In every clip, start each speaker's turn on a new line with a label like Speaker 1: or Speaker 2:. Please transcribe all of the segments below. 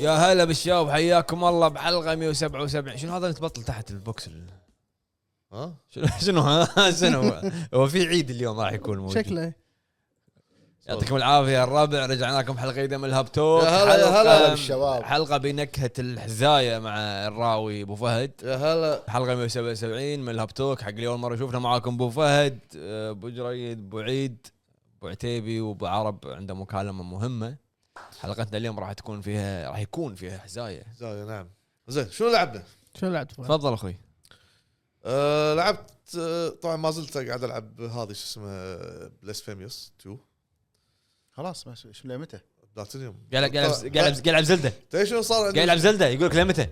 Speaker 1: يا هلا بالشباب حياكم الله بحلقه 177 شنو هذا اللي تبطل تحت البوكس ال-
Speaker 2: ها
Speaker 1: شنو شنو ها؟ شنو هو؟ هو في عيد اليوم راح يكون موجود
Speaker 3: شكله
Speaker 1: يعطيكم العافيه يا الربع رجعنا لكم حلقه جديده من الهاب توك
Speaker 2: يا هلا، يا
Speaker 1: حلقة-
Speaker 2: هلا بالشباب.
Speaker 1: حلقه بنكهه الحزايه مع الراوي ابو فهد
Speaker 2: يا هلا
Speaker 1: حلقه 177 من الهاب توك حق اللي اول مره شوفنا معاكم ابو فهد ابو جريد ابو عيد ابو عتيبي وابو عرب عنده مكالمه مهمه حلقتنا اليوم راح تكون فيها راح يكون فيها حزايه
Speaker 2: زاوية نعم زين شنو لعبنا؟
Speaker 3: شنو لعبت فهد؟
Speaker 1: تفضل اخوي
Speaker 2: آه لعبت آه طبعا ما زلت قاعد العب هذه شو اسمه بليس فيميوس 2
Speaker 3: خلاص ما شو شو لعبته؟
Speaker 2: بلاتينيوم
Speaker 1: قاعد قاعد ألعب- قاعد ألعب- قاعد العب زلده
Speaker 2: تدري شنو صار
Speaker 1: قاعد
Speaker 2: عندي؟
Speaker 1: العب زلده يقول لك لمتى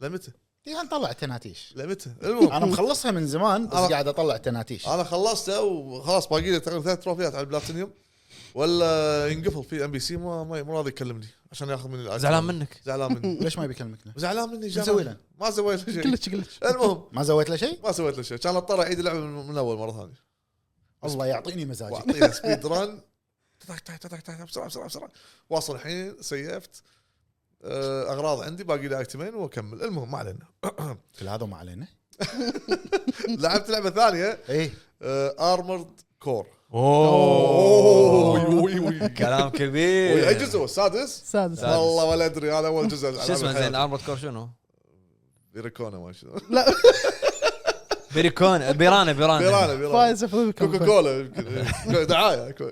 Speaker 2: لمته
Speaker 3: يعني نطلع تناتيش
Speaker 2: لمته المهم
Speaker 3: انا مخلصها من زمان بس
Speaker 2: أنا-
Speaker 3: قاعد اطلع تناتيش
Speaker 2: انا خلصته وخلاص باقي لي تقريبا ثلاث تروفيات على البلاتينيوم ولا ينقفل في ام بي سي ما ما- مو راضي يكلمني عشان ياخذ مني الآيتم.
Speaker 1: زعلان منك
Speaker 2: زعلان مني
Speaker 3: ليش ما بيكلمك؟
Speaker 2: زعلان مني جاب-
Speaker 3: مسوي له؟
Speaker 2: ما سويت له شيء
Speaker 3: كلش كلش
Speaker 2: المهم
Speaker 3: ما سويت له شيء؟
Speaker 2: ما سويت له شيء كان اضطر اعيد اللعبه من من اول مره ثانيه
Speaker 3: الله يعطيني مزاجي
Speaker 2: واعطيها سبيد ران تك تك تك تك تك بسرعه بسرعه بسرعه واصل الحين سيفت آه، اغراض عندي باقي لي ايتمين واكمل المهم ما علينا
Speaker 3: كل هذا ما علينا
Speaker 2: لعبت آه، لعبه ثانيه
Speaker 3: ايه
Speaker 2: ارمورد كور
Speaker 1: اوه كلام كبير
Speaker 2: اي جزء هو السادس
Speaker 4: سادس
Speaker 1: سادس.
Speaker 2: والله ولا ادري هذا اول جزء
Speaker 1: شو اسمه زين ارمورد كور شنو؟
Speaker 2: بيركونا ما شنو
Speaker 1: بيريكون بيرانا
Speaker 2: بيرانا
Speaker 1: بيرانا
Speaker 2: بيرانا
Speaker 4: فايز افوز
Speaker 2: كوكا كولا يمكن. دعايه كو-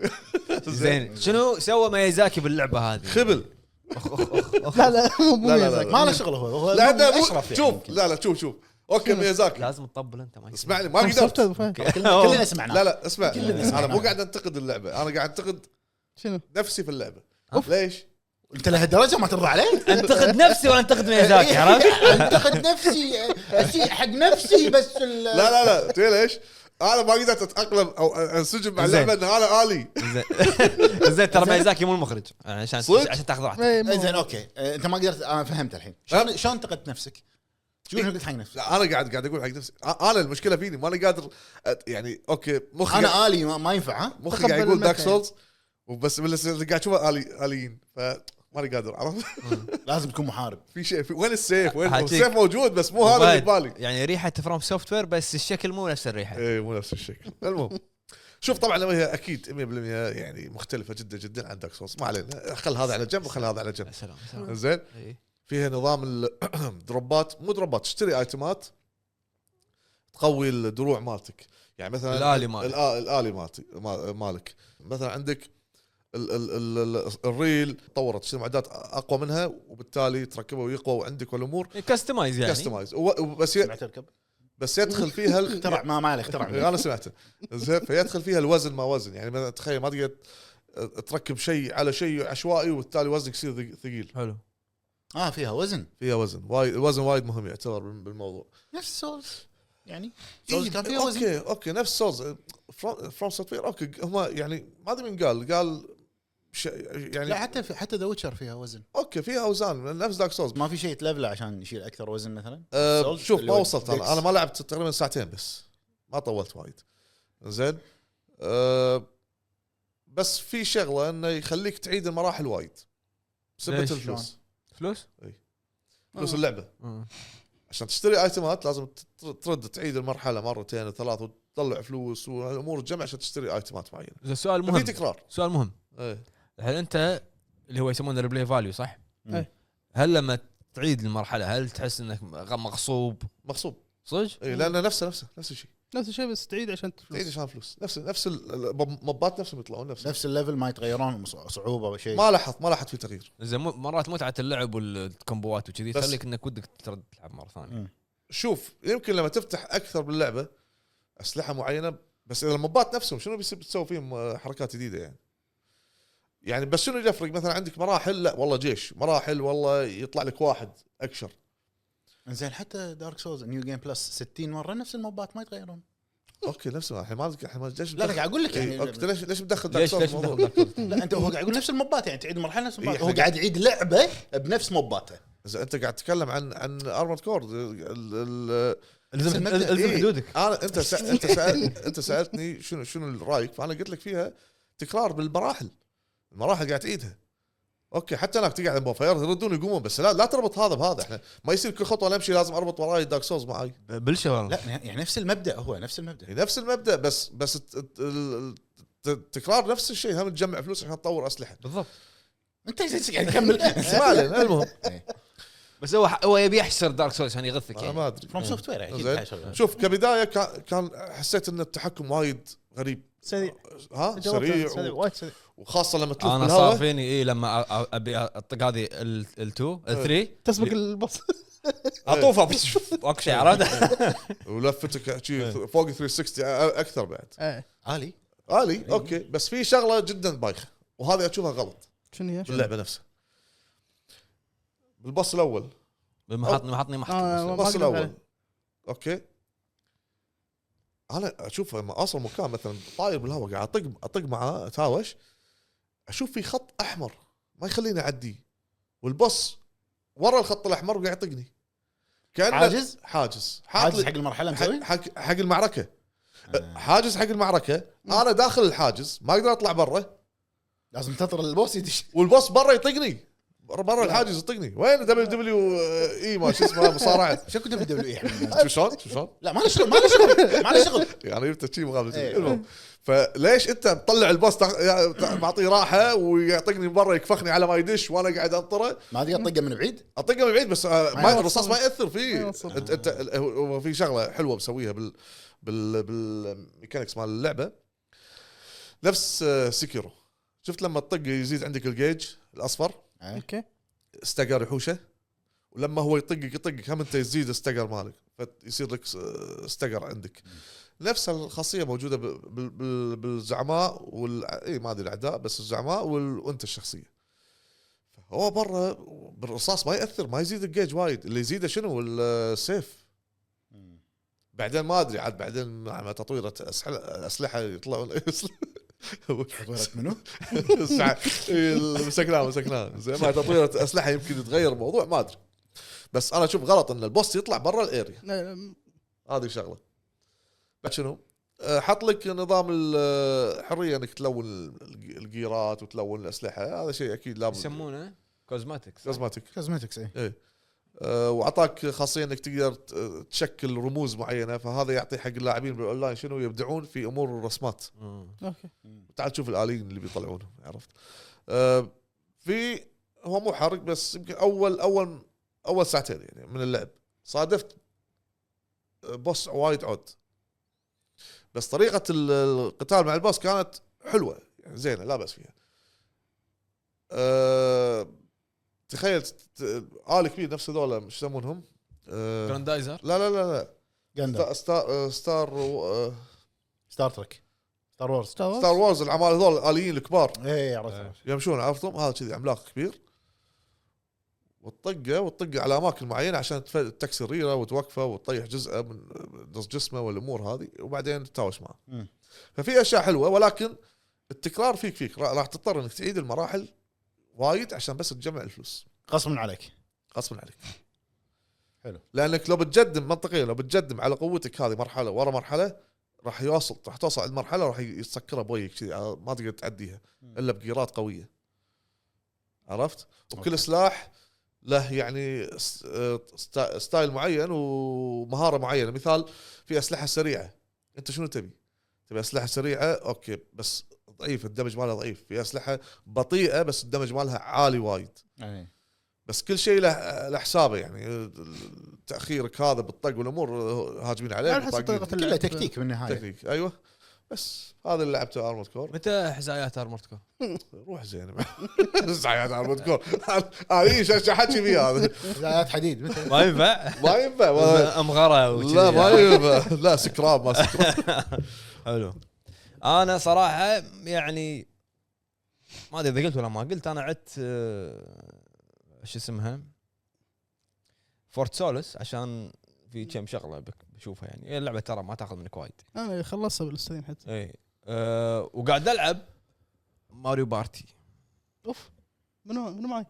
Speaker 1: زين شنو سوى ميازاكي باللعبه هذه؟
Speaker 2: خبل
Speaker 4: لا لا مو مو
Speaker 2: لا، لا، لا.
Speaker 4: ميازاكي.
Speaker 3: ما له شغل هو هو
Speaker 2: لعبه مو-
Speaker 3: اشرف طيب، يعني
Speaker 2: شوف
Speaker 3: يمكن.
Speaker 2: لا لا شوف شوف اوكي ميازاكي
Speaker 1: لازم تطبل انت ما
Speaker 2: اسمعني ما
Speaker 4: أنا شفته
Speaker 2: قدرت
Speaker 4: أبو فهد.
Speaker 3: كلنا
Speaker 1: كلنا
Speaker 3: سمعنا
Speaker 2: لا لا اسمع
Speaker 3: كلنا
Speaker 2: انا مو
Speaker 3: سمعناه.
Speaker 2: قاعد انتقد اللعبه انا قاعد انتقد
Speaker 4: شنو؟
Speaker 2: نفسي في اللعبه
Speaker 1: أوف.
Speaker 2: ليش؟
Speaker 3: انت لهالدرجه ما ترضى عليه؟
Speaker 1: انتقد نفسي ولا انتقد ميازاكي عرفت؟
Speaker 3: انتقد نفسي اسيء حق نفسي بس ال-
Speaker 2: لا لا لا تدري ليش؟ انا ما قدرت اتاقلم او انسجم مع
Speaker 1: زين.
Speaker 2: اللعبه ان انا الي
Speaker 1: زين- زين ترى ميازاكي مو المخرج يعني عشان
Speaker 2: صدق؟
Speaker 1: عشان تاخذ راحتك
Speaker 4: إيه، مو-
Speaker 3: زين اوكي آه، انت ما قدرت انا فهمت الحين شلون شلون انتقدت نفسك؟ شنو قلت حق نفسك؟
Speaker 2: لا انا قاعد قاعد اقول حق نفسي أ- انا المشكله فيني ما انا قادر أت- يعني اوكي مخي قاعد-
Speaker 3: انا الي ما, ما ينفع ها؟
Speaker 2: مخي
Speaker 4: تقبل
Speaker 2: قاعد يقول دارك
Speaker 4: المثل.
Speaker 2: سولز وبس بس اللي قاعد اشوفه الي اليين فماني قادر عرفت؟
Speaker 3: لازم تكون محارب
Speaker 2: في شيء في وين السيف؟ وين هو؟
Speaker 1: حاجيك.
Speaker 2: السيف موجود بس مو هذا اللي
Speaker 1: وبعد،
Speaker 2: ببالي
Speaker 1: يعني ريحه فروم سوفت وير بس الشكل مو نفس الريحه
Speaker 2: اي إيه، مو نفس الشكل المهم شوف طبعا لما هي اكيد 100% يعني مختلفه جدا جدا عن دارك سولز ما علينا خل هذا على جنب وخل هذا على
Speaker 1: يا
Speaker 2: جنب
Speaker 1: سلام يا سلام
Speaker 2: زين
Speaker 1: إيه.
Speaker 2: فيها نظام الدروبات مو دروبات تشتري ايتمات تقوي الدروع مالتك يعني مثلا
Speaker 1: الآلي مالك.
Speaker 2: الآ- الالي مالتي ما- مالك مثلا عندك ال ال ال ال الريل طورت تشتري معدات اقوى منها وبالتالي تركبها ويقوى وعندك والامور
Speaker 1: إيه، كاستمايز يعني
Speaker 2: كستمايز بس ي-
Speaker 3: سمعت اركب
Speaker 2: بس يدخل فيها ال-
Speaker 3: اخترع ما ما عليه
Speaker 2: يعني
Speaker 3: اخترع
Speaker 2: انا سمعته زين فيدخل فيها الوزن ما وزن يعني مثلا تخيل ما تقدر تركب شيء على شيء عشوائي وبالتالي وزنك يصير ثق- ثقيل
Speaker 1: حلو
Speaker 3: اه فيها وزن
Speaker 2: فيها وزن وايد الوزن وايد مهم يعتبر بال- بالموضوع
Speaker 3: نفس سولز يعني سولز
Speaker 2: إيه،
Speaker 3: كان فيها وزن
Speaker 2: اوكي اوكي نفس سولز فروم سوفت وير اوكي هم يعني ما ادري من قال قال ش-
Speaker 3: لا
Speaker 2: يعني
Speaker 3: حتى في حتى ذا ويتشر فيها وزن
Speaker 2: اوكي فيها اوزان نفس دارك سولز
Speaker 3: ما في شيء تلفله عشان يشيل اكثر وزن مثلا
Speaker 2: أه
Speaker 3: سولز
Speaker 2: شوف
Speaker 3: اللي
Speaker 2: ما
Speaker 3: هو
Speaker 2: وصلت
Speaker 3: ديكس.
Speaker 2: انا انا ما لعبت تقريبا ساعتين بس ما طولت وايد زين أه بس في شغله انه يخليك تعيد المراحل وايد بسبه
Speaker 1: ليش؟
Speaker 2: الفلوس
Speaker 1: فلوس؟
Speaker 3: آه.
Speaker 2: فلوس اللعبه عشان تشتري ايتمات لازم تر- ترد تعيد المرحله مرتين وثلاث وتطلع فلوس والامور تجمع عشان تشتري ايتمات معينه
Speaker 1: زين سؤال
Speaker 2: في
Speaker 1: مهم
Speaker 2: تكرار
Speaker 1: سؤال مهم
Speaker 2: ايه
Speaker 1: هل انت اللي هو يسمونه ريبلاي فاليو صح؟
Speaker 3: مم.
Speaker 4: إيه.
Speaker 1: هل لما تعيد المرحله هل تحس انك مغصوب
Speaker 2: مغصوب
Speaker 1: صدق؟
Speaker 2: اي لانه نفسه نفسه إيه، نفس الشيء
Speaker 4: نفس الشيء بس تعيد عشان
Speaker 2: تعيد
Speaker 4: تفلس
Speaker 2: عشان فلوس نفس نفس المبات نفسهم يطلعون نفس
Speaker 3: نفس الليفل ما يتغيرون صع- صعوبه او شيء
Speaker 2: ما لاحظت ما لاحظت في تغيير
Speaker 1: زين مو- مرات متعه اللعب والكومبوات وكذي
Speaker 2: بس-
Speaker 1: تخليك انك ودك ترد تلعب مره ثانيه
Speaker 2: شوف يمكن لما تفتح اكثر باللعبه اسلحه معينه بس اذا المبات نفسهم شنو بيصير بتسوي فيهم آه، حركات جديده يعني يعني بس شنو يفرق مثلا عندك مراحل لا والله جيش مراحل والله يطلع لك واحد اكشر
Speaker 3: زين حتى دارك سولز نيو جيم بلس 60 مره نفس الموبات ما يتغيرون
Speaker 2: اوكي نفس الواحد. الحين ما الحين ما ليش
Speaker 3: لا لا قاعد اقول لك
Speaker 2: إيه،
Speaker 3: يعني
Speaker 2: أوكي، ليش ليش مدخل دارك
Speaker 1: ليش
Speaker 2: سولز
Speaker 1: ليش
Speaker 2: الموضوع؟
Speaker 1: مدخل-
Speaker 3: لا انت هو قاعد يقول نفس الموبات يعني تعيد المرحله نفس الموبات
Speaker 2: إيه،
Speaker 3: هو
Speaker 2: حق-
Speaker 3: قاعد يعيد لعبه بنفس مباته
Speaker 2: إذا انت قاعد تتكلم عن عن ارمورد كور
Speaker 1: الزم الزم
Speaker 2: إيه.
Speaker 1: حدودك
Speaker 2: انا انت سأ... انت سأل... انت سالتني شنو شنو رايك فانا قلت لك فيها تكرار بالمراحل المراحل قاعد تعيدها اوكي حتى هناك تقعد الموفاير يردون يقومون بس لا لا تربط هذا بهذا احنا ما يصير كل خطوه انا امشي لازم اربط وراي دارك سولز معاي يعني
Speaker 1: بالشغل
Speaker 3: لا يعني نفس المبدا هو نفس المبدا
Speaker 2: نفس المبدا بس بس الت- الت- ال- الت- تكرار نفس الشيء هم نجمع فلوس عشان نطور اسلحه
Speaker 1: بالضبط
Speaker 3: انت إيش قاعد تكمل
Speaker 2: ما علينا المهم
Speaker 1: بس هو هو يبي يحسر دارك سولز عشان يغثك
Speaker 2: انا
Speaker 1: يعني
Speaker 2: ما ادري
Speaker 3: فروم سوفت وير اكيد
Speaker 2: زين.
Speaker 3: لها شغلة.
Speaker 2: شوف كبدايه كا- كان حسيت ان التحكم وايد غريب
Speaker 4: سريع
Speaker 2: ها
Speaker 4: جواب سريع
Speaker 2: سريع و-
Speaker 4: وايد سريع
Speaker 2: وخاصه لما تلف
Speaker 1: انا صار
Speaker 2: بالهواء
Speaker 1: فيني اي لما أ- أ- ابي اطق هذه ال2 ال3
Speaker 4: تسبق البص
Speaker 1: اطوفه بس اكو شيء عرفت
Speaker 2: ولفتك شي فوق 360 أ- اكثر بعد
Speaker 4: إيه.
Speaker 3: عالي
Speaker 2: الي اوكي بس في شغله جدا بايخه وهذه اشوفها غلط
Speaker 4: شنو هي؟
Speaker 2: باللعبه نفسها بالبص الاول
Speaker 1: محطني محطني
Speaker 4: آه،
Speaker 1: محطني
Speaker 4: ما
Speaker 2: الباص
Speaker 4: أقدر
Speaker 2: الاول
Speaker 4: عليه.
Speaker 2: اوكي انا اشوف لما اوصل مكان مثلا طاير بالهواء قاعد اطق اطق معاه اتهاوش اشوف في خط احمر ما يخليني اعديه والبص ورا الخط الاحمر وقاعد يطقني كانه
Speaker 3: حاجز؟
Speaker 2: حاجز حاط
Speaker 3: عاجز حق
Speaker 2: لي-
Speaker 3: المرحله مسوي
Speaker 2: حق حق- حق المعركه
Speaker 3: طيب. آه.
Speaker 2: حاجز حق المعركه انا داخل الحاجز ما اقدر اطلع برا
Speaker 3: لازم تنتظر البوس يدش
Speaker 2: والبص برا يطقني برا الحاجز يطقني وين دبليو دبليو اي ما شو اسمه مصارعه
Speaker 3: شكو دبليو دبليو
Speaker 2: شو
Speaker 3: اي
Speaker 2: شلون شو شلون
Speaker 3: إيه لا ما له شغل ما له شغل ما له شغل
Speaker 2: يعني جبت شيء مقابل
Speaker 3: إيه.
Speaker 2: المهم فليش انت مطلع البوس تع- يا- تع- معطيه راحه ويعطيني من برا يكفخني على ما يدش وانا قاعد انطره
Speaker 3: ما تقدر تطقه من بعيد
Speaker 2: اطقه من بعيد بس آه،
Speaker 3: ما
Speaker 2: ما
Speaker 3: يوصل.
Speaker 2: الرصاص ما ياثر
Speaker 4: ما
Speaker 2: فيه
Speaker 4: يوصل.
Speaker 2: انت انت هو- هو في شغله حلوه مسويها بال بال بالميكانكس مال اللعبه نفس آه، سكيرو شفت لما تطق يزيد عندك الجيج الاصفر
Speaker 3: آه.
Speaker 4: اوكي
Speaker 2: استقر يحوشه ولما هو يطقك يطقك هم انت يزيد استقر مالك فيصير لك س- استقر عندك نفس الخاصيه موجوده ب- بال- بال- بالزعماء وال اي ما ادري الاعداء بس الزعماء وال... وانت الشخصيه هو برا بالرصاص ما ياثر ما يزيد الجيج وايد اللي يزيده شنو السيف بعدين ما ادري عاد بعدين مع تطويره اسلحه اسلحه يطلعون
Speaker 3: تطويرك منو؟
Speaker 2: ساعة. ال- مسكناه مسكناه زي ما تطوير اسلحه يمكن يتغير الموضوع ما ادري بس انا اشوف غلط ان البوست يطلع برا الاريا
Speaker 4: لا، لا،
Speaker 2: هذه شغله بعد شنو؟ أه، حط لك نظام الحريه انك تلون الج- الجيرات وتلون الاسلحه هذا شيء اكيد لابد
Speaker 1: يسمونه كوزماتكس
Speaker 2: لازماتك
Speaker 3: كوزماتكس اي
Speaker 2: أه، واعطاك خاصيه انك تقدر ت- تشكل رموز معينه فهذا يعطي حق اللاعبين بالاونلاين شنو يبدعون في امور الرسمات
Speaker 4: اوكي
Speaker 2: تعال تشوف الاليين اللي بيطلعونهم عرفت آه، في هو مو حرق بس يمكن اول اول اول ساعتين يعني من اللعب صادفت آه، بوس وايد عود بس طريقه ال- القتال مع البوس كانت حلوه يعني زينه لا باس فيها أه تخيل ت- ت- آل كبير نفس هذول شو يسمونهم؟ أه
Speaker 1: جراندايزر
Speaker 2: لا لا لا لا
Speaker 3: جندم
Speaker 2: ستار ستار, آه، ستار, و-
Speaker 3: ستار ترك ستار وورز
Speaker 4: ستار وورز
Speaker 2: ستار وورز العمال هذول الاليين الكبار
Speaker 3: اي إيه، عرفت عرفت.
Speaker 2: يمشون عرفتم هذا كذي عملاق كبير والطقه والطقه على اماكن معينه عشان تف- تكسر ريره وتوقفه وتطيح جزء من نص جسمه والامور هذه وبعدين تتهاوش معه.
Speaker 3: مم.
Speaker 2: ففي اشياء حلوه ولكن التكرار فيك فيك را- راح تضطر انك تعيد المراحل وايد عشان بس تجمع الفلوس
Speaker 3: غصب عليك
Speaker 2: غصبا عليك.
Speaker 3: حلو.
Speaker 2: لانك لو بتجدم منطقيا لو بتجدم على قوتك هذه مرحله ورا مرحله راح يوصل راح توصل عند مرحله راح يتسكرها بويك كذي على- ما تقدر تعديها. الا بجيرات قويه عرفت
Speaker 3: أوكي.
Speaker 2: وكل سلاح له يعني س- آه، ستا- ستايل معين ومهاره معينه مثال في اسلحه سريعه انت شنو تبي تبي اسلحه سريعه اوكي بس ضعيف الدمج مالها ضعيف في اسلحه بطيئه بس الدمج مالها عالي وايد
Speaker 3: يعني
Speaker 2: بس كل شيء له له حسابه يعني آه، تاخيرك هذا بالطق والامور آه، هاجمين عليك
Speaker 4: على حسب
Speaker 2: وطاقين.
Speaker 4: طريقه
Speaker 3: كله
Speaker 4: اللعب
Speaker 3: تكتيك بالنهايه
Speaker 2: تكنيك ايوه بس هذا اللي لعبته ارمود كور
Speaker 1: متى حزايات ارمورتكو؟
Speaker 2: روح زين زعيان على البودكور هذه ايش ايش حكي فيها هذا
Speaker 3: بدايات حديد مثل
Speaker 1: طيب، ما ينفع
Speaker 2: ما ينفع ما-
Speaker 1: امغره وشذي.
Speaker 2: لا ما ينفع لا سكراب ما سكراب
Speaker 1: حلو انا صراحه يعني ما ادري اذا قلت ولا ما قلت انا عدت آه، شو اسمها فورت سولس عشان في كم شغله بك- بشوفها يعني هي اللعبه ترى ما تاخذ منك وايد
Speaker 4: انا خلصها بالستريم حتى
Speaker 2: إيه.
Speaker 1: اي أه وقاعد العب ماريو بارتي
Speaker 4: اوف منو منو معي؟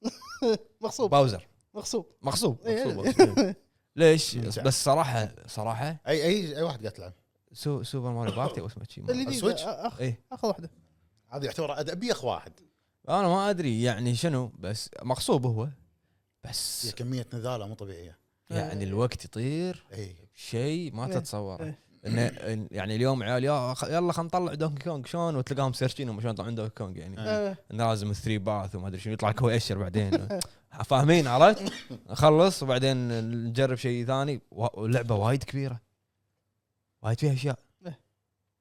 Speaker 4: مغصوب
Speaker 1: باوزر
Speaker 4: مغصوب
Speaker 1: مغصوب
Speaker 4: إيه.
Speaker 1: مغصوب، مغصوب. ليش بس صراحه صراحه
Speaker 3: اي اي اي واحد قاعد تلعب
Speaker 1: سو سوبر ماريو بارتي او اسمه شي ما-
Speaker 4: الجديد
Speaker 3: السويتش؟
Speaker 4: أ- أخ-
Speaker 1: ايه
Speaker 4: اخذ واحده
Speaker 3: هذا يعتبر ادبي اخ واحد
Speaker 1: انا ما ادري يعني شنو بس مغصوب هو
Speaker 3: هي
Speaker 1: بس
Speaker 3: كميه نذاله مو طبيعيه
Speaker 1: يعني الوقت يطير
Speaker 3: اي
Speaker 1: شيء ما
Speaker 4: إيه،
Speaker 1: تتصوره
Speaker 4: إيه.
Speaker 1: انه إن- يعني اليوم عيال يا خ- يلا خلينا نطلع دونكي كونغ شلون وتلقاهم سيرشين شلون يطلعون دونكي كونغ يعني
Speaker 4: إيه.
Speaker 1: انه لازم الثري باث وما ادري شنو يطلع كوي اشر بعدين فاهمين عرفت؟ نخلص وبعدين نجرب شيء ثاني و- واللعبه وايد كبيره وايد فيها اشياء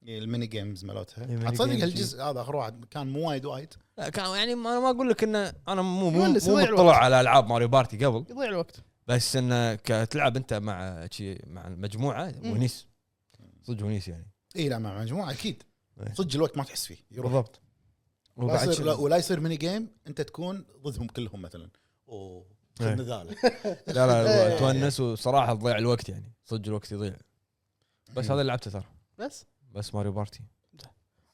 Speaker 3: إيه، الميني جيمز
Speaker 1: الميني
Speaker 3: مالتها تصدق
Speaker 1: جيمز. إيه.
Speaker 3: هالجزء هذا اخر واحد كان مو وايد وايد
Speaker 1: لا، كان يعني ما- انا ما اقول لك انه انا مو مو,
Speaker 4: يونس،
Speaker 1: مو
Speaker 4: يضيع
Speaker 1: مطلع
Speaker 4: الوقت.
Speaker 1: على العاب ماريو بارتي قبل
Speaker 4: يضيع الوقت
Speaker 1: بس انه كتلعب انت مع شي مع المجموعه
Speaker 4: مم.
Speaker 1: ونيس صدق ونيس يعني
Speaker 3: اي إيه، لا مع مجموعه اكيد
Speaker 1: إيه.
Speaker 3: صدق الوقت ما تحس فيه يروح
Speaker 1: بالضبط
Speaker 3: لا
Speaker 1: وبعد
Speaker 3: يصير لا
Speaker 1: شنو؟
Speaker 3: ولا يصير ميني جيم انت تكون ضدهم كلهم مثلا اوه خذ
Speaker 1: إيه.
Speaker 3: نذاله
Speaker 1: لا لا
Speaker 4: إيه.
Speaker 1: تونس وصراحه تضيع الوقت يعني صدق الوقت يضيع بس هذا اللي لعبته ترى
Speaker 4: بس
Speaker 1: بس ماريو بارتي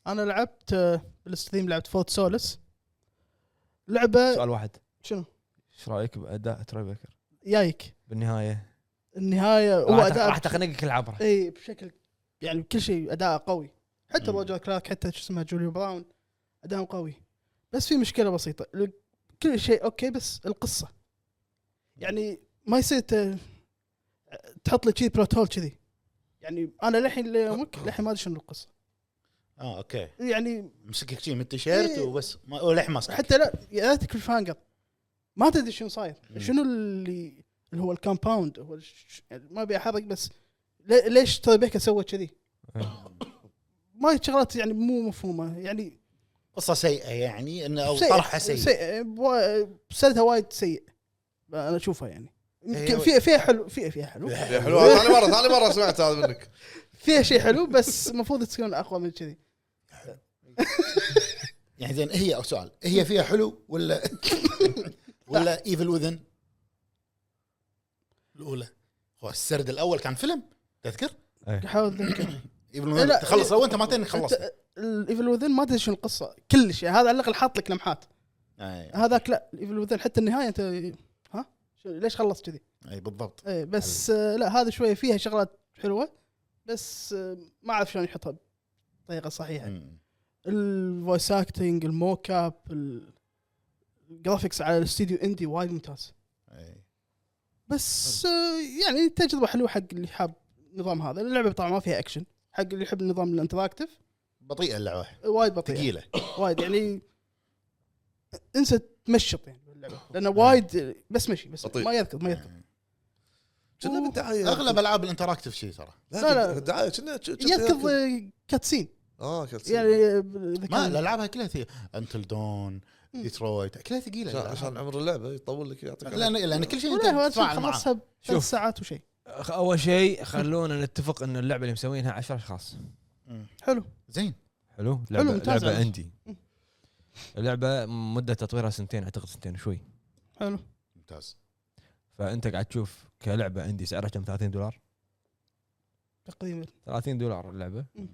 Speaker 4: انا لعبت آه، بالستيم لعبت فوت سولس لعبه
Speaker 1: سؤال واحد
Speaker 4: شنو
Speaker 1: ايش رايك باداء تروي بيكر
Speaker 4: جايك
Speaker 1: بالنهايه
Speaker 4: النهايه هو
Speaker 1: راح تخ-
Speaker 4: اداء
Speaker 1: راح تخنقك العبره
Speaker 4: اي بشكل يعني كل شيء اداء قوي حتى
Speaker 3: مم.
Speaker 4: روجر كلاك حتى شو اسمه جوليو براون اداء قوي بس في مشكله بسيطه ال- كل شيء اوكي بس القصه يعني ما يصير ت- تحط لي شيء بلوت هول كذي يعني انا للحين ليومك للحين ما ادري شنو القصه
Speaker 3: اه اوكي
Speaker 4: يعني
Speaker 3: مسكك شي من التيشيرت
Speaker 4: إيه.
Speaker 3: وبس ما ولح ماسك
Speaker 4: حتى لا يا ريتك الفانجر ما تدري شنو صاير
Speaker 3: مم.
Speaker 4: شنو اللي اللي هو الكامباوند هو الش- يعني ما ابي احرق بس لي- ليش تري بيكر سوت كذي؟ ما هي شغلات يعني مو مفهومه يعني
Speaker 3: قصه سيئه يعني انه او طرحها سيء
Speaker 4: سيء بوا- سردها وايد سيء انا اشوفها يعني يمكن
Speaker 3: إيه، هو-
Speaker 4: فيها فيها حلو فيها فيها حلو
Speaker 2: يا حلو هذا ثاني مره ثاني مره سمعت هذا منك
Speaker 4: فيها شيء حلو بس المفروض تكون اقوى من كذي
Speaker 3: يعني زين هي سؤال هي فيها حلو ولا ولا ايفل وذن الاولى هو السرد الاول كان فيلم تذكر
Speaker 4: احاول اتذكر
Speaker 3: ايفل
Speaker 4: إيه، لا،
Speaker 3: وذن تخلص لو انت ما تدري خلصت
Speaker 4: انت الايفل وذن ما تدري شنو القصه كلش يعني هذا على الاقل حاط لك لمحات
Speaker 3: اي
Speaker 4: هذاك لا الايفل وذن حتى النهايه انت ها شو- ليش خلصت كذي
Speaker 3: أي، بالضبط
Speaker 4: إيه، بس آه، لا هذا شويه فيها شغلات حلوه بس آه، ما اعرف شلون يحطها بطريقه صحيحه
Speaker 3: مم.
Speaker 4: الفويس اكتنج الموك اب الجرافكس على الاستديو اندي وايد ممتاز
Speaker 3: أي.
Speaker 4: بس آه، يعني تجربه حلوه حق اللي حاب النظام هذا اللعبه طبعا ما فيها اكشن حق اللي يحب النظام الانتراكتيف
Speaker 3: بطيئه اللعبه
Speaker 4: آه، وايد بطيئه
Speaker 3: ثقيله
Speaker 4: وايد يعني انسى تمشط يعني باللعبه لانه وايد آه، بس مشي بس
Speaker 2: بطيء.
Speaker 4: ما يركض ما يركض
Speaker 2: كنا بالدعايه
Speaker 3: اغلب العاب الانتراكتيف شي ترى
Speaker 4: لا، لا.
Speaker 2: الدعايه كنا
Speaker 4: يركض آه، كاتسين
Speaker 2: اه كرسي
Speaker 4: يعني
Speaker 2: يعني
Speaker 4: آه، إذا
Speaker 3: ما
Speaker 4: كان-
Speaker 3: الالعاب هاي كلها ثقيله انتل دون
Speaker 4: مم.
Speaker 3: ديترويت كلها ثقيله
Speaker 2: عشان
Speaker 3: الألعاب.
Speaker 2: عمر اللعبه يطول لك يعطيك
Speaker 3: لان لان كل شيء
Speaker 4: ولا هو
Speaker 3: انت تتفاعل معاه
Speaker 4: خلصها بثلاث
Speaker 1: شوف.
Speaker 4: ساعات وشيء
Speaker 1: اول شيء خلونا نتفق ان اللعبه اللي مسوينها 10 اشخاص
Speaker 3: مم.
Speaker 4: حلو
Speaker 3: زين
Speaker 1: حلو لعبه
Speaker 4: ممتاز
Speaker 1: لعبه
Speaker 4: على
Speaker 1: اندي اللعبه مده تطويرها سنتين اعتقد سنتين وشوي
Speaker 4: حلو
Speaker 3: ممتاز
Speaker 1: فانت قاعد تشوف كلعبه اندي سعرها كم 30 دولار
Speaker 4: تقريبا
Speaker 1: 30 دولار اللعبه
Speaker 4: مم.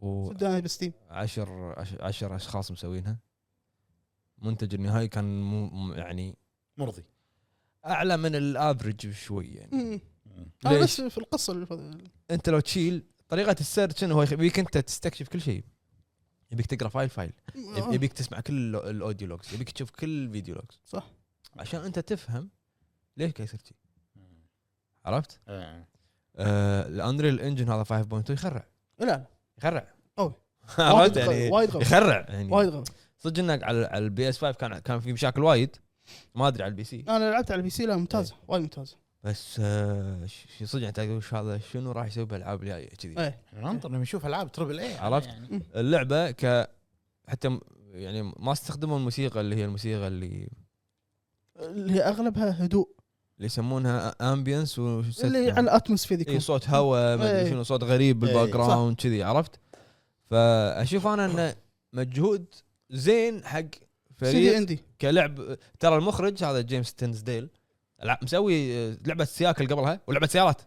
Speaker 1: و
Speaker 4: صدقني بستيم
Speaker 1: 10 10 اشخاص مسوينها منتج النهائي كان مو مو- يعني
Speaker 3: مرضي
Speaker 1: اعلى من الافرج بشوي يعني
Speaker 4: مم.
Speaker 3: مم.
Speaker 4: انا
Speaker 1: ليش؟
Speaker 4: بس في القصه اللي-
Speaker 1: انت لو تشيل طريقه السيرش انه هو يخ- يبيك انت تستكشف كل شيء يبيك تقرا فايل فايل
Speaker 4: آه.
Speaker 1: يب- يبيك تسمع كل ال- الاوديو لوجز يبيك تشوف كل الفيديو لوجز
Speaker 4: صح.
Speaker 1: عشان انت تفهم ليش قاعد يصير شي. عرفت؟
Speaker 3: إيه.
Speaker 1: آه الاندريل انجن هذا 5.2 يخرع
Speaker 4: لا لا
Speaker 1: يخرع
Speaker 4: قوي.
Speaker 1: عرفت
Speaker 4: وايد قوي،
Speaker 1: يعني
Speaker 4: وايد قوي.
Speaker 1: يخرع يعني
Speaker 4: وايد غلط
Speaker 1: صدق انك على على البي اس 5 كان كان في مشاكل وايد ما ادري على البي سي
Speaker 4: انا لعبت على البي سي لا ممتازه وايد ممتازه
Speaker 1: بس آه ش- ش- صدق انت تقول إيش هذا شنو راح يسوي بالالعاب الجايه كذي
Speaker 4: ايه
Speaker 3: إحنا ننطر لما نشوف العاب تربل اي
Speaker 1: عرفت؟
Speaker 3: يعني.
Speaker 1: اللعبه ك حتى م- يعني ما استخدموا الموسيقى اللي هي الموسيقى اللي
Speaker 4: اللي هي اغلبها هدوء
Speaker 1: اللي يسمونها امبيانس
Speaker 4: اللي على الاتموسفير
Speaker 1: اي
Speaker 4: يكون
Speaker 1: إيه، صوت هواء ما ادري
Speaker 4: إيه.
Speaker 1: شنو صوت غريب
Speaker 3: إيه.
Speaker 1: بالباك جراوند كذي عرفت؟ فاشوف انا انه مجهود زين حق
Speaker 4: سيدي
Speaker 1: فريق
Speaker 4: عندي
Speaker 1: كلعب ترى المخرج هذا جيمس تنزديل الع- مسوي آه، لعبه سياكل قبلها ولعبه سيارات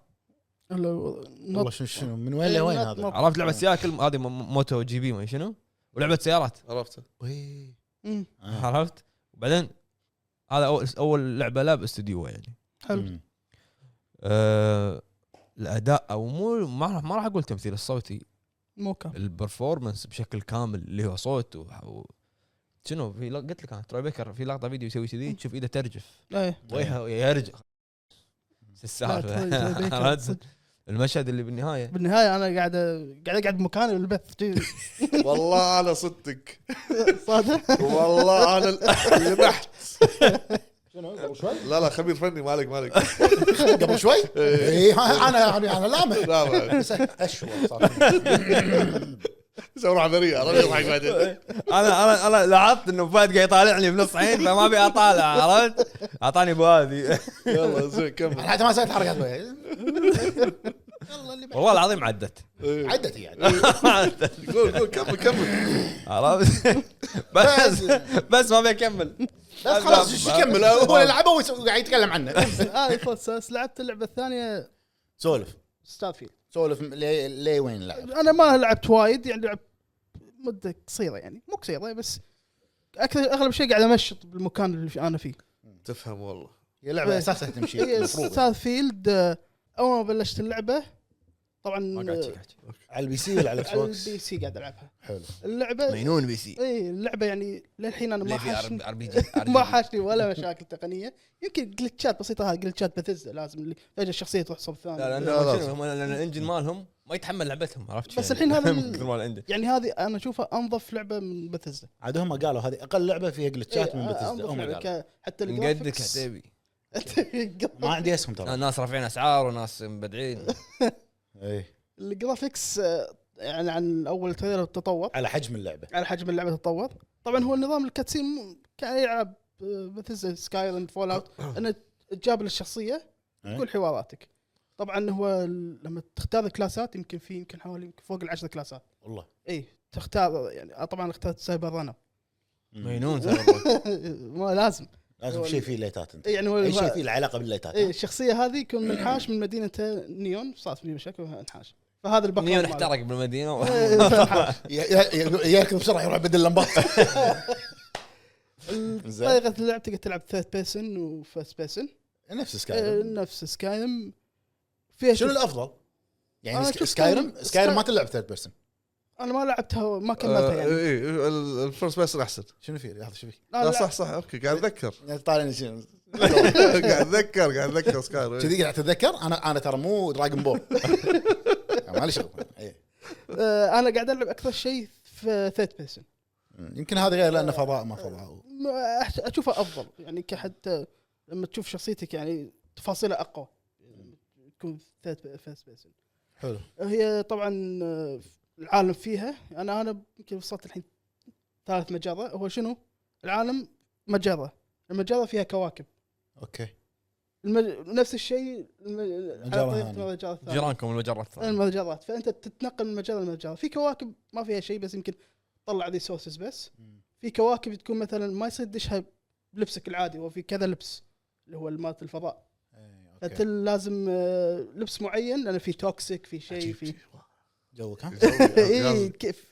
Speaker 3: والله شنو شنو من وين لوين
Speaker 4: إيه،
Speaker 3: هذا
Speaker 4: نط-
Speaker 1: عرفت لعبه سياكل هذه م- موتو جي بي ما شنو ولعبه سيارات
Speaker 2: عرفته
Speaker 3: وي.
Speaker 4: مم.
Speaker 3: آه.
Speaker 1: عرفت وبعدين هذا اول اول لعبه لا باستديوه يعني
Speaker 4: حلو
Speaker 3: مم.
Speaker 1: أه الاداء او مو ما راح ما راح اقول تمثيل الصوتي
Speaker 4: موكا
Speaker 1: البرفورمانس بشكل كامل اللي هو صوت و... و... شنو في لق- قلت لك انا تروي بيكر في لقطه فيديو يسوي كذي تشوف ايده ترجف
Speaker 4: ايه
Speaker 3: إيه.
Speaker 1: وجهه يرجع شو
Speaker 4: لا، تروي- تروي بيكر.
Speaker 1: السالفه عرفت؟ المشهد اللي بالنهايه
Speaker 4: بالنهايه انا قاعد قاعد قاعد بمكاني بالبث جي.
Speaker 2: والله انا صدتك
Speaker 4: صادق
Speaker 2: والله انا ال- لمحت
Speaker 3: شنو قبل شوي؟
Speaker 2: لا لا خبير فني مالك مالك
Speaker 3: قبل شوي؟ اي انا يعني انا لامح
Speaker 2: لا لا
Speaker 3: بس اشوى صار
Speaker 2: سوي عمليه عرفت يضحك بعدين
Speaker 1: انا انا انا لاحظت انه فهد قاعد يطالعني بنص عين فما ابي اطالع عرفت؟ اعطاني بهذه
Speaker 2: يلا زين كمل
Speaker 3: حتى ما سويت حركات وياه. يلا اللي بعد
Speaker 1: والله العظيم عدت
Speaker 2: إيه.
Speaker 3: عدت يعني
Speaker 2: قول قول كمل كمل
Speaker 1: عرفت؟ بس بس ما ابي اكمل
Speaker 3: بس خلاص شو كمل هو يلعبه وقاعد يتكلم عنه
Speaker 4: انا فول سيرس لعبت اللعبه الثانيه
Speaker 3: سولف
Speaker 4: ستار فيلد
Speaker 3: سولف ليه ليه وين لعب
Speaker 4: انا ما لعبت وايد يعني لعبت مده قصيره يعني مو قصيره بس اكثر اغلب شيء قاعد امشط بالمكان اللي انا فيه
Speaker 2: تفهم والله
Speaker 3: هي
Speaker 4: إيه.
Speaker 3: لعبه اساسها تمشي
Speaker 4: هي
Speaker 3: المفروض يعني.
Speaker 4: ستار فيلد آه، اول ما بلشت اللعبه طبعا آه،
Speaker 3: على البي سي ولا على الاكس
Speaker 4: على
Speaker 3: بوكس
Speaker 4: البي سي قاعد العبها
Speaker 3: حلو
Speaker 4: اللعبه
Speaker 1: مجنون بي سي
Speaker 4: اي اللعبه يعني للحين انا ما حاشني
Speaker 1: ار بي جي
Speaker 4: ما حاشني ولا مشاكل تقنيه يمكن جلتشات بسيطه هذه جلتشات بثزة لازم اللي فجاه الشخصيه تروح صوب
Speaker 1: لا
Speaker 4: ثاني
Speaker 1: لان
Speaker 2: لا، لا.
Speaker 1: شنو هم- لان الانجن مالهم ما يتحمل لعبتهم عرفت
Speaker 4: بس الحين هذا ال-
Speaker 1: كثر مال عنده
Speaker 4: يعني هذه انا اشوفها انظف لعبه من بثزة
Speaker 3: عاد هم قالوا هذه اقل لعبه فيها
Speaker 4: إيه،
Speaker 3: جلتشات
Speaker 4: آه،
Speaker 3: من Oh بتزدا هم قالوا
Speaker 4: بثزة حتى
Speaker 1: نقدك
Speaker 4: الجرافيكس
Speaker 1: عتيبي
Speaker 3: ما عندي اسهم
Speaker 4: آه.
Speaker 3: ترى
Speaker 1: ناس رافعين اسعار وناس مبدعين
Speaker 3: إيه.
Speaker 4: الجرافيكس آه، يعني عن اول تريلر تطور
Speaker 3: على حجم اللعبه
Speaker 4: على حجم اللعبه تطور طبعا هو النظام الكاتسين مو- كان يلعب آه، مثل سكاي لاند فول اوت انه تجاب للشخصيه
Speaker 3: إيه.
Speaker 4: تقول حواراتك طبعا هو ال- لما تختار الكلاسات يمكن في يمكن حوالي يمكن فوق العشر كلاسات
Speaker 3: والله
Speaker 4: اي تختار يعني آه، طبعا اخترت سايبر رانر
Speaker 1: مجنون ترى.
Speaker 4: ما لازم
Speaker 3: لازم شيء فيه ليتات انت
Speaker 4: يعني هو
Speaker 3: اي شيء
Speaker 4: هو-
Speaker 3: فيه له علاقه بالليتات
Speaker 4: إيه، الشخصيه هذه يكون منحاش من مدينه نيون صارت في مشاكل انحاش فهذا البقر
Speaker 1: نيون
Speaker 4: ماله.
Speaker 1: احترق بالمدينه و-
Speaker 4: إيه، فانحاش.
Speaker 3: ي- ي- ي- يركض بسرعه يروح يبدل لمبات زين.
Speaker 4: طريقه اللعب تقدر تلعب ثيرد بيرسون وفيرست بيرسون
Speaker 3: نفس
Speaker 4: آه،
Speaker 3: سكايرم
Speaker 4: نفس سكايم فيها
Speaker 3: شنو
Speaker 4: شوف-
Speaker 3: الافضل؟ يعني
Speaker 4: أنا
Speaker 3: سك-
Speaker 4: شفت
Speaker 3: سكايرم
Speaker 4: ال-
Speaker 3: سكايرم ما
Speaker 4: آه، Sky-
Speaker 3: تلعب ثيرد بيرسون
Speaker 4: انا ما لعبتها ما كملتها
Speaker 2: آه،
Speaker 4: يعني
Speaker 2: اي إي، ال- الفيرست بيرسون احسن
Speaker 3: شنو فيه؟ لحظه شو فيه؟
Speaker 4: أنا
Speaker 2: آه، لا
Speaker 4: لعبت-
Speaker 2: صح صح اوكي قاعد اتذكر
Speaker 3: يعني طالعني شنو
Speaker 2: قاعد اتذكر قاعد اتذكر سكاي
Speaker 3: كذي قاعد اتذكر انا انا ترى مو دراجون بول ما لي شغل إيه.
Speaker 4: آه، انا قاعد العب اكثر شيء في ثيرد بيرسون
Speaker 3: يمكن هذا غير لانه فضاء ما فضاء
Speaker 4: ما أح- اشوفه افضل يعني كحتى لما تشوف شخصيتك يعني تفاصيلها اقوى تكون ثيرد فيرست بيرسون
Speaker 3: حلو
Speaker 4: هي طبعا آه، العالم فيها انا انا يمكن وصلت الحين ثالث مجره هو شنو؟ العالم مجره المجره فيها كواكب
Speaker 3: اوكي
Speaker 4: المج... نفس الشيء الم... على طريقة
Speaker 3: ثانية.
Speaker 4: المجرة الثانية.
Speaker 1: جيرانكم المجرات
Speaker 4: المجرات فانت تتنقل من مجره لمجره في كواكب ما فيها شيء بس يمكن تطلع ريسورسز بس في كواكب تكون مثلا ما يصير تدشها بلبسك العادي وفي كذا لبس اللي هو مالت الفضاء
Speaker 3: إيه، أوكي.
Speaker 4: فانت لازم آه، لبس معين لان في توكسيك في شيء
Speaker 3: عجيب.
Speaker 4: في
Speaker 3: جوك
Speaker 2: إيه.
Speaker 3: ها؟
Speaker 4: اي كيف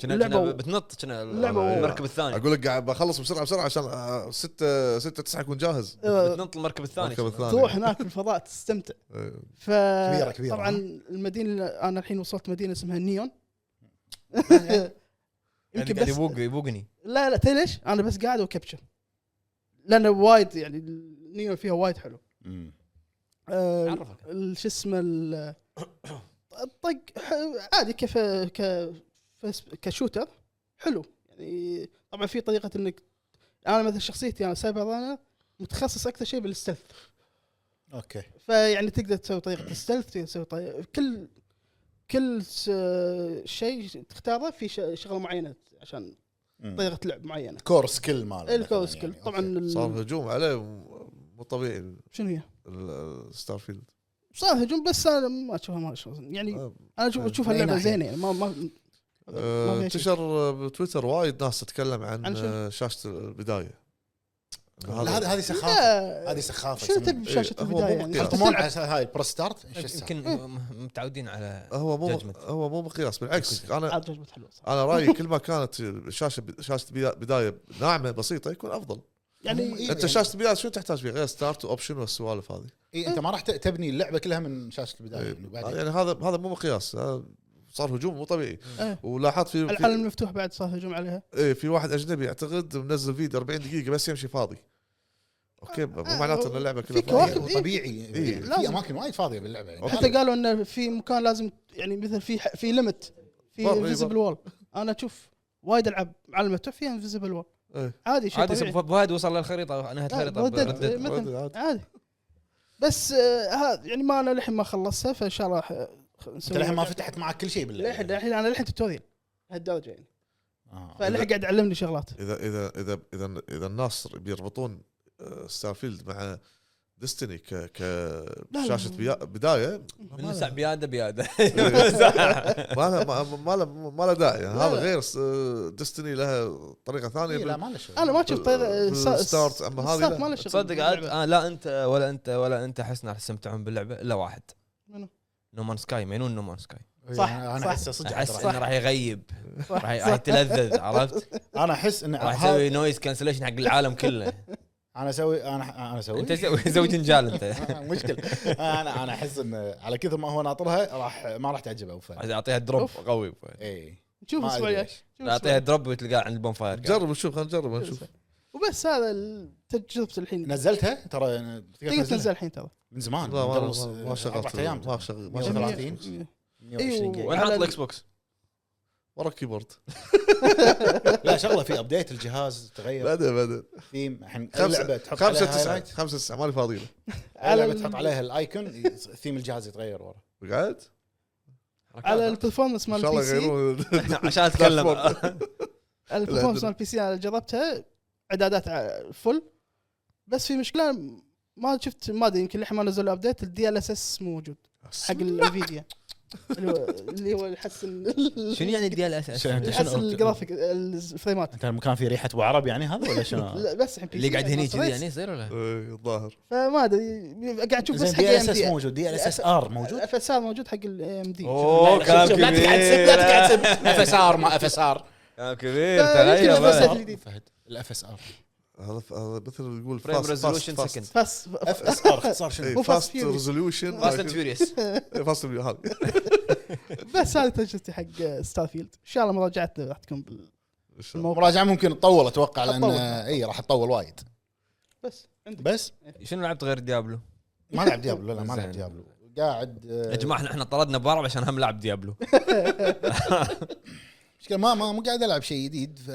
Speaker 1: كنا
Speaker 4: اللعبة
Speaker 1: كنا
Speaker 4: و-
Speaker 1: بتنط كنا
Speaker 4: اللعبة و-
Speaker 1: المركب الثاني
Speaker 2: اقول لك قاعد بخلص بسرعه بسرعه عشان آه، ستة ستة تسعة يكون جاهز
Speaker 4: آه،
Speaker 1: بتنط المركب الثاني
Speaker 2: المركب
Speaker 1: كنا.
Speaker 2: الثاني
Speaker 4: تروح هناك في الفضاء تستمتع
Speaker 2: إيه.
Speaker 4: ف
Speaker 3: كبيرة- كبيرة،
Speaker 4: طبعا
Speaker 3: ها؟
Speaker 4: المدينه اللي انا الحين وصلت مدينه اسمها نيون
Speaker 1: قاعد- يعني قاعد يبوق يبوقني
Speaker 4: لا لا تدري ليش؟ انا بس قاعد وكبشه لانه وايد يعني نيو فيها وايد حلو
Speaker 3: مم.
Speaker 4: آه،
Speaker 1: عرفك.
Speaker 4: ال- شو اسمه ال- الطق ح- عادي كف ك فس- كشوتر حلو يعني طبعا في طريقه انك انا مثلا شخصيتي انا سايبر انا متخصص اكثر شيء بالستلث
Speaker 3: اوكي
Speaker 4: فيعني تقدر تسوي طريقه الستلث تقدر تسوي طريقة كل كل س- شيء تختاره في ش- شغله معينه عشان
Speaker 3: مم.
Speaker 4: طريقه لعب معينه
Speaker 3: كور طيب. سكيل ماله
Speaker 4: الكو
Speaker 3: مثلاً
Speaker 4: سكيل
Speaker 3: يعني.
Speaker 4: طبعا
Speaker 3: أوكي.
Speaker 4: ال-
Speaker 2: صار هجوم عليه م- مو طبيعي
Speaker 4: شنو هي؟
Speaker 2: ستار فيلد
Speaker 4: صار هجوم بس انا ما اشوفها ما اشوفها يعني
Speaker 2: آه،
Speaker 4: انا اشوف
Speaker 2: من
Speaker 4: اشوفها
Speaker 3: أي
Speaker 4: اللعبه
Speaker 3: ناحية؟
Speaker 4: زينه يعني ما ما
Speaker 2: آه،
Speaker 4: ما فيها شيء.
Speaker 2: انتشر آه، بتويتر وايد ناس تتكلم عن
Speaker 4: عن شو؟
Speaker 2: آه، شاشه البدايه
Speaker 3: لا، هذه هذه سخافه
Speaker 4: لا
Speaker 3: هذه سخافه
Speaker 4: شنو تبي إيه،
Speaker 3: يسمونها.
Speaker 4: بشاشه
Speaker 2: إيه، هو مو
Speaker 4: البدايه يعني
Speaker 2: مقياس.
Speaker 4: أنت
Speaker 3: يحطمون
Speaker 4: تلعب
Speaker 3: على هاي برو ستارت ايش
Speaker 1: يمكن م- متعودين على
Speaker 4: أه.
Speaker 2: هو مو
Speaker 1: Judgment.
Speaker 2: هو مو مقياس بالعكس انا
Speaker 4: عاد جوجبة حلوه صح.
Speaker 2: انا رايي كل ما كانت الشاشه شاشه بدا- بدايه ناعمه بسيطه يكون افضل
Speaker 4: يعني
Speaker 3: إيه،
Speaker 2: انت
Speaker 3: يعني-
Speaker 2: شاشه البدايه شو تحتاج فيها غير ستارت واوبشن والسوالف هذه إيه.
Speaker 3: إيه،
Speaker 2: طيب.
Speaker 3: اي انت ما راح ت- تبني اللعبه كلها من شاشه البدايه يعني بعدين.
Speaker 2: يعني هذا هذا مو مقياس آه، صار هجوم مو طبيعي
Speaker 4: إيه.
Speaker 2: ولاحظت في في-
Speaker 4: العالم المفتوح بعد صار هجوم عليها
Speaker 2: إيه في واحد اجنبي اعتقد منزل فيديو 40 دقيقه بس يمشي فاضي اوكي مو
Speaker 4: آه،
Speaker 2: معناته ان اللعبه كلها
Speaker 4: في كواكب.
Speaker 2: فاضية.
Speaker 3: طبيعي
Speaker 2: إيه،
Speaker 4: لازم.
Speaker 3: في اماكن وايد فاضيه باللعبه يعني
Speaker 2: أوكي.
Speaker 4: حتى قالوا انه في مكان لازم يعني مثل في ح- في ليمت في
Speaker 2: بر- إي
Speaker 4: انفيزبل وول انا اشوف وايد العب عالم المفتوح فيها انفيزبل وول
Speaker 2: إيه.
Speaker 4: عادي شيء
Speaker 1: عادي
Speaker 4: طبيعي
Speaker 1: يصير فهد وصل للخريطه نهايه
Speaker 4: آه،
Speaker 1: الخريطه
Speaker 4: ردت.
Speaker 1: بردت.
Speaker 4: مثلاً.
Speaker 2: عادي، عادي.
Speaker 4: عادي بس آه، هذا يعني ما انا للحين ما خلصتها فان شاء الله آه، خ-
Speaker 3: انت
Speaker 4: نسوي
Speaker 3: للحين ما فتحت معك كل شيء باللعبه
Speaker 4: للحين للحين انا للحين توتوريال هالدرجه يعني
Speaker 3: آه.
Speaker 4: فالحين قاعد علمني شغلات
Speaker 2: اذا اذا اذا اذا اذا الناس بيربطون آه، ستارفيلد مع ديستني ك ك
Speaker 4: لا.
Speaker 2: شاشه بيا- بدايه ما
Speaker 1: من
Speaker 2: له-
Speaker 1: ساعة بياده بياده
Speaker 2: ما له ما- ما له ما له داعي يعني
Speaker 4: لا،
Speaker 2: هذا
Speaker 4: لا.
Speaker 2: غير ديستني لها طريقه ثانيه
Speaker 3: إيه، لا
Speaker 2: بال-
Speaker 3: ما له شغل
Speaker 4: انا ما اشوف طريقه
Speaker 2: بالستارت، آه، أما هذه لا.
Speaker 4: ما له شغل
Speaker 1: تصدق عاد
Speaker 4: نعم.
Speaker 1: آه لا انت ولا انت ولا انت حسنا راح تستمتعون باللعبه الا واحد
Speaker 4: منو؟
Speaker 1: نومان سكاي مينون نومان سكاي
Speaker 3: إيه،
Speaker 4: صح،
Speaker 3: انا
Speaker 4: صح.
Speaker 3: احسه صدق
Speaker 1: احس
Speaker 3: عاد
Speaker 1: انه راح يغيب
Speaker 4: صح،
Speaker 1: راح راح
Speaker 4: صح.
Speaker 1: يتلذذ عرفت
Speaker 3: راح- انا احس ان
Speaker 1: راح
Speaker 3: هذا-
Speaker 1: يسوي نويز كانسليشن حق العالم كله
Speaker 3: انا اسوي انا انا اسوي
Speaker 1: انت سوي- زوج نجال انت
Speaker 3: مشكله انا انا احس ان على كثر ما هو ناطرها راح ما راح تعجبه أبو فهد.
Speaker 1: عايز اعطيها دروب
Speaker 4: أوف.
Speaker 1: قوي
Speaker 3: اي
Speaker 4: نشوف
Speaker 3: ما
Speaker 4: الاسبوع
Speaker 3: أدري
Speaker 4: الجاي
Speaker 3: ليش.
Speaker 4: شوف الأسبوع
Speaker 1: اعطيها دروب وتلقاه عند البونفاير
Speaker 2: نجرب نشوف خلينا
Speaker 4: إيه،
Speaker 2: نجرب نشوف
Speaker 4: وبس هذا ال- تجربه
Speaker 2: نعم.
Speaker 4: الحين
Speaker 3: نزلتها ترى
Speaker 4: تقدر تنزل الحين ترى
Speaker 3: إيه، من زمان
Speaker 2: لا ما-
Speaker 3: قبل
Speaker 2: ما ما
Speaker 3: أربعة
Speaker 2: شغلت
Speaker 3: ايام
Speaker 2: ما شغلت ما
Speaker 3: يوم
Speaker 2: شغلت أيوه.
Speaker 3: 30.
Speaker 4: 120.
Speaker 3: 120 جيجا.
Speaker 1: وين حاط الاكس بوكس؟
Speaker 2: ورا الكيبورد
Speaker 3: لا شغله في ابديت الجهاز تغير
Speaker 2: بعدين بعدين
Speaker 3: ثيم الحين
Speaker 2: خمسة
Speaker 3: اللعبه تحط
Speaker 2: خمسة
Speaker 3: عليها
Speaker 2: تسعة
Speaker 3: هايلايت
Speaker 2: خمسة تسعة مالي فاضي له
Speaker 4: على
Speaker 3: اللعبه تحط
Speaker 4: ال-
Speaker 3: عليها الايكون ثيم الجهاز يتغير ورا
Speaker 2: قاعد
Speaker 4: على البرفورمانس
Speaker 2: ان
Speaker 4: مال
Speaker 2: شاء الله
Speaker 4: البي سي
Speaker 2: يغيرون
Speaker 1: عشان اتكلم
Speaker 4: على البرفورمانس مال البي سي انا جربتها اعدادات ع- فل بس في مشكله ما شفت ما ادري يمكن للحين ما نزلوا ابديت الدي ال اس اس مو موجود حق الانفيديا اللي هو- اللي هو يحسن
Speaker 1: شنو يعني الديال اساس؟
Speaker 3: شنو-
Speaker 4: يحسن الجرافيك الفريمات
Speaker 3: انت المكان فيه ريحه ابو عرب يعني هذا ولا شنو؟
Speaker 4: لا بس الحين
Speaker 1: اللي قاعد هني كذي يعني يصير ولا؟
Speaker 2: إيه، الظاهر
Speaker 4: فما ادري قاعد اشوف بس
Speaker 3: زين
Speaker 4: حق
Speaker 3: دي
Speaker 4: ام
Speaker 3: اس اس
Speaker 4: دي
Speaker 3: موجود دي ال اس اس ار موجود
Speaker 4: اف اس ار موجود حق الام دي
Speaker 1: اوه كلام
Speaker 3: لا
Speaker 1: كبير
Speaker 3: تقعد تسب لا تقعد تسب اف اس ار ما اف اس ار
Speaker 1: كلام كبير
Speaker 4: لا، آه، يمكن بس
Speaker 1: تغير
Speaker 4: الجديد.
Speaker 3: فهد الاف اس ار
Speaker 2: هذا ف- هذا مثل اللي يقول
Speaker 1: فريم ريزولوشن سكند
Speaker 4: بس
Speaker 3: اف اس ار اختصار شنو؟
Speaker 4: مو Fast
Speaker 2: فاست
Speaker 4: Furious.
Speaker 2: ريزولوشن
Speaker 1: فاست اند فيوريوس
Speaker 2: فاست هذه
Speaker 4: بس هذه تجربتي حق ستار فيلد ان شاء الله مراجعتنا راح تكون بال...
Speaker 2: إن شاء الله.
Speaker 3: المراجعه ممكن تطول اتوقع لان
Speaker 4: تطول.
Speaker 3: اي راح تطول وايد
Speaker 4: بس عندك
Speaker 3: بس
Speaker 1: شنو لعبت غير ديابلو؟
Speaker 3: ما لعب ديابلو لا ما لعب
Speaker 1: زين.
Speaker 3: ديابلو قاعد آه،
Speaker 1: يا جماعه احنا احنا طردنا بارب عشان هم لعب ديابلو
Speaker 3: مشكله ما ما مو قاعد العب شيء جديد ف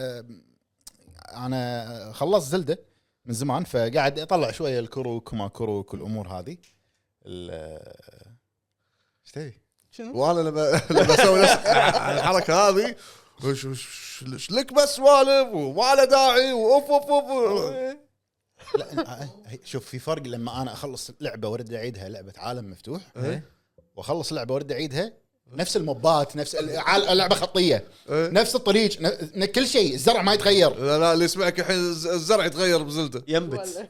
Speaker 3: انا خلصت زلده من زمان فقاعد اطلع شويه الكروك وما كروك والامور هذه ال- ايش تبي؟
Speaker 4: شنو؟
Speaker 2: وانا لما لما اسوي نفس الحركه هذه وش- وش- وش- لك بس سوالف وما له داعي واوف اوف اوف
Speaker 3: لا آه، شوف في فرق لما انا اخلص لعبه وارد اعيدها لعبه عالم مفتوح واخلص لعبه وارد اعيدها نفس الموبات نفس ال- عال- لعبه خطيه
Speaker 2: إيه.
Speaker 3: نفس الطريق ن- ن- كل شيء الزرع ما يتغير
Speaker 2: لا لا اللي يسمعك الحين الز- الزرع يتغير بزلده
Speaker 1: ينبت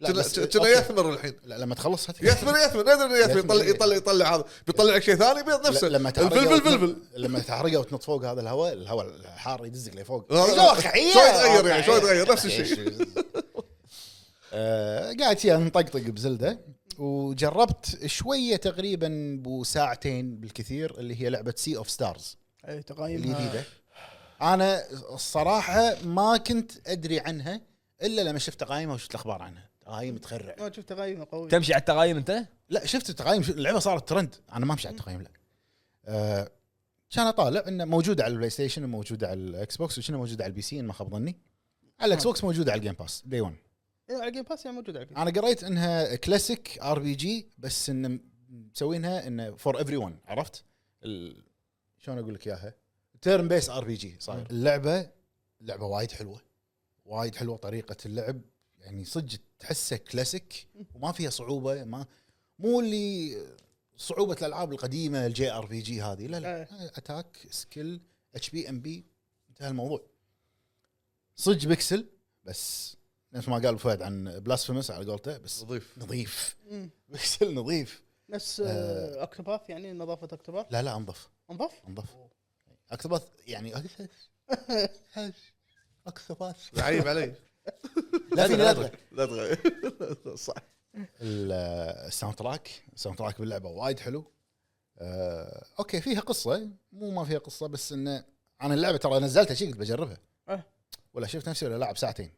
Speaker 3: لا بس-
Speaker 2: كنا
Speaker 3: أوكي.
Speaker 2: يثمر الحين
Speaker 3: لا لما تخلص هت-
Speaker 2: يثمر يثمر ندري إنه يثمر يطلع
Speaker 3: يثمر.
Speaker 2: يطلع يطلع هذا بيطلع لك شيء ثاني بيض نفسه
Speaker 3: لما تحرقه
Speaker 2: الفلفل
Speaker 3: وتنط-
Speaker 2: فلفل
Speaker 3: لما تحرقه وتنط فوق هذا الهواء الهواء الحار يدزك لفوق
Speaker 2: آه،
Speaker 3: شو واقعية؟
Speaker 2: شو يتغير يعني؟ شو
Speaker 3: واقعية.
Speaker 2: يتغير؟ نفس الشيء.
Speaker 3: آه، قاعد فيها نطقطق بزلده وجربت شويه تقريبا بساعتين بالكثير اللي هي لعبه سي اوف ستارز
Speaker 4: اي تقايم
Speaker 3: الجديده انا الصراحه ما كنت ادري عنها الا لما شفت تقايمها وشفت الاخبار عنها تقايم تخرع
Speaker 4: ما شفت تقايمها قويه
Speaker 1: تمشي على التقايم انت؟
Speaker 3: لا شفت التقايم شو- اللعبه صارت ترند انا ما امشي على التقايم لا آه، كان اطالع انه موجوده على البلاي ستيشن وموجوده على الاكس بوكس وشنو موجوده على البي سي ان ما خاب ظني على الاكس بوكس موجوده على الجيم باس دي 1
Speaker 4: إيه، على الجيم باس يعني موجود على الجيم
Speaker 3: انا قريت انها كلاسيك ار بي جي بس انه م- مسوينها انه فور ايفري ون عرفت؟ ال- شلون اقول لك اياها؟ تيرن بيس ار بي جي صاير اللعبه لعبه وايد حلوه وايد حلوه طريقه اللعب يعني صدق تحسه كلاسيك وما فيها صعوبه ما مو اللي صعوبه الالعاب القديمه الجي ار بي جي هذه لا لا
Speaker 4: إيه.
Speaker 3: اتاك سكيل اتش بي ام بي انتهى الموضوع صدق بيكسل بس نفس ما قال فهد عن بلاسفيمس على قولته بس
Speaker 2: نظيف
Speaker 3: نظيف
Speaker 1: آه.
Speaker 4: مم.
Speaker 3: بيكسل نظيف
Speaker 4: نفس
Speaker 3: آه.
Speaker 4: اكتوباث يعني نظافه اكتوباث
Speaker 3: لا لا انظف
Speaker 4: انظف
Speaker 3: انظف اكتوباث يعني اكتوباث
Speaker 2: عيب علي
Speaker 3: لا في لدغه
Speaker 2: لا تغير صح
Speaker 3: ال- الساوند تراك الساوند تراك باللعبه وايد حلو آه، اوكي فيها قصه مو ما فيها قصه بس انه انا اللعبه ترى نزلتها شي قلت بجربها
Speaker 4: أه.
Speaker 3: ولا شفت نفسي ولا لاعب ساعتين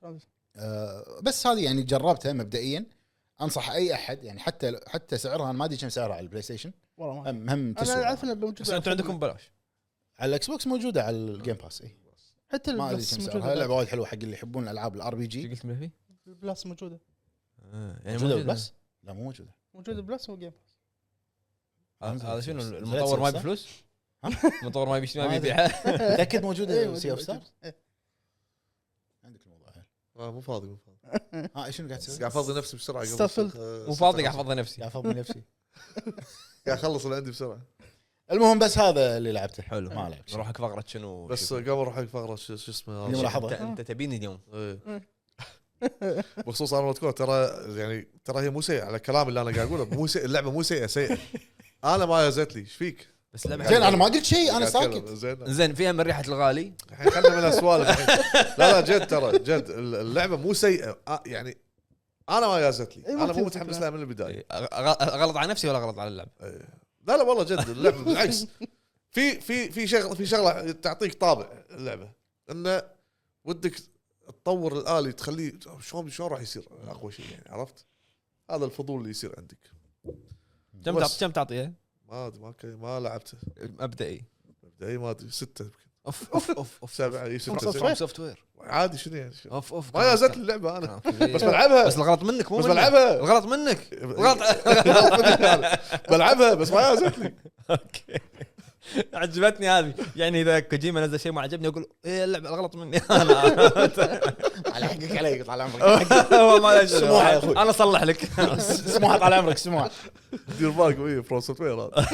Speaker 4: شلون؟
Speaker 3: آه، بس هذه يعني جربتها مبدئيا انصح اي احد يعني حتى حتى سعرها انا ما ادري كم سعرها على البلاي ستيشن
Speaker 4: والله ما أدري.
Speaker 3: هم هم
Speaker 4: انا
Speaker 3: تسوى
Speaker 4: اعرف انه موجود
Speaker 1: بس انتم عندكم بلاش
Speaker 3: على الاكس بوكس موجوده على إيه. الجيم باس اي
Speaker 4: حتى
Speaker 3: ما ادري
Speaker 4: البلاس
Speaker 3: كم سعرها
Speaker 4: موجوده
Speaker 3: لعبه وايد حلوه حق اللي يحبون الالعاب الار بي
Speaker 1: ايش
Speaker 3: جي
Speaker 1: قلت ملفي؟
Speaker 4: البلاس موجوده
Speaker 1: آه، يعني
Speaker 3: موجوده
Speaker 1: موجودة.
Speaker 3: بالبلس؟ لا مو موجوده
Speaker 4: موجوده البلاس وجيم
Speaker 1: هذا هذا شنو
Speaker 3: نزلت
Speaker 1: المطور ما
Speaker 3: سلسلة؟
Speaker 1: يبي فلوس؟
Speaker 3: ها؟
Speaker 1: المطور ما يبي ما يبي
Speaker 3: ما أدري.
Speaker 1: يبيعها
Speaker 3: متاكد
Speaker 5: إيه،
Speaker 4: إيه،
Speaker 3: موجوده سي اوف ستار؟ عندك الموضوع هذا.
Speaker 2: آه مو فاضي مو فاضي
Speaker 3: ها شنو قاعد
Speaker 2: بس
Speaker 3: تسوي؟
Speaker 2: قاعد افضي نفسي بسرعه قبل
Speaker 4: استفلت.
Speaker 2: آه،
Speaker 1: مو فاضي قاعد
Speaker 2: قاعد
Speaker 1: افضي نفسي
Speaker 3: قاعد افضل نفسي
Speaker 2: اخلص اللي عندي بسرعه
Speaker 3: المهم بس هذا اللي لعبته
Speaker 1: حلو
Speaker 3: ما عليك
Speaker 1: نروح حق فقره شنو
Speaker 2: بس
Speaker 1: شوف.
Speaker 2: قبل اروح حق فقره شو شو اسمه
Speaker 3: اليوم
Speaker 2: هذا؟
Speaker 3: راح- ملاحظة.
Speaker 1: أنت- انت تبيني اليوم
Speaker 2: إيه. بخصوص ارنولد كور ترى يعني ترى هي مو سيئه على الكلام اللي انا قاعد اقوله مو سيئة اللعبه مو سيئه سيئه انا ما يزت لي ايش فيك؟
Speaker 1: بس لعبه
Speaker 3: زين
Speaker 1: حلوة.
Speaker 3: انا ما قلت شيء انا
Speaker 2: قاعد أتكلم.
Speaker 3: ساكت
Speaker 2: زين
Speaker 1: زين فيها من ريحه الغالي
Speaker 2: الحين خلنا من السوالف الحين. لا لا جد ترى جد اللعبه مو سيئه آه، يعني انا ما يازت لي
Speaker 4: إيه، ما
Speaker 2: انا مو
Speaker 4: تمسك
Speaker 2: متحمس
Speaker 4: لها.
Speaker 2: لها من البدايه
Speaker 1: أغ- أغ- غلط على نفسي ولا غلط على اللعبه
Speaker 2: إيه. لا لا والله جد اللعبه بالعكس في في في شغله في شغله تعطيك طابع اللعبه انه ودك تطور الالي تخليه شلون شلون راح يصير اقوى شيء يعني عرفت؟ هذا الفضول اللي يصير عندك
Speaker 1: كم
Speaker 2: بس.
Speaker 1: تع- كم تعطيها
Speaker 2: ما أدري، ما كي- ما لعبته
Speaker 1: مبدئي
Speaker 2: مبدئي ما ادري سته يمكن
Speaker 1: اوف اوف اوف اوف
Speaker 2: سبعه اي
Speaker 1: فروم
Speaker 2: سته
Speaker 1: سوفت-
Speaker 2: سبعة.
Speaker 1: فروم سوفت وير
Speaker 2: عادي شنو يعني شنو؟
Speaker 1: اوف اوف
Speaker 2: ما يازت لي اللعبه انا بس
Speaker 1: بس
Speaker 2: بلعبها
Speaker 1: بس الغلط منك مو
Speaker 2: بس
Speaker 1: مني.
Speaker 2: بلعبها.
Speaker 1: الغلط منك الغلط
Speaker 2: بلعبها بس ما يازت لي
Speaker 1: اوكي عجبتني هذه يعني اذا كوجيما نزل شيء ما عجبني اقول ايه اللعبه الغلط مني انا
Speaker 3: على حقك علي طال عمرك
Speaker 1: والله لا شغل.
Speaker 3: سموحة يا أخوي.
Speaker 1: انا اصلح لك
Speaker 3: سموحه طال عمرك سموحه
Speaker 2: دير بالك وي برو سوفت وير هذا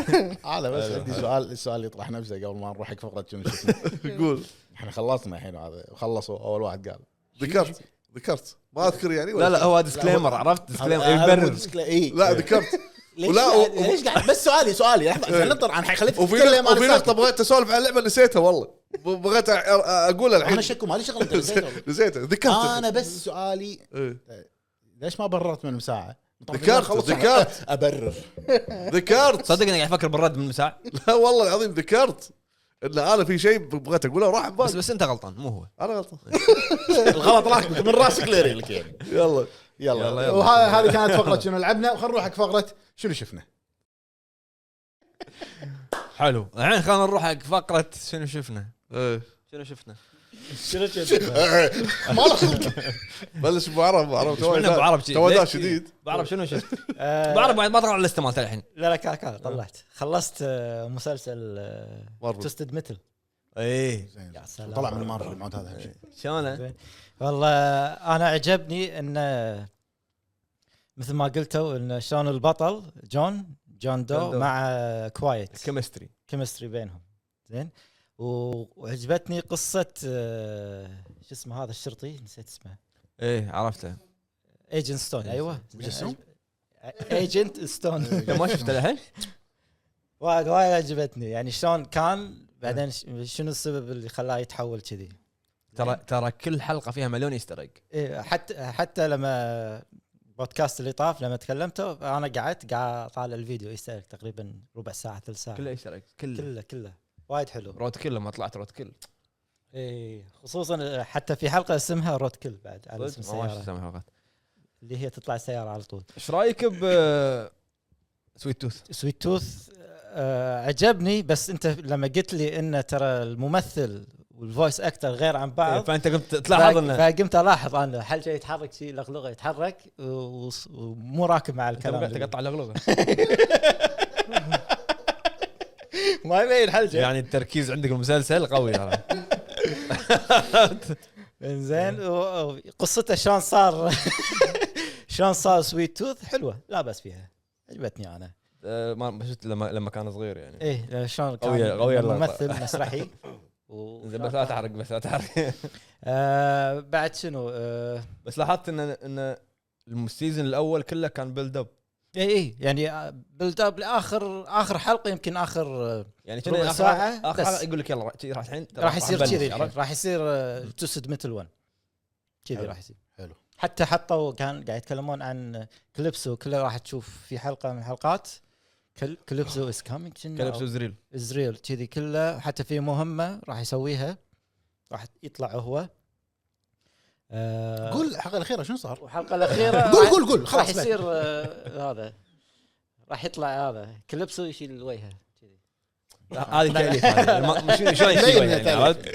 Speaker 3: هذا بس عندي سؤال السؤال يطرح نفسه قبل ما نروح حق فقره شنو شفنا.
Speaker 2: يقول
Speaker 3: احنا خلصنا الحين هذا خلصوا اول واحد قال
Speaker 2: ذكرت ذكرت ما اذكر يعني ولا
Speaker 1: لا لا هو ديسكليمر عرفت ديسكليمر إيه، يبرر
Speaker 3: اي
Speaker 2: لا ذكرت
Speaker 3: إيه. ليش
Speaker 2: ولا-
Speaker 3: قاعد-
Speaker 2: و-
Speaker 3: ليش قاعد بس سؤالي سؤالي لحظه خلينا نطلع انا خليك
Speaker 2: وفي
Speaker 3: تتكلم
Speaker 2: نقطة- وفي
Speaker 3: انا
Speaker 2: نقطة
Speaker 3: ساكت.
Speaker 2: بغيت اسولف عن اللعبة نسيتها والله بغيت أ- أ- اقولها الحين
Speaker 3: انا شكو مالي شغل أنت نسيت والله.
Speaker 2: نسيتها ذكرت
Speaker 3: انا بس سؤالي
Speaker 2: إيه.
Speaker 3: ليش ما بررت من المساعه؟
Speaker 2: ذكرت- ذكرت.
Speaker 3: ابرر
Speaker 2: ذكرت
Speaker 1: صدق اني قاعد افكر بالرد من المساع
Speaker 2: لا والله العظيم ذكرت ان انا في شيء بغيت اقوله
Speaker 1: بس
Speaker 2: راح
Speaker 6: طيب.
Speaker 2: ببالي
Speaker 1: بس انت غلطان مو هو
Speaker 2: انا غلطان
Speaker 3: الغلط راح من راسك ليري لك يعني
Speaker 2: يلا
Speaker 3: يلا
Speaker 1: يلا، يلا.
Speaker 3: وهذه هذه كانت فقره شنو لعبنا وخلينا نروح حق فقره شنو شفنا
Speaker 1: حلو الحين خلينا نروح حق فقره شنو شفنا
Speaker 2: إيه.
Speaker 1: شنو شفنا
Speaker 3: شنو شفنا
Speaker 2: ما له خلق بلش بعرب بعرب
Speaker 1: إيش معنى بعرب شي؟
Speaker 2: تو
Speaker 1: ليش
Speaker 2: داش
Speaker 1: شي؟
Speaker 2: جديد
Speaker 1: بعرف شنو شفت
Speaker 6: آه،
Speaker 1: بعرف ما ما طلع اللسته مالته الحين
Speaker 6: لا لا كا كا طلعت خلصت آه، مسلسل آه،
Speaker 2: مارفل
Speaker 6: توستد ميتل
Speaker 1: ايه
Speaker 6: يا سلام.
Speaker 3: طلع من مارفل الموت هذا
Speaker 2: إيه.
Speaker 3: أهم شيء.
Speaker 1: شلونه
Speaker 6: والله انا عجبني انه مثل ما قلتوا ان شلون البطل جون جون
Speaker 1: جون دو.
Speaker 6: دو مع آه، كوايت
Speaker 1: كيمستري
Speaker 6: كيمستري بينهم زين و- وعجبتني قصه آه، شو اسمه هذا الشرطي نسيت اسمه
Speaker 1: ايه عرفته
Speaker 6: ايجنت ستون ايوه
Speaker 3: وش اسمه؟
Speaker 6: ايجنت ستون
Speaker 1: انت ما شفته الحين
Speaker 6: وايد وايد عجبتني يعني شلون كان
Speaker 3: إيه.
Speaker 6: بعدين ش- شنو السبب اللي خلاه يتحول كذي
Speaker 1: ترى ترى كل حلقه فيها مليون ايستر ايج
Speaker 6: إيه، حتى حتى لما بودكاست اللي طاف لما تكلمته انا قعدت قاعد اطالع الفيديو يسألك تقريبا ربع ساعه ثلث ساعه
Speaker 1: كله ايستر ايج كله
Speaker 6: كله كله وايد حلو
Speaker 1: روت كل لما طلعت روت كل
Speaker 6: اي خصوصا حتى في حلقه اسمها روت كل بعد على اسم
Speaker 1: صدق؟ ما أعرف شو
Speaker 6: السياره
Speaker 1: اسمها الحلقات.
Speaker 6: اللي هي تطلع سياره على طول
Speaker 1: ايش رايك ب سويت توث
Speaker 6: سويت توث آه عجبني بس انت لما قلت لي انه ترى الممثل والفويس اكتر غير عن بعض
Speaker 1: فانت إيه، قمت تلاحظ
Speaker 6: فق-
Speaker 1: انه
Speaker 6: فقمت الاحظ انا حل شيء يتحرك شيء لغلغه يتحرك وص- ومو راكب مع
Speaker 1: أنت مو
Speaker 6: الكلام
Speaker 1: قاعد
Speaker 6: اللي-
Speaker 1: تقطع لغلغه
Speaker 6: ما يبين حل شيء
Speaker 1: يعني التركيز عندك المسلسل قوي ترى
Speaker 6: انزين و- و- قصته شلون صار شلون صار سويت توث حلوه لا باس فيها عجبتني انا
Speaker 1: آه، ما ما شفت لما لما كان صغير يعني
Speaker 6: ايه شلون
Speaker 1: قوية-
Speaker 6: كان
Speaker 1: قوية اللقطة.
Speaker 6: ممثل مسرحي و-
Speaker 1: زين بس لا تحرق بس لا تحرق
Speaker 6: آه بعد شنو آه
Speaker 1: بس لاحظت ان ان السيزون الاول كله كان بيلد اب
Speaker 6: اي اي يعني بلد اب لاخر اخر حلقه يمكن اخر آه،
Speaker 1: يعني
Speaker 6: ربع
Speaker 1: كنا آخر-
Speaker 6: ساعة
Speaker 1: اخر
Speaker 6: بس.
Speaker 1: حلقة يقول لك يلا راح- راح الحين ترى
Speaker 6: راح يصير
Speaker 1: نبلش،
Speaker 6: كذي الحين،
Speaker 1: عرفت؟
Speaker 6: راح يصير آه، توسد مثل 1 كذي
Speaker 3: حلو.
Speaker 6: راح يصير
Speaker 3: حلو.
Speaker 6: حتى حطوا كان قاعد يتكلمون عن كليبس وكله راح تشوف في حلقه من الحلقات كل كليبسو از كامينج
Speaker 1: كلبسو زريل
Speaker 6: ازريل كذي كله حتى في مهمه راح يسويها راح يطلع هو آه،
Speaker 3: قول الحلقه الاخيره شنو صار؟
Speaker 6: والحلقه الاخيره
Speaker 3: قول
Speaker 6: راح-
Speaker 3: قول قول
Speaker 6: راح
Speaker 3: خلاص بعد.
Speaker 6: يصير آه، هذا راح يطلع هذا كلبسو يشيل وجهه
Speaker 1: هذه تاليف هذه. ما- شنو- شلون يسوي
Speaker 3: مبين إنه
Speaker 1: يعني
Speaker 3: تاليف.
Speaker 1: عرفت؟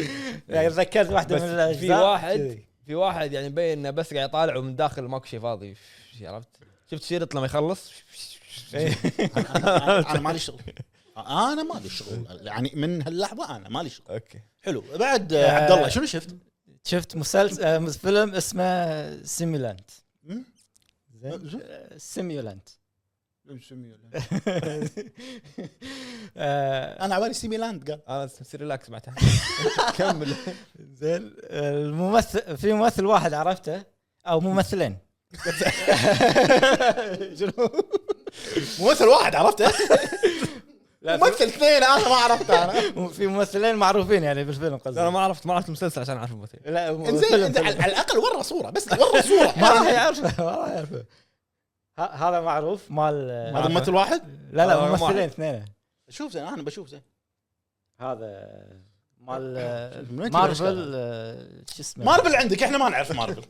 Speaker 6: يعني تذكرت واحده
Speaker 1: بس
Speaker 6: من
Speaker 1: في
Speaker 6: الأجزاء
Speaker 1: واحد
Speaker 6: كذي.
Speaker 1: في واحد يعني مبين انه بس قاعد يطالع ومن داخل ماكو شيء فاضي عرفت شفت شيرت لما يخلص
Speaker 6: إيه.
Speaker 3: انا أنا مالي شغل انا مالي شغل يعني من هاللحظه انا مالي شغل
Speaker 1: اوكي
Speaker 3: حلو بعد آه، عبد الله شنو شفت؟
Speaker 6: شفت مسلسل آه، فيلم اسمه آه، سيميولانت
Speaker 3: مم؟ زين.
Speaker 6: سيميولانت آه،
Speaker 3: انا على بالي سي ميلاند قال
Speaker 1: انا سيريلاكس بعدها كمل
Speaker 6: زين الممثل في ممثل واحد عرفته او ممثلين شنو؟
Speaker 3: ممثل واحد عرفته
Speaker 6: لا،
Speaker 3: ممثل اثنين انا ما عرفته انا
Speaker 6: في ممثلين معروفين يعني بالفيلم قصدي
Speaker 1: انا ما عرفت ما عرفت المسلسل عشان اعرف الممثل
Speaker 6: لا مو-
Speaker 3: انزين
Speaker 6: فيلم-
Speaker 3: إنزين، على
Speaker 6: فيلم.
Speaker 3: على الاقل ورا صوره بس ورا صوره
Speaker 6: ما راح يعرفه ما راح يعرفه ه- هذا معروف مال
Speaker 3: هذا ممثل واحد؟
Speaker 6: لا
Speaker 1: هذا
Speaker 6: لا
Speaker 1: رقم
Speaker 6: ممثلين
Speaker 1: واحد.
Speaker 6: اثنين
Speaker 3: شوف زين انا بشوف زين
Speaker 6: هذا مال
Speaker 3: من وين
Speaker 6: مارفل
Speaker 3: تجيب
Speaker 6: آه، شو اسمه
Speaker 3: مارفل عندك احنا ما نعرف مارفل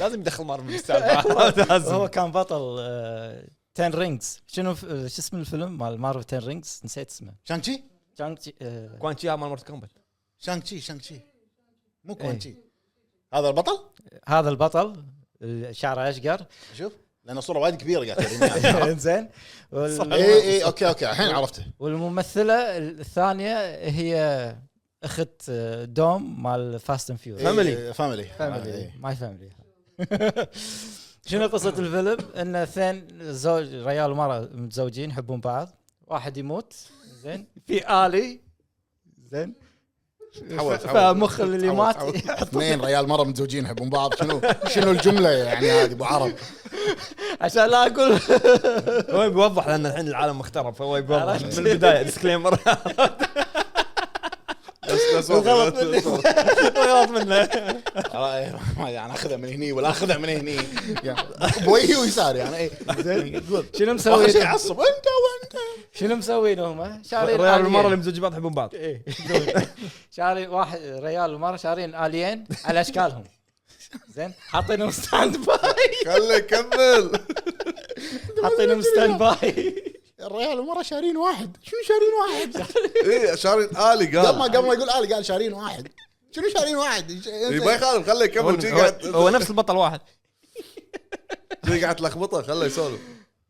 Speaker 1: لازم يدخل مارفل بالسالفه
Speaker 6: هو
Speaker 1: لازم
Speaker 6: كان بطل تن رينجز شنو ف- آه، شو اسم الفيلم مال مارفل تن رينجز نسيت اسمه
Speaker 3: شانغ تشي
Speaker 6: جانج تي- آه،
Speaker 1: كوان تشي مال مورت كومبات
Speaker 3: شانغ تشي شانغ تشي مو
Speaker 6: إيه.
Speaker 3: كوان تشي هذا البطل
Speaker 6: هذا البطل اللي شعره اشقر
Speaker 3: شوف لان الصوره وايد كبيره قاعد إيه، توريني.
Speaker 6: زين وال-
Speaker 3: اي اي اوكي اوكي الحين عرفته
Speaker 6: والممثله الثانيه هي اخت آه، دوم مال فاست اند
Speaker 3: إيه،
Speaker 6: فيوري
Speaker 1: Family.
Speaker 3: فاميلي
Speaker 6: فاميلي
Speaker 3: إيه،
Speaker 6: ماي فاميلي شنو قصة الفيلم؟ ان اثنين زوج ريال ومرأة متزوجين يحبون بعض، واحد يموت زين في آلي زين
Speaker 2: تحول- تحول.
Speaker 6: فمخ اللي
Speaker 2: تحول-
Speaker 6: مات
Speaker 2: تحول.
Speaker 3: اثنين ريال مره متزوجين يحبون بعض شنو شنو الجمله يعني هذه ابو عرب
Speaker 6: عشان لا اقول
Speaker 1: هو بيوضح لان الحين العالم مخترب فهو بيوضح
Speaker 6: عرفت.
Speaker 1: من البدايه ديسكليمر
Speaker 2: بس- بس والله.
Speaker 1: غلط منه
Speaker 3: إيه، انا اخذها يعني من هني ولا اخذها من هني يعني بوجهي ويساري يعني اي زين
Speaker 6: شنو
Speaker 3: اخر شيء
Speaker 6: مسوين
Speaker 3: عصب انت وانت
Speaker 6: شنو مسوين هم؟ شارين
Speaker 1: الريال المره اللي
Speaker 6: آليين.
Speaker 1: مزوج بعض يحبون بعض
Speaker 6: إيه. شارين واحد ريال ومرأة شارين آليين على اشكالهم زين حاطينهم ستاند باي
Speaker 2: خله يكمل
Speaker 6: حاطينهم ستاند باي
Speaker 3: الريال ومره شارين واحد شنو شارين واحد
Speaker 2: اي إيه، شارين الي
Speaker 3: قبل ما
Speaker 2: قال
Speaker 3: قبل ما يقول آلي قال شارين واحد شنو شارين واحد
Speaker 2: إي، إيه، ما يخالف خله
Speaker 1: هو-
Speaker 2: يكمل شي
Speaker 1: هو-
Speaker 2: قاعد
Speaker 1: هو نفس البطل واحد
Speaker 2: شي قاعد تلخبطه خله يسولف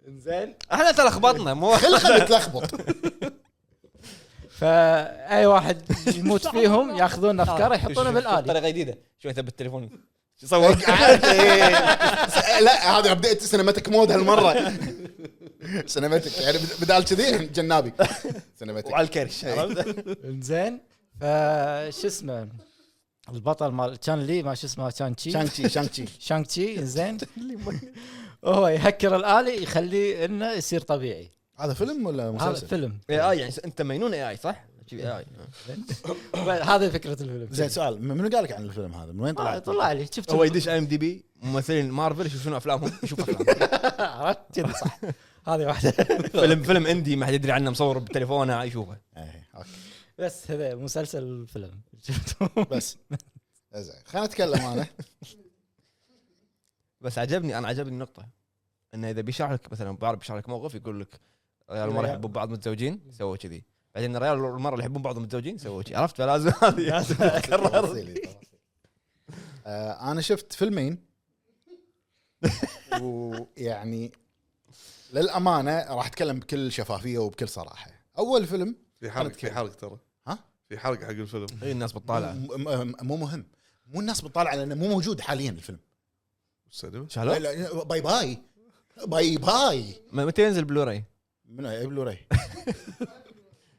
Speaker 6: زين
Speaker 1: احنا ترى خبطنا مو
Speaker 3: خل خل تلخبط
Speaker 6: فاي واحد يموت فيهم ياخذون افكاره يحطونه بالالي
Speaker 1: طريقه جديده شوي ثبت تليفوني
Speaker 2: طيب،
Speaker 1: صور
Speaker 3: عاد، إيه. لا هذه بديت سينماتيك مود هالمره سينماتيك يعني بدال كذي جنابي سينماتيك
Speaker 1: وعلى الكرش عرفت؟
Speaker 6: زين فشو اسمه البطل مال كان لي ما شو اسمه كان تشي
Speaker 3: شانكشي شانكشي
Speaker 6: شانك تشي زين هو يهكر الالي يخليه انه يصير طبيعي
Speaker 3: هذا فيلم ولا
Speaker 6: هذا فيلم
Speaker 1: اي اي يعني انت مجنون اي اي صح؟ اي اي
Speaker 6: هذه فكره الفيلم
Speaker 3: زين سؤال منو قال لك عن الفيلم هذا؟ من وين
Speaker 6: آه،
Speaker 3: طلع؟
Speaker 6: طلع لي شفت
Speaker 1: هو يدش اي ام دي بي ممثلين مارفل يشوف شنو افلامهم يشوف افلامهم
Speaker 6: عرفت كذي صح هذه واحده
Speaker 1: فيلم فيلم اندي ما حد يدري عنه مصور بتليفونه يشوفه
Speaker 3: إيه، أوكي.
Speaker 6: بس هذا مسلسل الفيلم شفته
Speaker 3: بس إيه، زين خلينا نتكلم انا
Speaker 1: بس عجبني انا عجبني النقطه انه اذا بيشرح لك مثلا بعرف بيشرح لك موقف يقول لك ريال والمره يحبون بعض
Speaker 3: نعم.
Speaker 1: متزوجين سووا كذي بعدين الريال والمره اللي يحبون بعض متزوجين سووا كذي عرفت فلازم
Speaker 3: نعم.
Speaker 1: لازم تتكرر
Speaker 3: تفاصيلي، تفاصيلي. آه، انا شفت فيلمين ويعني للامانه راح اتكلم بكل شفافيه وبكل صراحه اول فيلم
Speaker 2: في حرق في حرق ترى
Speaker 3: ها؟
Speaker 2: في حرق حق الفيلم
Speaker 1: اي الناس بتطالع
Speaker 3: م- م- مو مهم مو الناس بتطالع لانه مو موجود حاليا الفيلم
Speaker 2: السينما
Speaker 1: شالوه
Speaker 3: لا، لا، باي باي باي باي
Speaker 1: م- متى ينزل بلوراي؟
Speaker 3: منو هي بلوراي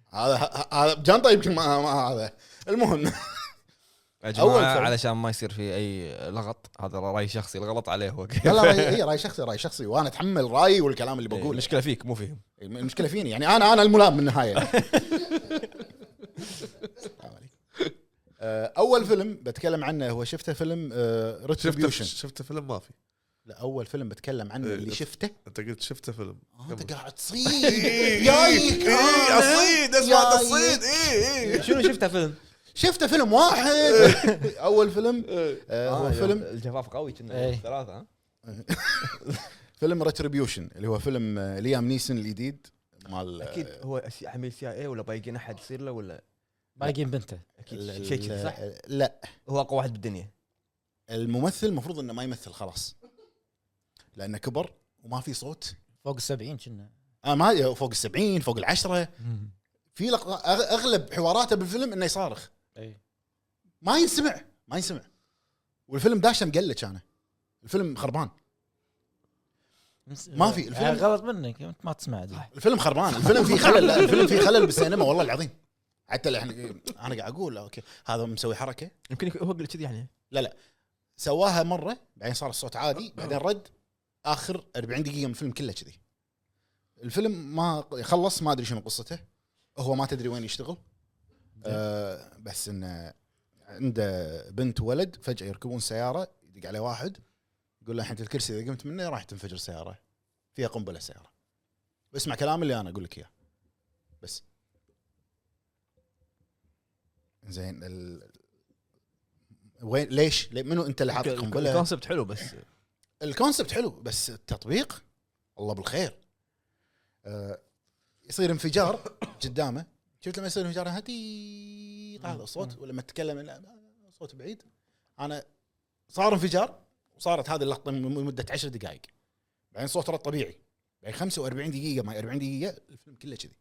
Speaker 3: هذا هذا جنطه يمكن ما ما هذا المهم
Speaker 1: يا
Speaker 3: أول
Speaker 1: جماعه
Speaker 3: فيلم.
Speaker 1: علشان ما يصير في اي لغط هذا راي شخصي الغلط عليه هو
Speaker 3: لا لا راي- هي راي شخصي راي شخصي وانا اتحمل رايي والكلام اللي بقوله
Speaker 1: المشكله فيك مو فيهم
Speaker 3: المشكله فيني يعني انا انا الملام بالنهايه آه، اول فيلم بتكلم عنه هو شفته فيلم
Speaker 2: شفته
Speaker 3: ريتريبيوشن
Speaker 2: شفته فيلم ما في
Speaker 3: لا اول فيلم بتكلم عنه
Speaker 2: إيه.
Speaker 3: اللي شفته
Speaker 2: انت قلت شفته فيلم
Speaker 3: آه، انت
Speaker 2: كمل.
Speaker 3: قاعد
Speaker 2: إيه،
Speaker 3: تصيد
Speaker 2: إيه،
Speaker 3: جايك
Speaker 2: إيه،
Speaker 3: أنا.
Speaker 2: اصيد اسمع أنت
Speaker 3: جايك.
Speaker 2: تصيد إيه، اي
Speaker 6: شنو شفته فيلم؟
Speaker 3: شفته فيلم واحد اول فيلم
Speaker 2: اي
Speaker 3: إيه. آه هو
Speaker 1: آه،
Speaker 3: فيلم
Speaker 1: الجفاف قوي كنا
Speaker 6: إيه.
Speaker 1: ثلاثه ها
Speaker 3: فيلم ريتريبيوشن اللي هو فيلم آه، ليام نيسن الجديد مال آه،
Speaker 1: اكيد هو سي- عميل سي اي ولا بايقين احد يصير له ولا
Speaker 6: باقيين بنته
Speaker 1: اكيد
Speaker 3: ال-
Speaker 1: شيء كذي
Speaker 3: ال-
Speaker 1: صح؟
Speaker 3: لا
Speaker 1: هو اقوى واحد بالدنيا
Speaker 3: الممثل المفروض انه ما يمثل خلاص لانه كبر وما في صوت
Speaker 6: فوق ال 70 كنا
Speaker 3: آه ما فوق السبعين فوق العشرة في لقطة أغ- اغلب حواراته بالفيلم انه يصارخ
Speaker 6: اي
Speaker 3: ما ينسمع ما ينسمع والفيلم داشه مقلد كان الفيلم خربان ما في، الفيلم-
Speaker 6: آه، غلط منك انت ما تسمع دي.
Speaker 3: الفيلم خربان الفيلم فيه خلل لا الفيلم فيه خلل بالسينما والله العظيم حتى لا، احنا انا قاعد اقول اوكي هذا مسوي حركه
Speaker 1: يمكن يكون- هو قال كذي يعني
Speaker 3: سواها مره بعدين صار الصوت عادي بعدين رد اخر 40 دقيقه من الفيلم كله كذي الفيلم ما خلص ما ادري شنو قصته هو ما تدري وين يشتغل آه بس انه عنده بنت وولد فجاه يركبون سياره يدق عليه واحد يقول له الحين الكرسي اذا قمت منه راح تنفجر السياره فيها قنبله السياره واسمع كلام اللي انا اقول لك اياه بس زين ال... وين ليش؟ ليه- منو انت اللي حاط القنبله؟
Speaker 1: الكونسبت حلو بس
Speaker 3: الكونسبت حلو بس التطبيق الله بالخير آه، يصير انفجار قدامه شفت لما يصير انفجار هدي هذا الصوت ولما تتكلم لا، صوت بعيد انا صار انفجار وصارت هذه اللقطه م- لمده 10 دقائق بعدين صوت رد طبيعي بعدين 45 دقيقه ما 40 دقيقه الفيلم كله كذي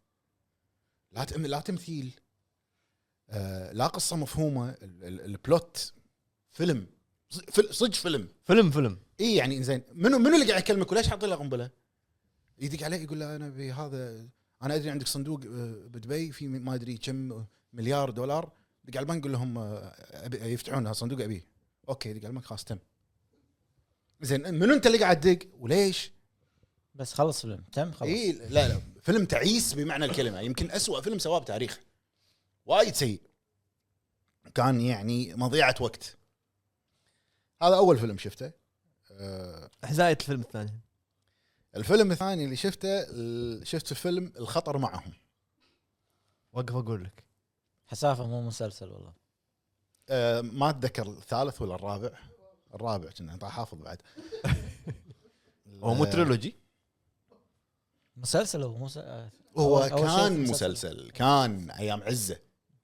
Speaker 3: لا تم لا تمثيل آه، لا قصه مفهومه ال- ال- البلوت فيلم ص- صدق فيلم
Speaker 1: فيلم فيلم
Speaker 3: اي يعني زين منو منو اللي قاعد يكلمك وليش حاطين له قنبله؟ يدق عليه يقول له انا ابي هذا انا ادري عندك صندوق آه، بدبي في ما ادري كم آه، مليار دولار دق على البنك قول لهم آه، أبي- يفتحون هالصندوق ابيه اوكي دق على البنك خلاص تم زين منو انت اللي قاعد تدق وليش؟
Speaker 6: بس خلص فيلم تم خلص
Speaker 3: اي لا لا فيلم تعيس بمعنى الكلمه يمكن أسوأ فيلم سواه بتاريخه وايد سيء كان يعني مضيعه وقت هذا اول فيلم شفته أه
Speaker 1: حزايه الفيلم الثاني
Speaker 3: الفيلم الثاني اللي شفته ال- شفت فيلم الخطر معهم
Speaker 1: وقف اقول لك
Speaker 6: حسافه مو مسلسل والله
Speaker 3: أه ما اتذكر الثالث ولا الرابع الرابع كنا طا- حافظ بعد
Speaker 1: هو مو تريلوجي
Speaker 6: مسلسل هو مو س- آه،
Speaker 3: هو
Speaker 6: أول- أول شيء
Speaker 3: كان
Speaker 6: في مسلسل.
Speaker 3: مسلسل كان ايام عزه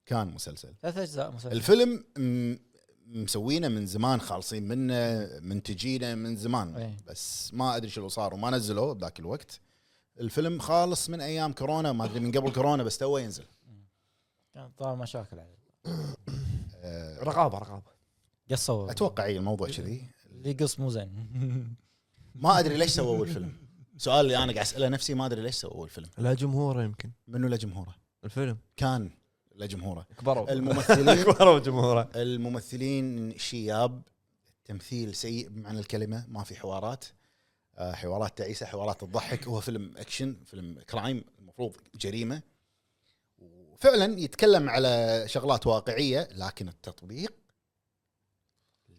Speaker 3: كان مسلسل
Speaker 6: ثلاث اجزاء مسلسل
Speaker 3: الفيلم م- مسوينه من زمان خالصين منه منتجينه من زمان
Speaker 6: إيه.
Speaker 3: بس ما ادري شنو صار وما نزلوه بذاك الوقت الفيلم خالص من ايام كورونا ما ادري من قبل كورونا بس توه ينزل
Speaker 6: كان طال مشاكل عليه
Speaker 3: أه
Speaker 1: رقابه رقابه
Speaker 6: قصوا
Speaker 3: اتوقع إي الموضوع كذي
Speaker 6: اللي قص مو زين
Speaker 3: ما ادري ليش سووا الفيلم سؤال اللي انا قاعد اساله نفسي ما ادري ليش سووا الفيلم
Speaker 1: لا جمهوره يمكن
Speaker 3: منو لجمهوره
Speaker 1: الفيلم
Speaker 3: كان لجمهوره
Speaker 1: كبروا
Speaker 3: الممثلين
Speaker 1: كبروا جمهوره
Speaker 3: الممثلين شياب تمثيل سيء بمعنى الكلمه ما في حوارات آه، حوارات تعيسه حوارات تضحك هو فيلم اكشن فيلم كرايم المفروض جريمه وفعلا يتكلم على شغلات واقعيه لكن التطبيق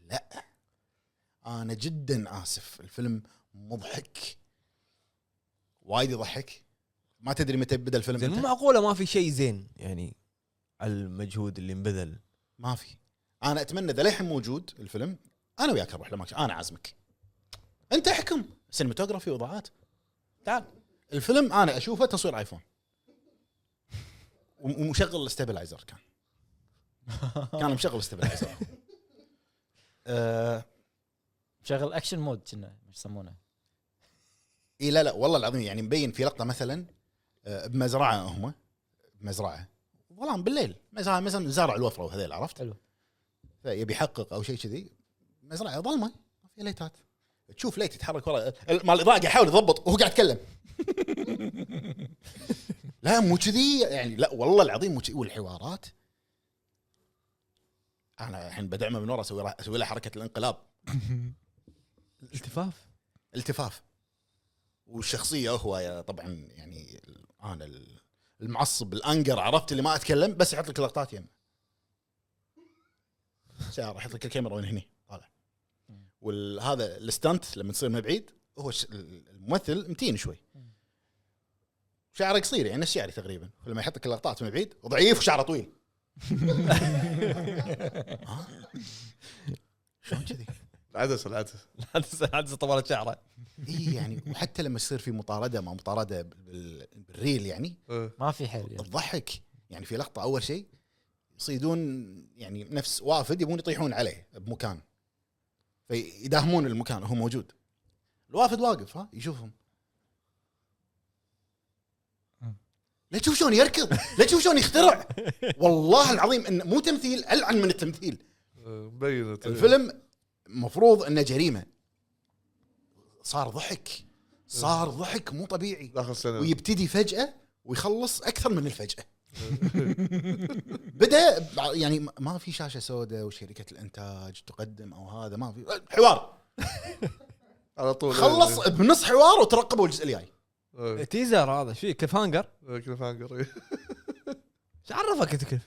Speaker 3: لا انا جدا اسف الفيلم مضحك وايد يضحك ما تدري متى بدا الفيلم
Speaker 1: زين مو
Speaker 3: إمتى.
Speaker 1: معقوله ما في شيء زين يعني على المجهود اللي انبذل
Speaker 3: ما في انا اتمنى اذا للحين موجود الفيلم انا وياك اروح لماكش انا عازمك انت احكم سينماتوجرافي واضاءات تعال الفيلم انا اشوفه تصوير ايفون وم- ومشغل الستابلايزر كان كان مشغل الستابلايزر آه،
Speaker 6: شغل اكشن مود كنا مش يسمونه
Speaker 3: اي لا لا والله العظيم يعني مبين في لقطه مثلا آه، بمزرعه هم بمزرعه ظلام بالليل مزرعه مثلا زارع الوفره وهذيل عرفت؟
Speaker 6: حلو.
Speaker 3: فيبي يحقق او شيء كذي مزرعه ظلمه ما في ليتات تشوف ليت يتحرك ورا ال- مال الاضاءه قاعد يحاول يضبط وهو قاعد يتكلم لا مو كذي يعني لا والله العظيم مو كذي والحوارات انا الحين بدعمه من ورا اسوي اسوي له حركه الانقلاب
Speaker 1: التفاف
Speaker 3: التفاف والشخصيه هو يا- طبعا يعني ال- انا ال- المعصب الانقر عرفت اللي ما اتكلم بس يحط لك لقطات يم سياره يحط لك الكاميرا وين هني طالع وهذا الستانت لما تصير من بعيد هو ش- الممثل متين شوي شعره قصير يعني نفس شعري تقريبا لما يحط لك اللقطات من بعيد ضعيف وشعره طويل آه. ها؟ شلون كذي؟
Speaker 2: العدسه العدسه
Speaker 1: عدسه عدسه طولت شعره
Speaker 3: اي يعني وحتى لما يصير في مطارده ما مطارده بال- بالريل يعني
Speaker 2: إيه.
Speaker 6: ما في حل يعني.
Speaker 3: تضحك يعني في لقطه اول شيء يصيدون يعني نفس وافد يبون يطيحون عليه بمكان فيداهمون المكان هو موجود الوافد واقف ها يشوفهم لا تشوف شلون يركض لا تشوف شلون يخترع والله العظيم ان مو تمثيل العن من التمثيل
Speaker 2: إيه، مبينه
Speaker 3: الفيلم مفروض انه جريمه صار ضحك صار ضحك مو طبيعي
Speaker 2: داخل سنه
Speaker 3: ويبتدي فجأة ويخلص أكثر من الفجأة بدأ بع- يعني ما- ما في شاشة سوداء وشركة الإنتاج تقدم أو هذا ما في حوار
Speaker 2: على طول
Speaker 3: خلص بنص حوار وترقبوا الجزء الجاي
Speaker 2: إيه.
Speaker 1: تيزر هذا ايش فيه كليف هانجر
Speaker 2: إيه، كليف هانجر إيه.
Speaker 1: ايش عرفك انت كيف؟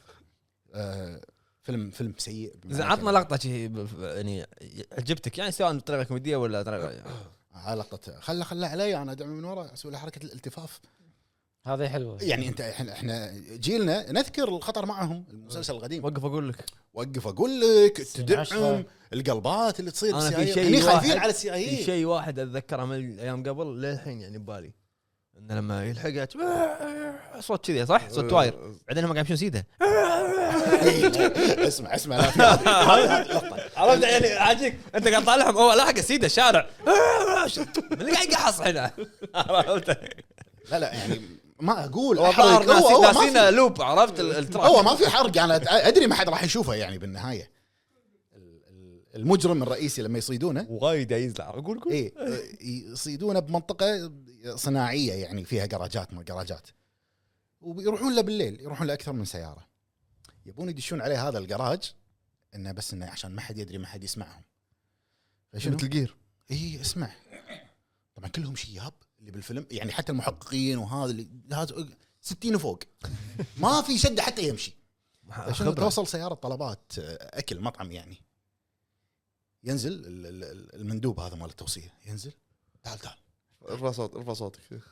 Speaker 3: آه، فيلم فيلم سيء
Speaker 1: زين عطنا لقطه شي ب- ب- يعني عجبتك يعني سواء بطريقه كوميديه ولا طريقه
Speaker 3: علاقة خله خله علي انا ادعمه من ورا اسوي له حركه الالتفاف
Speaker 6: هذه حلوه
Speaker 2: إيه،
Speaker 3: يعني انت احنا احنا جيلنا نذكر الخطر معهم المسلسل القديم
Speaker 1: وقف اقول لك
Speaker 3: وقف اقول لك
Speaker 6: سين
Speaker 3: تدعم
Speaker 6: عشرة.
Speaker 3: القلبات اللي تصير
Speaker 1: أنا في
Speaker 3: بالسيايير.
Speaker 1: شيء
Speaker 3: هني خايفين
Speaker 1: واحد-
Speaker 3: على السيايير
Speaker 1: في شيء واحد اتذكره من الايام قبل للحين يعني ببالي انه لما يلحقك صوت كذي صح؟ صوت
Speaker 3: أه.
Speaker 1: واير
Speaker 2: إيه،
Speaker 1: بعدين هم قاعد يمشون سيده
Speaker 3: اسمع اسمع لا في هذه- هذه اللقطه
Speaker 1: عرفت يعني عاجيك انت قاعد طالعهم هو لاحق سيده الشارع من اللي قاعد يقحص هنا عرفت؟
Speaker 3: لا لا يعني ما اقول
Speaker 1: هو
Speaker 3: أحرق.
Speaker 1: الظاهر
Speaker 3: طيب، هو-
Speaker 1: ناسي-
Speaker 3: هو ما
Speaker 1: ناسينا
Speaker 3: في-
Speaker 1: لوب عرفت ال- التراك
Speaker 3: هو ما في حرق انا أت- ادري ما حد راح يشوفه يعني بالنهايه ال- ال- المجرم الرئيسي لما يصيدونه
Speaker 1: وايد يزعل قول قول
Speaker 3: ايه يصيدونه بمنطقه صناعيه يعني فيها جراجات ما جراجات ويروحون له بالليل يروحون لاكثر من سياره يبون يدشون عليه هذا الجراج انه بس انه عشان ما حد يدري ما حد يسمعهم
Speaker 2: إيه.
Speaker 3: فشنو
Speaker 1: الجير
Speaker 3: اي إيه، اسمع طبعا كلهم شياب اللي بالفيلم يعني حتى المحققين وهذا اللي هذا 60 وفوق ما في شده حتى يمشي عشان
Speaker 1: خبرة.
Speaker 3: توصل سياره طلبات آه، اكل مطعم يعني ينزل ال- ال- ال- المندوب هذا مال التوصيه ينزل تعال تعال
Speaker 2: ارفع صوت ارفع صوتك إيه.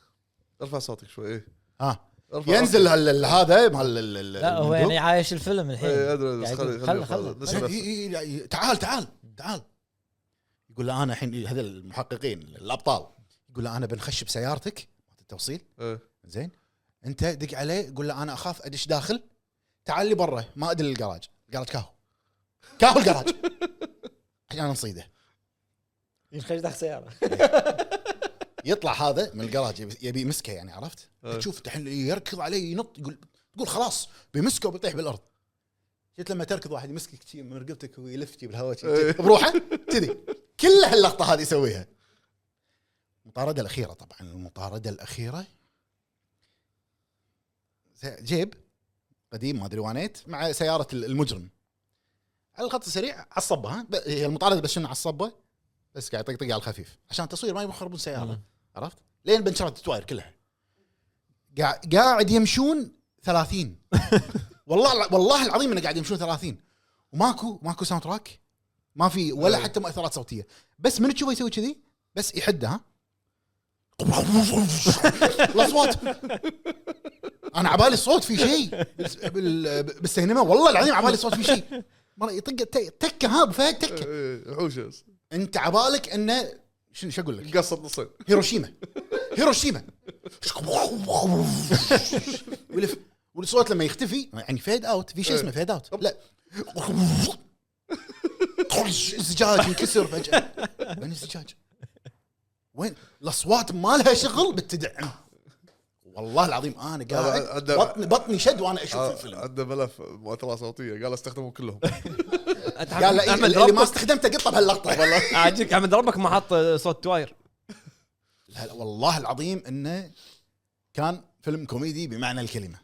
Speaker 2: ارفع صوتك شوي إيه.
Speaker 3: ها
Speaker 2: ارفع
Speaker 3: ينزل هال- ال- هذا مال ال- ال-
Speaker 6: لا هو
Speaker 3: المندوب.
Speaker 6: يعني عايش الفيلم الحين
Speaker 2: اي ادري إيه، بس
Speaker 6: قاعد
Speaker 2: خلي
Speaker 6: يقول
Speaker 2: خلي
Speaker 6: خل- خل-
Speaker 2: خلي
Speaker 3: إي-
Speaker 2: نسمع نفسه.
Speaker 3: إي- إي- إيه، يعني تعال تعال تعال يقول له انا الحين هذول المحققين الابطال يقول له انا بنخش بسيارتك مالت التوصيل
Speaker 2: إيه.
Speaker 3: زين انت دق عليه قول له انا اخاف ادش داخل تعال لي برا ما ادري الجراج الجراج كاهو كاهو الجراج عشان نصيده
Speaker 6: ينخرج داخل سياره
Speaker 3: يطلع هذا من الجراج يبي- يبي يمسكه يعني عرفت
Speaker 2: أه.
Speaker 3: تشوف الحين يركض عليه ينط يقول تقول خلاص بيمسكه وبيطيح بالارض شفت لما تركض واحد يمسكك شي من رقبتك ويلف شي بالهواء شي
Speaker 2: أي.
Speaker 3: بروحه كذي كل هاللقطه هذه يسويها المطارده الاخيره طبعا المطارده الاخيره س- جيب قديم ما ادري وانيت مع سياره ال- المجرم على الخط السريع عصبه ها ب- هي المطارده بس شنو عصبه بس قاعد يطقطق على الخفيف عشان التصوير ما يبون يخربون سياره
Speaker 1: مم.
Speaker 3: عرفت لين بنشرت التواير كلها قاع- قاعد يمشون 30 والله الع- والله العظيم انه قاعد يمشون 30 وماكو ماكو ساوند تراك ما في ولا حتى مؤثرات صوتيه بس من تشوفه يسوي كذي بس يحده ها الاصوات انا عبالي الصوت في شيء بس- بال- بالسينما والله العظيم عبالي الصوت في شيء مره يطق ت- تكه ها بفهد تكه
Speaker 2: إيه، إيه، حوشه
Speaker 3: انت عبالك انه شنو شو اقول لك
Speaker 2: قصت نصين
Speaker 3: هيروشيما هيروشيما ولف والصوت لما يختفي يعني فيد اوت في شيء اسمه فيد اوت لا زجاج ينكسر فجاه وين الزجاج؟ وين الاصوات ما لها شغل بالتدعم والله العظيم انا
Speaker 2: أنا-
Speaker 3: قاعد
Speaker 2: أنا-
Speaker 3: بطني بطني شد وانا اشوف
Speaker 2: آه،
Speaker 3: الفيلم
Speaker 2: عنده ملف مؤثرات صوتيه قال استخدمهم كلهم
Speaker 1: أنت
Speaker 3: قال له إيه،
Speaker 1: احمد
Speaker 3: اللي ما
Speaker 1: ربك
Speaker 3: استخدمته قطه بهاللقطه والله
Speaker 1: عاجيك احمد ربك ما حط صوت تواير
Speaker 3: لا لا والله العظيم انه كان فيلم كوميدي بمعنى الكلمه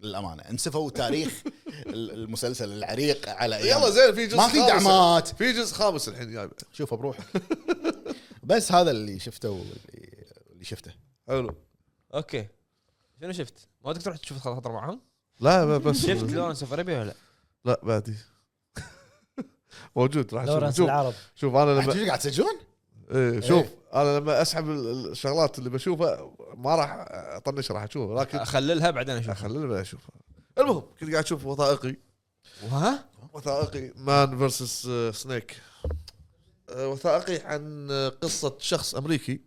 Speaker 3: للامانه انسفوا تاريخ ال- المسلسل العريق على أيام.
Speaker 2: يلا زين في جزء
Speaker 3: ما في
Speaker 2: خامس.
Speaker 3: دعمات.
Speaker 2: في جزء خامس الحين جايب
Speaker 3: شوفه بروحه بس هذا اللي شفته واللي اللي شفته
Speaker 2: حلو
Speaker 1: اوكي شنو شفت؟ ما تقدر تروح تشوف الخطر معهم؟
Speaker 2: لا بس
Speaker 1: شفت لورنس اوف ارابيا ولا لا؟
Speaker 2: لا بعدي موجود راح اشوف
Speaker 6: لورنس
Speaker 2: شوف
Speaker 6: العرب
Speaker 2: شوف انا لما
Speaker 3: عجيب، قاعد تسجلون؟
Speaker 2: إيه شوف انا لما اسحب ال- الشغلات اللي بشوفها ما راح اطنش راح اشوفها لكن
Speaker 1: اخللها بعدين اشوف
Speaker 2: اخليني بعد اشوفها المهم كنت قاعد اشوف وثائقي
Speaker 1: ها
Speaker 2: وثائقي مان فيرسس آه، سنيك آه، وثائقي عن آه، قصة شخص أمريكي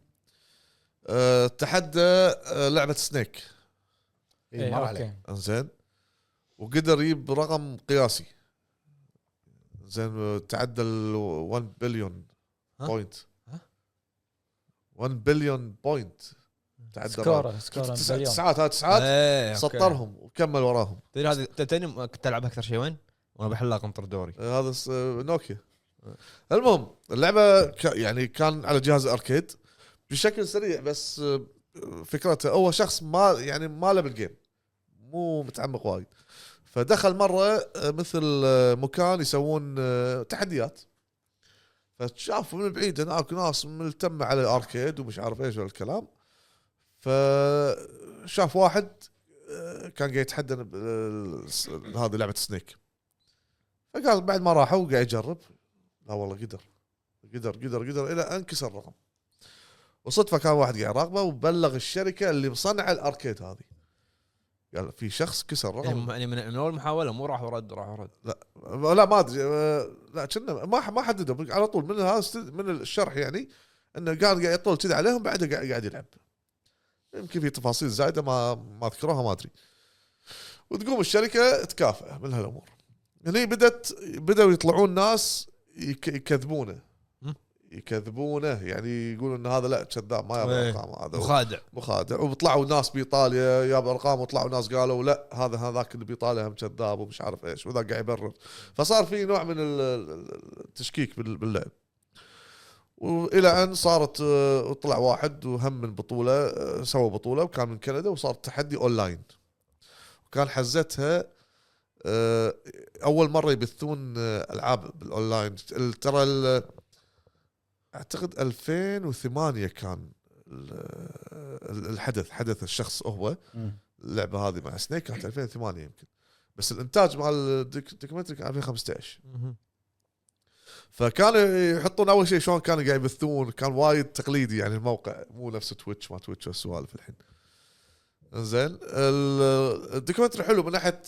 Speaker 2: آه، تحدى آه، لعبة سنيك إيه،
Speaker 6: إيه،
Speaker 3: اي مر عليه
Speaker 2: انزين وقدر يجيب رقم قياسي زين آه، تعدى ال 1 بليون
Speaker 1: ها؟
Speaker 2: بوينت
Speaker 1: ها؟
Speaker 2: 1 بليون بوينت تعدى الرقم.
Speaker 6: سكوره سكوره
Speaker 2: تسع-
Speaker 6: مليون
Speaker 2: تسعات هذا تسعات
Speaker 1: ايه، أوكي.
Speaker 2: سطرهم وكمل وراهم
Speaker 1: تدري هذه تدري كنت العبها اكثر شيء وين؟ وانا بحلها قنطر دوري
Speaker 2: آه، هذا س- آه، نوكيا المهم اللعبه ك... يعني كان على جهاز اركيد بشكل سريع بس آه، فكرته هو شخص ما يعني ما له بالجيم مو متعمق وايد فدخل مره آه، مثل آه، مكان يسوون آه، تحديات فشاف من بعيد هناك ناس ملتمه على الاركيد ومش عارف ايش والكلام فشاف واحد آه، كان قاعد يتحدى ب- آه، س- هذه لعبه سنيك فقال بعد ما راحوا قاعد يجرب لا والله قدر قدر قدر قدر الى أن كسر الرقم وصدفه كان واحد قاعد يراقبه وبلغ الشركه اللي مصنعه الاركيد هذه قال في شخص كسر
Speaker 1: يعني
Speaker 2: رقم
Speaker 1: من- يعني من من اول محاوله مو راح ورد راح ورد
Speaker 2: لا ما ادري آه، لا كنا ما ما حددوا على طول من هذا است- من الشرح يعني انه قال قاعد يطول كذا عليهم بعدها قاعد قاعد يلعب يمكن في تفاصيل زايده ما ما اذكرها ما ادري وتقوم الشركه تكافئه من هالامور هني بدت بداوا يطلعون ناس يك- يكذبونه
Speaker 1: مم.
Speaker 2: يكذبونه يعني يقولون ان هذا لا كذاب ما يبغى
Speaker 1: إيه.
Speaker 2: ارقام هذا
Speaker 1: مخادع
Speaker 2: مخادع وطلعوا ناس بايطاليا جاب ارقام وطلعوا ناس قالوا لا هذا هذاك اللي بايطاليا هم كذاب ومش عارف ايش وذا قاعد يبرر فصار في نوع من ال- ال- التشكيك بال- باللعب والى ان صارت آه، طلع واحد وهم من بطوله آه، سوى بطوله وكان من كندا وصار تحدي اونلاين وكان حزتها آه، اول مره يبثون آه، العاب بالاونلاين ال- ترى ال- اعتقد 2008 كان ال- ال- الحدث حدث الشخص هو
Speaker 3: مم.
Speaker 2: اللعبه هذه مع سنيك كانت 2008 يمكن بس الانتاج مع الدوكيومنتري كان 2015 فكانوا يحطون اول شيء شلون كانوا قاعد يبثون كان وايد تقليدي يعني الموقع مو نفس تويتش ما تويتش والسوالف الحين زين الدوكيومنتري حلو من ناحيه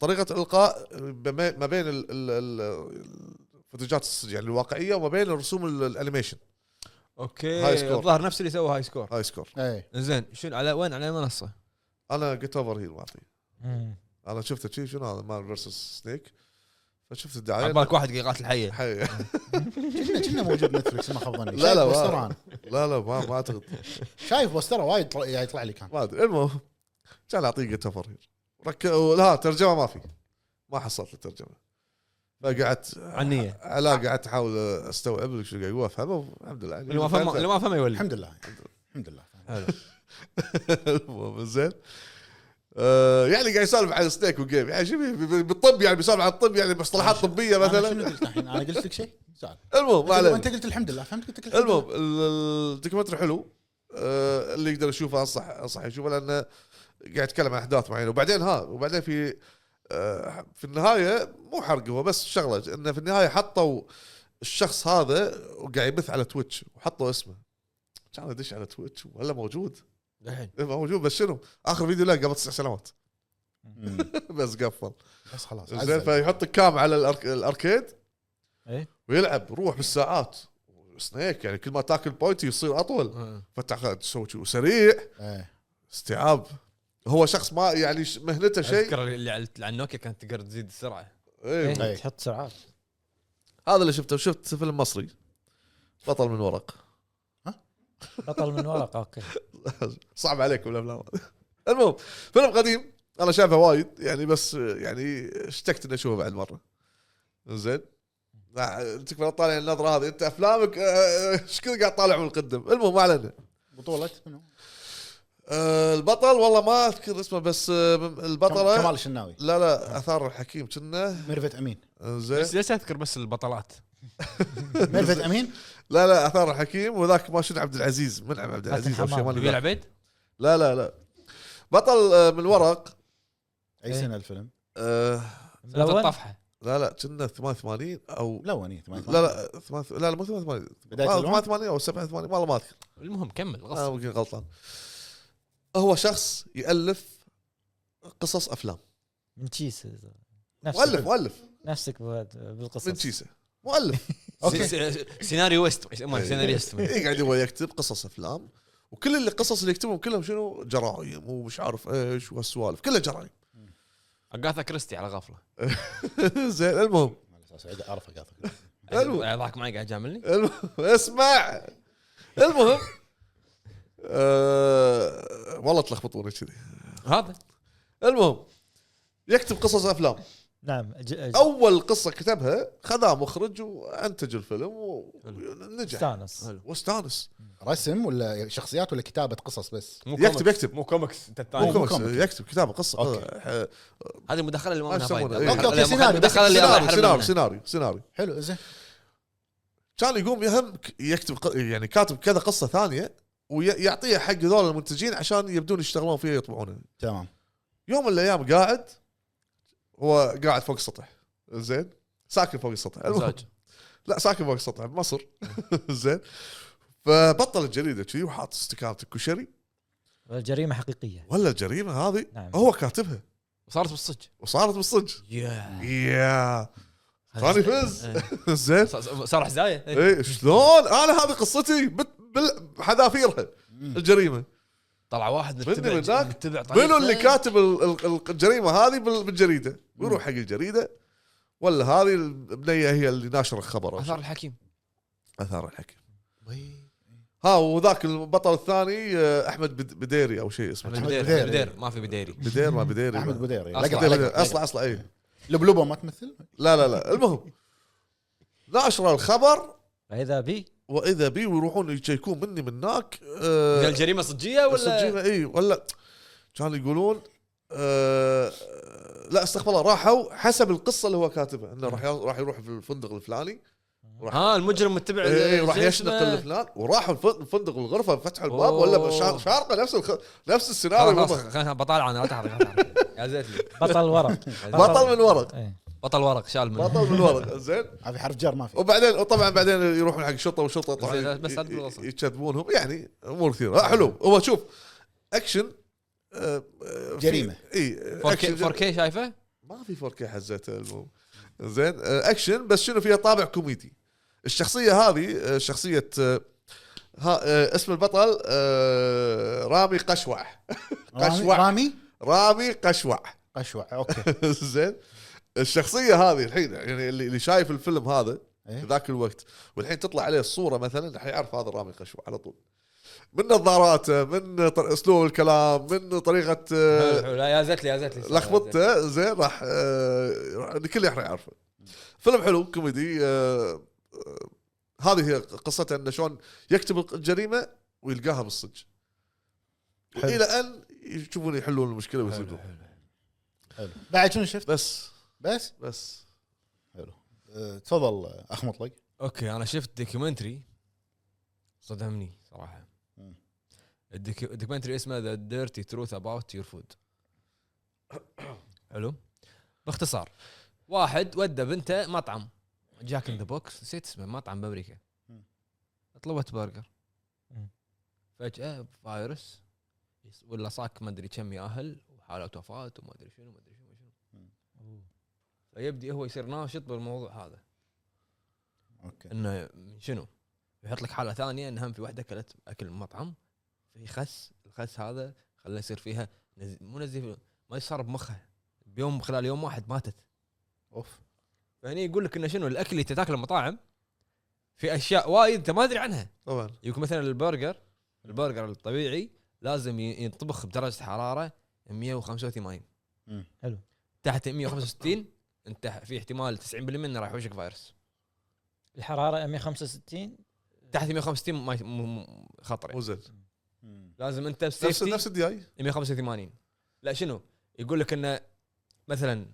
Speaker 2: طريقه الالقاء بما- ما بين ال- ال- ال- الفوتوجات يعني الواقعيه وما بين الرسوم ال- الانيميشن هاي
Speaker 1: اوكي
Speaker 2: سكور.
Speaker 1: الظاهر نفس اللي سوى هاي سكور
Speaker 2: هاي سكور
Speaker 3: اي
Speaker 1: زين شنو على وين على المنصه؟
Speaker 2: انا جيت اوفر هيل معطي
Speaker 6: مم.
Speaker 2: انا شفته شي شنو هذا مان فيرسس سنيك فشفت الدعايه
Speaker 1: على بالك واحد قاعد يقاتل حيه
Speaker 2: حي-
Speaker 3: كنا كنا موجود نتفلكس ما خاب ظني
Speaker 2: لا،
Speaker 3: شايف
Speaker 2: لا، ما-
Speaker 3: بوستره انا
Speaker 2: لا لا ما ما اعتقد
Speaker 3: شايف بوستره وايد طل- قاعد يطلع لي كان
Speaker 2: ما ادري المهم كان اعطيه جيت اوفر هيل رك... لا ترجمه ما في ما حصلت الترجمه فقعدت
Speaker 1: عنيه
Speaker 2: لا قعدت احاول استوعب لك شو قاعد يقول افهمه الحمد لله
Speaker 1: اللي ما فهم اللي ما فهم يولي
Speaker 3: الحمد لله الحمد لله
Speaker 1: حلو
Speaker 2: المهم زين آه، يعني قاعد يسولف عن سنيك وجيم يعني شو بي- بي- بالطب يعني بيسولف عن الطب يعني مصطلحات طبيه
Speaker 3: أنا شنو
Speaker 2: مثلا
Speaker 3: قلت الحين انا قلت لك شيء سؤال
Speaker 2: المهم ما علينا
Speaker 3: انت قلت الحمد لله فهمت قلت لك الحمد
Speaker 2: المهم ال- الدوكيومنتري حلو آه، اللي يقدر يشوفه انصح انصح يشوفه لانه قاعد يتكلم عن احداث معينه وبعدين ها وبعدين في آه، في النهايه مو حرق هو بس شغله انه في النهايه حطوا الشخص هذا وقاعد يبث على تويتش وحطوا اسمه كان ادش على تويتش ولا موجود
Speaker 1: الحين
Speaker 2: إيه، موجود بس شنو اخر فيديو له قبل تسع سنوات
Speaker 3: مم.
Speaker 2: بس قفل
Speaker 3: بس خلاص
Speaker 2: زين فيحط كام على الأرك- الاركيد
Speaker 6: إيه.
Speaker 2: ويلعب روح بالساعات سنيك يعني كل ما تاكل بوينت يصير اطول
Speaker 1: آه. نعم.
Speaker 2: فتح خ- تسوي شي- وسريع
Speaker 3: إيه.
Speaker 2: استيعاب هو شخص ما يعني ش- مهنته شيء
Speaker 1: اذكر اللي على على النوكيا كانت تقدر تزيد السرعه
Speaker 2: إيه.
Speaker 6: إيه، تحط سرعات
Speaker 2: هذا اللي شفته شفت فيلم مصري بطل من ورق
Speaker 6: بطل من ورقه اوكي
Speaker 2: صعب عليكم الافلام المهم فيلم قديم انا شايفه وايد يعني بس يعني اشتقت اني اشوفه بعد مره زين لا، تكفى لا تطالع النظره هذه انت افلامك آه، ايش كذا قاعد تطالع من القدم المهم ما علينا
Speaker 3: بطولة منو؟
Speaker 2: آه، البطل والله ما اذكر اسمه بس آه، البطله
Speaker 3: كمال الشناوي
Speaker 2: لا لا اثار الحكيم كنا
Speaker 3: ميرفت امين
Speaker 2: زين
Speaker 1: بس ليش اذكر بس البطلات
Speaker 3: ميرفت امين
Speaker 2: لا لا اثار الحكيم وذاك ماشون عبد العزيز منعم عبد
Speaker 6: ماتن
Speaker 2: العزيز او شيء
Speaker 6: حمام.
Speaker 2: مالي
Speaker 1: نبيل
Speaker 2: بالك.
Speaker 1: عبيد
Speaker 2: لا لا لا بطل آه، من ورق
Speaker 3: اي سنه الفيلم
Speaker 2: آه،
Speaker 1: سنه
Speaker 6: ملون
Speaker 1: الطفحه
Speaker 2: لا لا كنا 88 او
Speaker 3: لا وني
Speaker 2: لا لا ثمان- لا لا مو 88
Speaker 3: بداية
Speaker 2: آه،
Speaker 3: الألوان؟
Speaker 2: 88 او 87 والله ما اذكر
Speaker 1: المهم كمل
Speaker 2: انا
Speaker 1: غصب
Speaker 2: ممكن غلطان هو شخص يالف قصص افلام
Speaker 6: من تشيس
Speaker 2: مؤلف
Speaker 6: نفسك
Speaker 2: مؤلف
Speaker 6: نفسك بهذا-
Speaker 2: من
Speaker 6: بالقصص
Speaker 2: تشيسه مؤلف
Speaker 1: س- س- سيناريو ويست يسمونه سيناريو ويست
Speaker 2: آه، إيه، قاعد هو يكتب قصص افلام وكل اللي القصص اللي يكتبهم كلهم شنو جرائم ومش عارف ايش وهالسوالف كلها جرائم
Speaker 1: اغاثا كريستي على غفله
Speaker 2: زين المهم
Speaker 3: على اساس اعرف اقاطعك
Speaker 2: حلو.
Speaker 1: آه، ضحك معي قاعد جاملني
Speaker 2: المهم اسمع المهم أه والله تلخبطوني كذي
Speaker 1: هذا
Speaker 2: المهم يكتب قصص افلام
Speaker 6: نعم ج- ج-
Speaker 2: اول قصه كتبها خذها مخرج وانتج الفيلم ونجح
Speaker 6: استانس
Speaker 1: حلو.
Speaker 2: واستانس
Speaker 3: رسم ولا شخصيات ولا كتابه قصص بس
Speaker 1: مو
Speaker 2: يكتب-
Speaker 1: كوميكس.
Speaker 2: يكتب.
Speaker 1: آه، مو كوميكس انت الثاني
Speaker 2: مو
Speaker 3: مو
Speaker 2: كوميكس،
Speaker 3: كوميكس.
Speaker 2: يكتب كتابه قصه
Speaker 3: أوكي.
Speaker 2: آه،
Speaker 1: هذه المداخله اللي ما
Speaker 2: ما
Speaker 1: منها
Speaker 2: يسمونه.
Speaker 1: فايده
Speaker 2: إيه.
Speaker 1: المداخلة-
Speaker 3: أوكي، أوكي، سيناريو.
Speaker 1: المداخله اللي الله
Speaker 2: سيناريو
Speaker 1: يحرمنا
Speaker 2: سيناريو
Speaker 1: منها.
Speaker 2: سيناريو سيناريو
Speaker 3: حلو إيه، زين
Speaker 2: كان يقوم يهم ك- يكتب ق- يعني كاتب كذا قصه ثانيه ويعطيها حق ذول المنتجين عشان يبدون يشتغلون فيها يطبعونها
Speaker 3: تمام
Speaker 2: يوم من الايام قاعد هو قاعد فوق السطح زين ساكن فوق السطح المهم.
Speaker 1: مزاج.
Speaker 2: لا ساكن فوق السطح بمصر زين فبطل الجريده كذي وحاط استكانه الكشري
Speaker 6: الجريمه حقيقيه
Speaker 2: ولا الجريمه هذه
Speaker 6: نعم.
Speaker 2: هو كاتبها
Speaker 1: صارت بالصدق
Speaker 2: وصارت بالصدق
Speaker 1: يا
Speaker 2: يا ثاني فز. زين
Speaker 1: صار حزايه إيه.
Speaker 2: اي شلون انا هذه قصتي بت- بال- بحذافيرها الجريمه
Speaker 1: طلع واحد
Speaker 2: مني
Speaker 1: متبع
Speaker 2: من ذاك.
Speaker 1: متبع طريق إيه.
Speaker 2: منو اللي كاتب ال- ال- ال- الجريمه هذه بال- بالجريده ويروح حق الجريده ولا هذه البنيه هي اللي ناشر الخبر أو شيء.
Speaker 1: اثار الحكيم
Speaker 2: اثار الحكي ها وذاك البطل الثاني آه، احمد بد- بديري او شيء اسمه
Speaker 1: بدير
Speaker 3: بدير.
Speaker 1: بدير ما في بديري
Speaker 2: بدير ما بديري
Speaker 3: احمد
Speaker 2: ما.
Speaker 3: بديري
Speaker 1: أصلع.
Speaker 3: لقطة،
Speaker 2: بدير-
Speaker 3: لقطة.
Speaker 2: بدير. اصلا اصلا اي
Speaker 3: لبلوبه ما تمثل
Speaker 2: لا لا لا المهم ناشر الخبر
Speaker 6: فاذا بي
Speaker 2: واذا بي ويروحون يشيكون مني من هناك
Speaker 1: من
Speaker 2: آه،
Speaker 1: الجريمه صجيه ولا
Speaker 2: السجينه اي ولا كانوا يقولون آه لا استغفر الله راحوا حسب القصه اللي هو كاتبها انه راح يو- راح يروح في الفندق الفلاني راح
Speaker 1: ها المجرم متبع ال-
Speaker 2: اي إيه، راح
Speaker 1: الجريمة.
Speaker 2: يشنق الفلان وراحوا الف- الفندق الغرفه فتحوا الباب ولا شا- شارقه نفس الخ... نفس السيناريو
Speaker 1: خلاص
Speaker 2: بالضبط.
Speaker 1: خلاص خلاص بطالع انا لا تحرك لا تحرك. يا زيت لي.
Speaker 6: بطل ورق
Speaker 2: بطل من ورق
Speaker 6: إيه.
Speaker 1: بطل ورق شال منه
Speaker 2: بطل من ورق زين
Speaker 3: ما في حرف جر ما في
Speaker 2: وبعدين وطبعا بعدين يروحون حق شرطه وشرطه طبعا
Speaker 1: زين، بس لا تقول
Speaker 2: ي-
Speaker 1: وصل.
Speaker 2: يكذبونهم يعني امور كثيره آه، حلو هو شوف اكشن آه، آه، في-
Speaker 3: جريمة.
Speaker 2: اي
Speaker 1: 4K
Speaker 2: أكشن- آه.
Speaker 1: 4K شايفه؟
Speaker 2: ما في 4K حزتها المهم زين آه، اكشن بس شنو فيها طابع كوميدي الشخصيه هذه آه، شخصيه آه، ها آه، اسم البطل آه، رامي قشوع
Speaker 3: رامي-
Speaker 2: قشوع.
Speaker 3: رامي
Speaker 2: رامي قشوع
Speaker 3: قشوع اوكي
Speaker 2: زين الشخصيه هذه الحين يعني اللي اللي شايف الفيلم هذا في
Speaker 3: إيه.
Speaker 2: ذاك الوقت والحين تطلع عليه الصوره مثلا حيعرف هذا رامي قشوع على طول من نظاراته من طر- اسلوب الكلام من طريقه آه،
Speaker 1: حلو، حلو. لا يا زيت لي يا زيت لي
Speaker 2: لخبطته زين راح آه، راح- الكل راح يعرفه فيلم حلو كوميدي آه، آه، هذه هي قصته انه شلون يكتب الجريمه ويلقاها بالصدق
Speaker 3: حلو.
Speaker 2: الى ان يشوفون يحلون المشكله ويصيدون
Speaker 3: حلو بعد شنو شفت
Speaker 2: بس
Speaker 3: بس
Speaker 2: بس
Speaker 3: حلو أه، تفضل أه، اخ مطلق
Speaker 1: اوكي انا شفت دوكيومنتري صدمني صراحه
Speaker 3: مم.
Speaker 1: الدوكيو- الدوكيومنتري اسمه ذا ديرتي تروث اباوت يور فود حلو باختصار واحد ودى بنته مطعم جاك ان ذا بوكس نسيت اسمه مطعم بامريكا
Speaker 3: مم.
Speaker 1: طلبت برجر
Speaker 6: مم.
Speaker 1: فجاه فايروس يس- ولا صاك ما ادري كم ياهل وحاله وفاه وما ادري شنو ما ادري شنو ما شنو فيبدي هو يصير ناشط بالموضوع هذا
Speaker 3: اوكي
Speaker 1: انه شنو؟ يحط لك حاله ثانيه ان هم في واحده اكلت اكل مطعم في خس الخس هذا خلاه يصير فيها نز... مو نزيف ما صار بمخها بيوم خلال يوم واحد ماتت
Speaker 3: اوف
Speaker 1: فهني يقول لك انه شنو الاكل اللي تاكله المطاعم في اشياء وايد انت ما تدري عنها
Speaker 2: طبعا
Speaker 1: يقول مثلا البرجر البرجر الطبيعي لازم ي- ينطبخ بدرجه حراره 185
Speaker 3: مم.
Speaker 6: حلو.
Speaker 1: تحت 165 انت في احتمال 90% انه راح يوشك فايروس
Speaker 6: الحراره 165
Speaker 1: تحت 165 ما ي- مو- مو- خطر يعني.
Speaker 2: مو زين
Speaker 3: مم.
Speaker 1: لازم انت
Speaker 2: نفس
Speaker 1: بسيفتي
Speaker 2: نفس الدياي
Speaker 1: 185 لا شنو يقول لك انه مثلا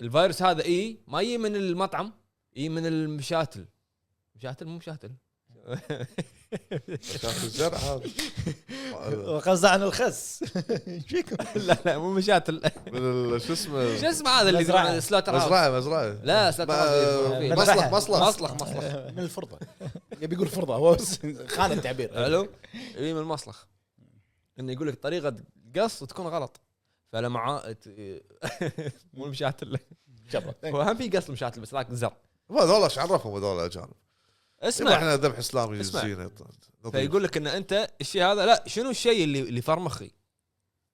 Speaker 1: الفيروس هذا اي ما يجي من المطعم يجي من المشاتل مشاتل مو مشاتل
Speaker 2: شاف الزرع هذا لا
Speaker 6: وقصد عن الخس ايش فيكم؟
Speaker 1: لا لا مو مشاتل
Speaker 2: بال- شو
Speaker 1: شو
Speaker 2: اسمه
Speaker 1: اسمه هذا اللي
Speaker 6: مزرعة.
Speaker 1: يزرع- سلوتر هاوس
Speaker 2: مزرعه مزرعه
Speaker 1: لا سلوتر هاوس
Speaker 2: ما-
Speaker 1: فيه.
Speaker 2: مصلح
Speaker 6: مزرعة.
Speaker 2: مصلح
Speaker 1: مصلخ مصلخ
Speaker 3: من الفرضه يبي يقول فرضه هو بس خان التعبير
Speaker 1: حلو يجي من المصلخ انه يقول لك طريقه قص وتكون غلط فلما عا- ت- مو المشاتل
Speaker 3: جبر.
Speaker 1: هو هم في قص المشاتل بس ذاك زر
Speaker 2: ما هذول ايش عرفهم هذول الاجانب؟ يبا
Speaker 1: اسمع
Speaker 2: احنا ذبح اسلامي
Speaker 1: اسمع.
Speaker 2: زينه نظيف.
Speaker 1: فيقول لك ان انت الشيء هذا لا شنو الشيء اللي اللي فرمخي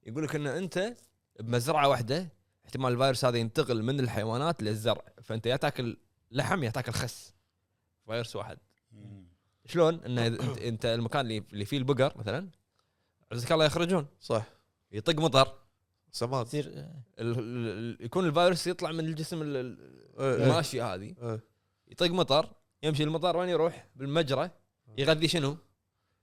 Speaker 1: يقول لك ان انت بمزرعه واحده احتمال الفيروس هذا ينتقل من الحيوانات للزرع فانت يا تاكل لحم يا تاكل خس فيروس واحد شلون انه إذا انت, انت المكان اللي اللي فيه البقر مثلا عزك الله يخرجون
Speaker 2: صح
Speaker 1: يطق مطر
Speaker 2: سماد
Speaker 6: يصير
Speaker 1: ال- ال- ال- يكون الفيروس يطلع من الجسم ال- ال-
Speaker 2: إيه.
Speaker 1: الماشي هذه
Speaker 2: إيه.
Speaker 1: يطق مطر يمشي المطر وين يروح؟ بالمجرى يغذي شنو؟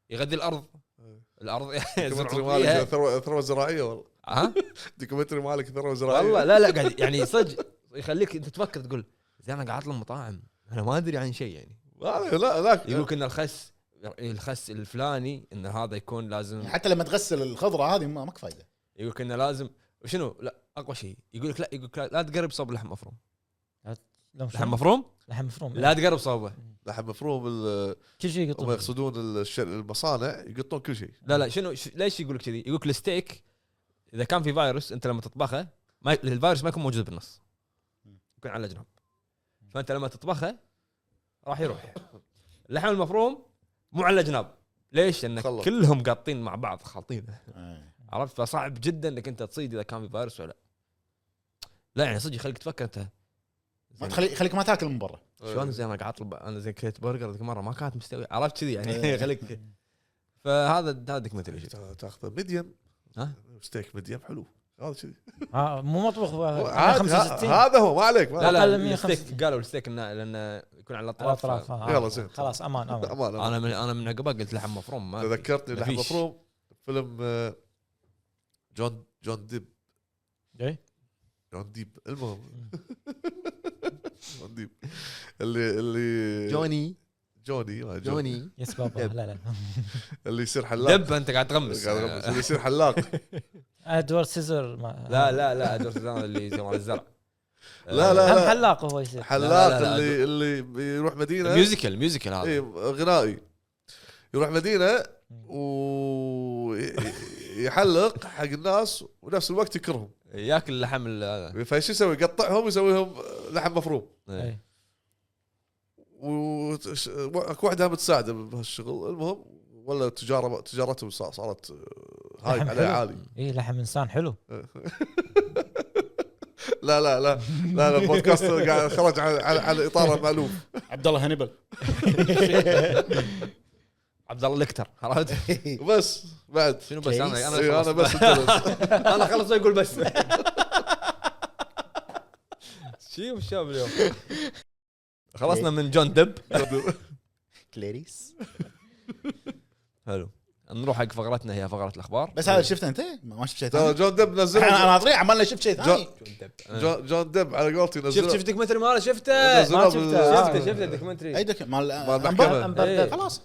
Speaker 1: يغذي الارض
Speaker 2: إيه.
Speaker 1: الارض
Speaker 2: دوكيومنتري
Speaker 1: يزرعون فيها.
Speaker 2: مالك ثروه ثروه زراعيه والله
Speaker 1: ها
Speaker 2: دوكيومنتري مالك ثروه زراعيه
Speaker 1: والله لا لا قاعد يعني صدق يخليك انت تفكر تقول زين انا قاعد اطلب مطاعم انا ما ادري عن شيء يعني
Speaker 2: والله آه، لا لا
Speaker 1: يقولك ان الخس الخس الفلاني ان هذا يكون لازم
Speaker 3: حتى لما تغسل الخضره هذه ما ماك فايده
Speaker 1: يقولك انه لازم شنو لا اقوى شيء يقولك لا يقولك لا, لا تقرب صوب لحم مفروم
Speaker 6: لا، مش-
Speaker 1: لحم مفروم
Speaker 6: لحم مفروم
Speaker 1: لا تقرب صوبه
Speaker 2: لحم مفروم ال-
Speaker 6: كل شيء
Speaker 2: هم
Speaker 6: يقطون
Speaker 2: يقصدون الش- المصانع يقطون كل شيء
Speaker 1: لا لا شنو ش... ليش يقول لك كذي؟ يقول لك الستيك اذا كان في فيروس انت لما تطبخه ما ي... الفيروس ما يكون موجود بالنص يكون على جنب فانت لما تطبخه راح يروح اللحم المفروم مو على جناب ليش؟ لان
Speaker 2: خلط.
Speaker 1: كلهم قاطين مع بعض خالطينه
Speaker 3: آه.
Speaker 1: عرفت فصعب جدا انك انت تصيد اذا كان في فيروس ولا لا لا يعني صدق يخليك تفكر انت
Speaker 3: ما تخلي خليك ما تاكل من برا
Speaker 1: شلون زين انا قاعد اطلب انا زين كليت برجر ذيك المره ما كانت مستوي عرفت كذي يعني
Speaker 3: إيه.
Speaker 1: يخليك فهذا هذا دوكيومنتري
Speaker 2: إيه، تا- تاخذه ميديم
Speaker 1: ها؟
Speaker 2: ستيك ميديم حلو هذا كذي
Speaker 6: آه، مو مطبخ آه،
Speaker 2: عادي،
Speaker 6: 65
Speaker 2: ه- هذا هو ما عليك ما
Speaker 1: لا لا
Speaker 6: أقل من
Speaker 1: الستيك
Speaker 6: 150.
Speaker 1: قالوا الستيك انه لانه يكون على
Speaker 6: على
Speaker 1: الاطراف
Speaker 6: الاطراف آه.
Speaker 2: يلا زين.
Speaker 6: خلاص امان
Speaker 2: عليك.
Speaker 6: امان
Speaker 2: أمان، أمان.
Speaker 1: انا من انا من عقبه قلت لحم مفروم ما في.
Speaker 2: تذكرتني لحم
Speaker 1: مفيش.
Speaker 2: مفروم فيلم آه، جون جون ديب
Speaker 6: إيه.
Speaker 2: جون ديب المهم جون ديب اللي اللي
Speaker 1: جوني
Speaker 2: جوني ما
Speaker 1: جوني
Speaker 6: يس بابا
Speaker 1: دب.
Speaker 6: لا لا
Speaker 2: اللي يصير حلاق
Speaker 1: دب انت قاعد تغمس
Speaker 2: قاعد أغمس. اللي يصير حلاق
Speaker 6: ادوارد سيزر ما
Speaker 1: لا لا لا دور سيزان اللي زي مال الزرع آه،
Speaker 2: لا، لا.
Speaker 6: هم حلاق هو يصير
Speaker 1: لا،
Speaker 2: حلاق
Speaker 1: لا،
Speaker 2: اللي اللي بيروح مدينه
Speaker 1: ميوزيكال ميوزيكال
Speaker 2: اي
Speaker 1: هذا
Speaker 2: غنائي يروح مدينه ويحلق حق الناس ونفس الوقت يكرهم
Speaker 1: ياكل اللحم ال- هذا
Speaker 2: فشو يسوي يقطعهم ويسوي لهم لحم مفروم
Speaker 1: إيه.
Speaker 2: واكو واحده هم تساعده بهالشغل المهم ولا تجاره تجارته صار- صارت آه، هاي
Speaker 6: لحم
Speaker 2: عليه
Speaker 6: حلو.
Speaker 2: عالي
Speaker 6: اي إيه، لحم انسان حلو
Speaker 2: لا لا لا لا لا البودكاست قاعد خرج على- على على اطاره مالوف
Speaker 3: عبد الله هنبل
Speaker 1: عبد الله لكتر عرفت
Speaker 2: وبس بعد
Speaker 1: شنو بس انا
Speaker 2: إيه،
Speaker 1: انا
Speaker 2: انا
Speaker 1: خلص-
Speaker 2: بس أتجلس.
Speaker 1: انا خلص اقول بس شيب الشاب اليوم خلصنا من إيه. جون دب
Speaker 3: كليريس
Speaker 1: حلو نروح حق فقرتنا هي فقره الاخبار
Speaker 3: بس هذا شفته انت ما ما شفت شيء
Speaker 2: ترى
Speaker 3: ثاني
Speaker 2: جون ديب
Speaker 3: انا
Speaker 2: نزله
Speaker 3: أنا ناطرين عمالنا شفت شيء ثاني
Speaker 2: جون جون ديب على قولتي نزله
Speaker 1: شفت شفت دوكيومنتري ماله شفته
Speaker 2: نزله
Speaker 6: ما شفته.
Speaker 2: بال-
Speaker 1: شفته شفته دوكيومنتري
Speaker 3: اي دك مال
Speaker 2: مال
Speaker 3: أنبر.
Speaker 2: المحكمه
Speaker 1: إيه.
Speaker 3: خلاص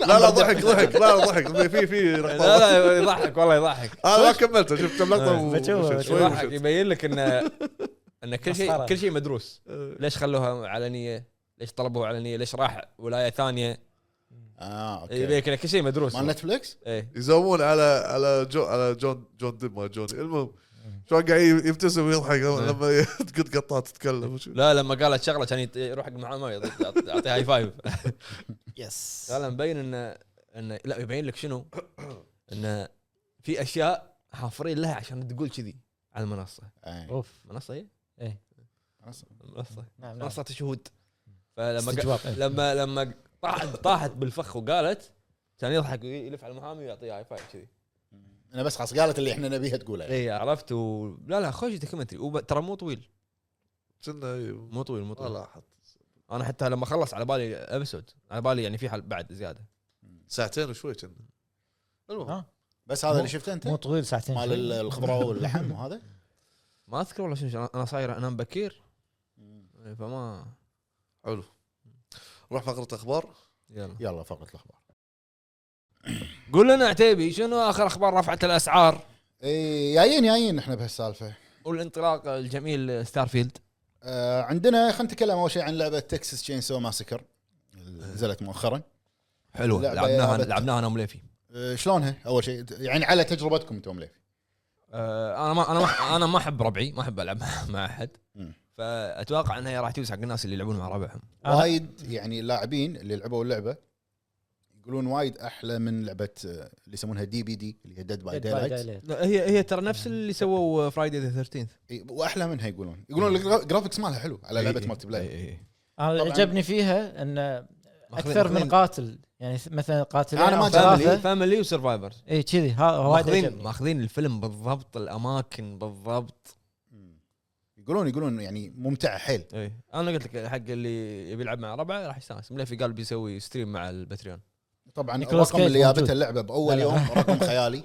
Speaker 2: لا لا ضحك ضحك لا لا ضحك في في لقطات.
Speaker 1: لا لا يضحك والله يضحك
Speaker 2: انا ما كملته شفت كم لقطه و-
Speaker 6: بشوفه،
Speaker 2: وشفت
Speaker 6: بشوفه.
Speaker 2: شوي
Speaker 1: يضحك
Speaker 2: وشفت.
Speaker 1: يبين لك انه ان كل شيء
Speaker 6: مسخرة.
Speaker 1: كل شيء مدروس
Speaker 2: أه.
Speaker 1: ليش خلوها علنيه؟ ليش طلبوا علنيه؟ ليش راح ولايه ثانيه؟
Speaker 6: إيه،
Speaker 3: اه اوكي
Speaker 1: يبين لك إن كل شيء مدروس
Speaker 3: مال نتفلكس
Speaker 1: ايه
Speaker 2: يزومون على على جو على جون جون ديب ما جون المهم شلون قاعد يبتسم ويضحك لما يقط قطات تتكلم وشو.
Speaker 1: لا لما قالت شغله كان يت- يروح حق معاه ما يض- يعطي- يعطيه هاي فايف
Speaker 6: يس
Speaker 1: لا لا مبين انه انه لا يبين لك شنو؟ انه في اشياء حافرين لها عشان تقول كذي على المنصه
Speaker 3: آه.
Speaker 6: اوف
Speaker 1: منصه ايه؟
Speaker 6: إيه.
Speaker 1: منصه
Speaker 6: نعم نعم
Speaker 1: منصه شهود
Speaker 2: نعم.
Speaker 1: فلما قا-
Speaker 6: استجواب إيه.
Speaker 1: لما لما طاحت طاحت بالفخ وقالت كان يضحك ويلف على المحامي ويعطيه هاي فايف كذي
Speaker 3: انا بس خلاص قالت اللي احنا نبيها تقولها
Speaker 1: اي عرفت و... لا لا خوش دوكيومنتري وب- ترى مو طويل
Speaker 2: كنا ي-
Speaker 1: مو طويل مو
Speaker 2: ما
Speaker 1: طويل
Speaker 2: لاحظ
Speaker 1: انا حتى لما خلص على بالي ابسود على بالي يعني في حل بعد زياده
Speaker 2: ساعتين وشوي كنا المهم
Speaker 6: ها؟
Speaker 3: بس هذا
Speaker 6: آه. مو-
Speaker 3: اللي شفته انت
Speaker 6: إيه. مو طويل ساعتين
Speaker 3: مال ال- الخضراء واللحم وهذا
Speaker 1: ما اذكر والله شنو شنو. انا صاير انام بكير فما
Speaker 2: حلو نروح فقره اخبار
Speaker 1: يلا
Speaker 3: يلا فقره الاخبار
Speaker 1: قول لنا عتيبي شنو اخر اخبار رفعت الاسعار
Speaker 3: اي إيه، جايين جايين احنا بهالسالفه
Speaker 1: والانطلاق الجميل ستارفيلد
Speaker 3: آه عندنا خلينا نتكلم اول شيء عن لعبه تكساس تشين سو ماسكر
Speaker 6: إيه.
Speaker 3: نزلت مؤخرا
Speaker 1: حلوه
Speaker 3: لا،
Speaker 1: لعبناها
Speaker 3: بيابت.
Speaker 1: لعبناها انا ومليفي
Speaker 3: آه شلونها اول شيء يعني على تجربتكم انتم مليفي
Speaker 1: آه، انا ما انا ما انا ما احب ربعي ما احب العب مع- مع احد
Speaker 3: مم.
Speaker 1: فاتوقع انها راح توسع حق الناس اللي يلعبون مع ربعهم
Speaker 6: أنا-
Speaker 3: وايد يعني اللاعبين اللي لعبوا اللعبه يقولون وايد احلى من لعبه آه، اللي يسمونها دي بي دي اللي هي ديد باي دايلايت
Speaker 1: هي هي ترى نفس اللي سووا فرايدي ذا 13
Speaker 3: واحلى منها يقولون يقولون الجرافكس مالها حلو على لعبه مالتي
Speaker 1: إيه،
Speaker 3: بلاير
Speaker 6: انا اللي
Speaker 3: طبعاً.
Speaker 6: عجبني فيها ان اكثر من قاتل يعني مثلا قاتلين
Speaker 3: أنا ما
Speaker 6: أو
Speaker 3: جربت.
Speaker 1: فاميلي
Speaker 6: ثلاثة.
Speaker 1: فاميلي وسرفايفرز
Speaker 6: اي إيه، كذي ها- وايد
Speaker 1: ماخذين
Speaker 6: عجبني
Speaker 1: ماخذين الفيلم بالضبط الاماكن بالضبط
Speaker 3: يقولون يقولون يعني ممتعه حيل
Speaker 1: اي انا قلت لك حق اللي يبي يلعب مع ربعه راح يستانس مليفي قال بيسوي ستريم مع البتريون
Speaker 3: طبعا
Speaker 6: نيكولاس
Speaker 3: الرقم
Speaker 6: كيج
Speaker 3: اللي جابته
Speaker 6: موجود.
Speaker 3: اللعبه باول
Speaker 6: لا، لا.
Speaker 3: يوم رقم خيالي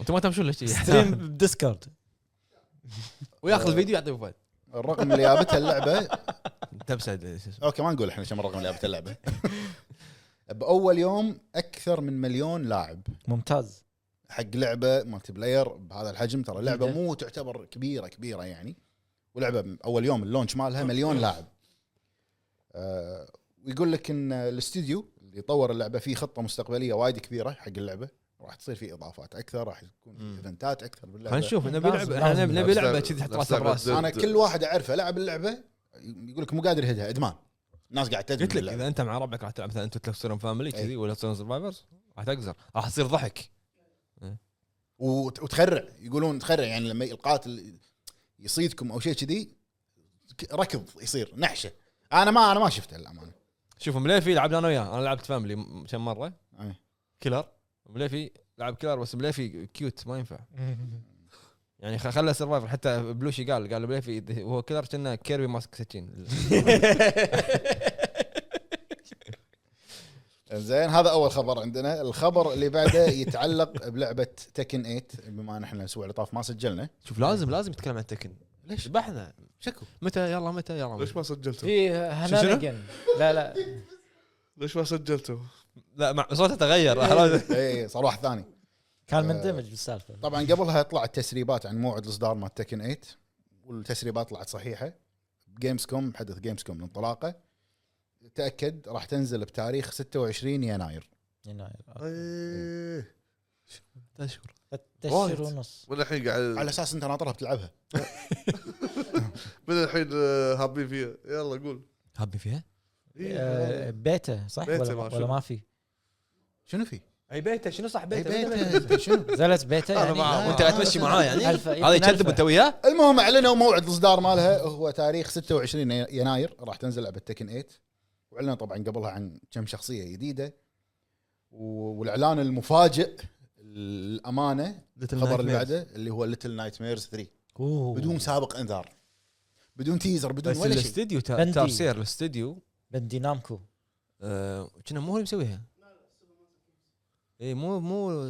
Speaker 1: انتم ما تمشون ليش
Speaker 6: ستريم بديسكورد
Speaker 1: وياخذ الفيديو يعطيه فايد
Speaker 3: الرقم اللي جابته اللعبه
Speaker 1: تبسد شو اسمه.
Speaker 3: اوكي ما نقول احنا كم رقم اللي جابته اللعبه باول يوم اكثر من مليون لاعب
Speaker 6: ممتاز
Speaker 3: حق لعبه مالتي بلاير بهذا الحجم ترى
Speaker 1: إيه.
Speaker 3: لعبه
Speaker 6: جداً.
Speaker 3: مو تعتبر كبيره كبيره يعني ولعبه من اول يوم اللونش مالها مليون لاعب آه ويقول لك ان الاستوديو اللي طور اللعبه فيه خطه مستقبليه وايد كبيره حق اللعبه راح تصير في اضافات اكثر راح تكون
Speaker 1: مم.
Speaker 3: في ايفنتات اكثر باللعبه
Speaker 1: خلينا نشوف نبي
Speaker 6: لازم-
Speaker 1: لعبه إحنا
Speaker 6: لازم
Speaker 1: نبي
Speaker 2: نلعب.
Speaker 1: لعبه كذي حط
Speaker 2: لازم
Speaker 1: راسه
Speaker 2: نلعب
Speaker 1: براس
Speaker 2: ضد-
Speaker 3: انا كل واحد اعرفه لعب اللعبه يقول لك مو قادر يهدها ادمان الناس قاعد تدمن
Speaker 1: قلت لك
Speaker 3: اللعبة.
Speaker 1: اذا انت مع ربعك راح تلعب مثلا انتم تصيرون فاميلي
Speaker 3: أي.
Speaker 1: كذي ولا تصيرون سرفايفرز راح تقزر راح تصير ضحك
Speaker 3: وت- وتخرع يقولون تخرع يعني لما القاتل يصيدكم او شيء كذي ك- ركض يصير نحشه انا ما انا ما شفته للامانه
Speaker 1: شوف مليفي لعبنا انا وياه انا لعبت فاميلي م- كم مره
Speaker 3: أي.
Speaker 1: كيلر مليفي لعب كيلر بس مليفي كيوت ما ينفع يعني خ- خلى سرفايفر حتى بلوشي قال قال مليفي إذا هو كيلر كنا كيربي ماسك سكين
Speaker 6: إيه،
Speaker 3: زين هذا اول خبر عندنا الخبر اللي بعده يتعلق بلعبه تكن 8 بما ان احنا الاسبوع اللي طاف ما سجلنا
Speaker 1: شوف لازم لازم يتكلم عن تكن ليش بحنا
Speaker 3: شكو
Speaker 1: متى يلا متى يلا
Speaker 2: ليش
Speaker 1: متى.
Speaker 2: ما سجلته؟
Speaker 6: في
Speaker 1: شنو؟
Speaker 6: هنانجن لا لا
Speaker 2: ليش ما سجلته؟
Speaker 1: لا مع- صوته تغير
Speaker 3: اي صار واحد ثاني
Speaker 6: كان مندمج بالسالفه
Speaker 3: طبعا قبلها طلعت تسريبات عن موعد الاصدار مال تكن 8 والتسريبات طلعت صحيحه جيمز كوم حدث جيمز كوم انطلاقه تاكد راح تنزل بتاريخ 26 يناير
Speaker 6: يناير.
Speaker 2: إيه.
Speaker 1: اشهر
Speaker 6: ست
Speaker 2: وايد.
Speaker 6: اشهر ونص
Speaker 2: من الحين قاعد
Speaker 3: على اساس انت ناطرها بتلعبها
Speaker 2: من الحين آه، هابين فيها يلا قول
Speaker 1: هابي فيها
Speaker 2: إيه.
Speaker 6: آه، بيتا صح
Speaker 2: بيتا
Speaker 6: ولا
Speaker 2: ما
Speaker 6: ما,
Speaker 2: شنو؟
Speaker 6: ولا ما في
Speaker 3: شنو في؟ إيه،
Speaker 1: اي بيته شنو صح
Speaker 3: أي بيته؟ شنو؟
Speaker 6: زلت بيتا
Speaker 2: أنا
Speaker 6: يعني
Speaker 2: معه.
Speaker 1: وانت قاعد تمشي معاه يعني
Speaker 6: ألفة،
Speaker 1: هذا
Speaker 6: يمكن
Speaker 1: يكذب
Speaker 6: ألفة.
Speaker 1: انت وياه
Speaker 3: المهم اعلنوا موعد الاصدار مالها هو تاريخ 26 يناير راح تنزل لعبه تكن 8 واعلنوا طبعا قبلها عن كم شخصيه جديده و- والاعلان المفاجئ الامانه الخبر اللي بعده اللي هو ليتل نايت ميرز 3
Speaker 6: أوه.
Speaker 3: بدون سابق انذار بدون تيزر بدون
Speaker 1: بس
Speaker 3: ولا شيء
Speaker 1: الاستديو تا-
Speaker 6: بندي.
Speaker 1: تارسير الاستديو
Speaker 6: بندي نامكو
Speaker 1: آه، كنا مو هو اللي مسويها اي مو مو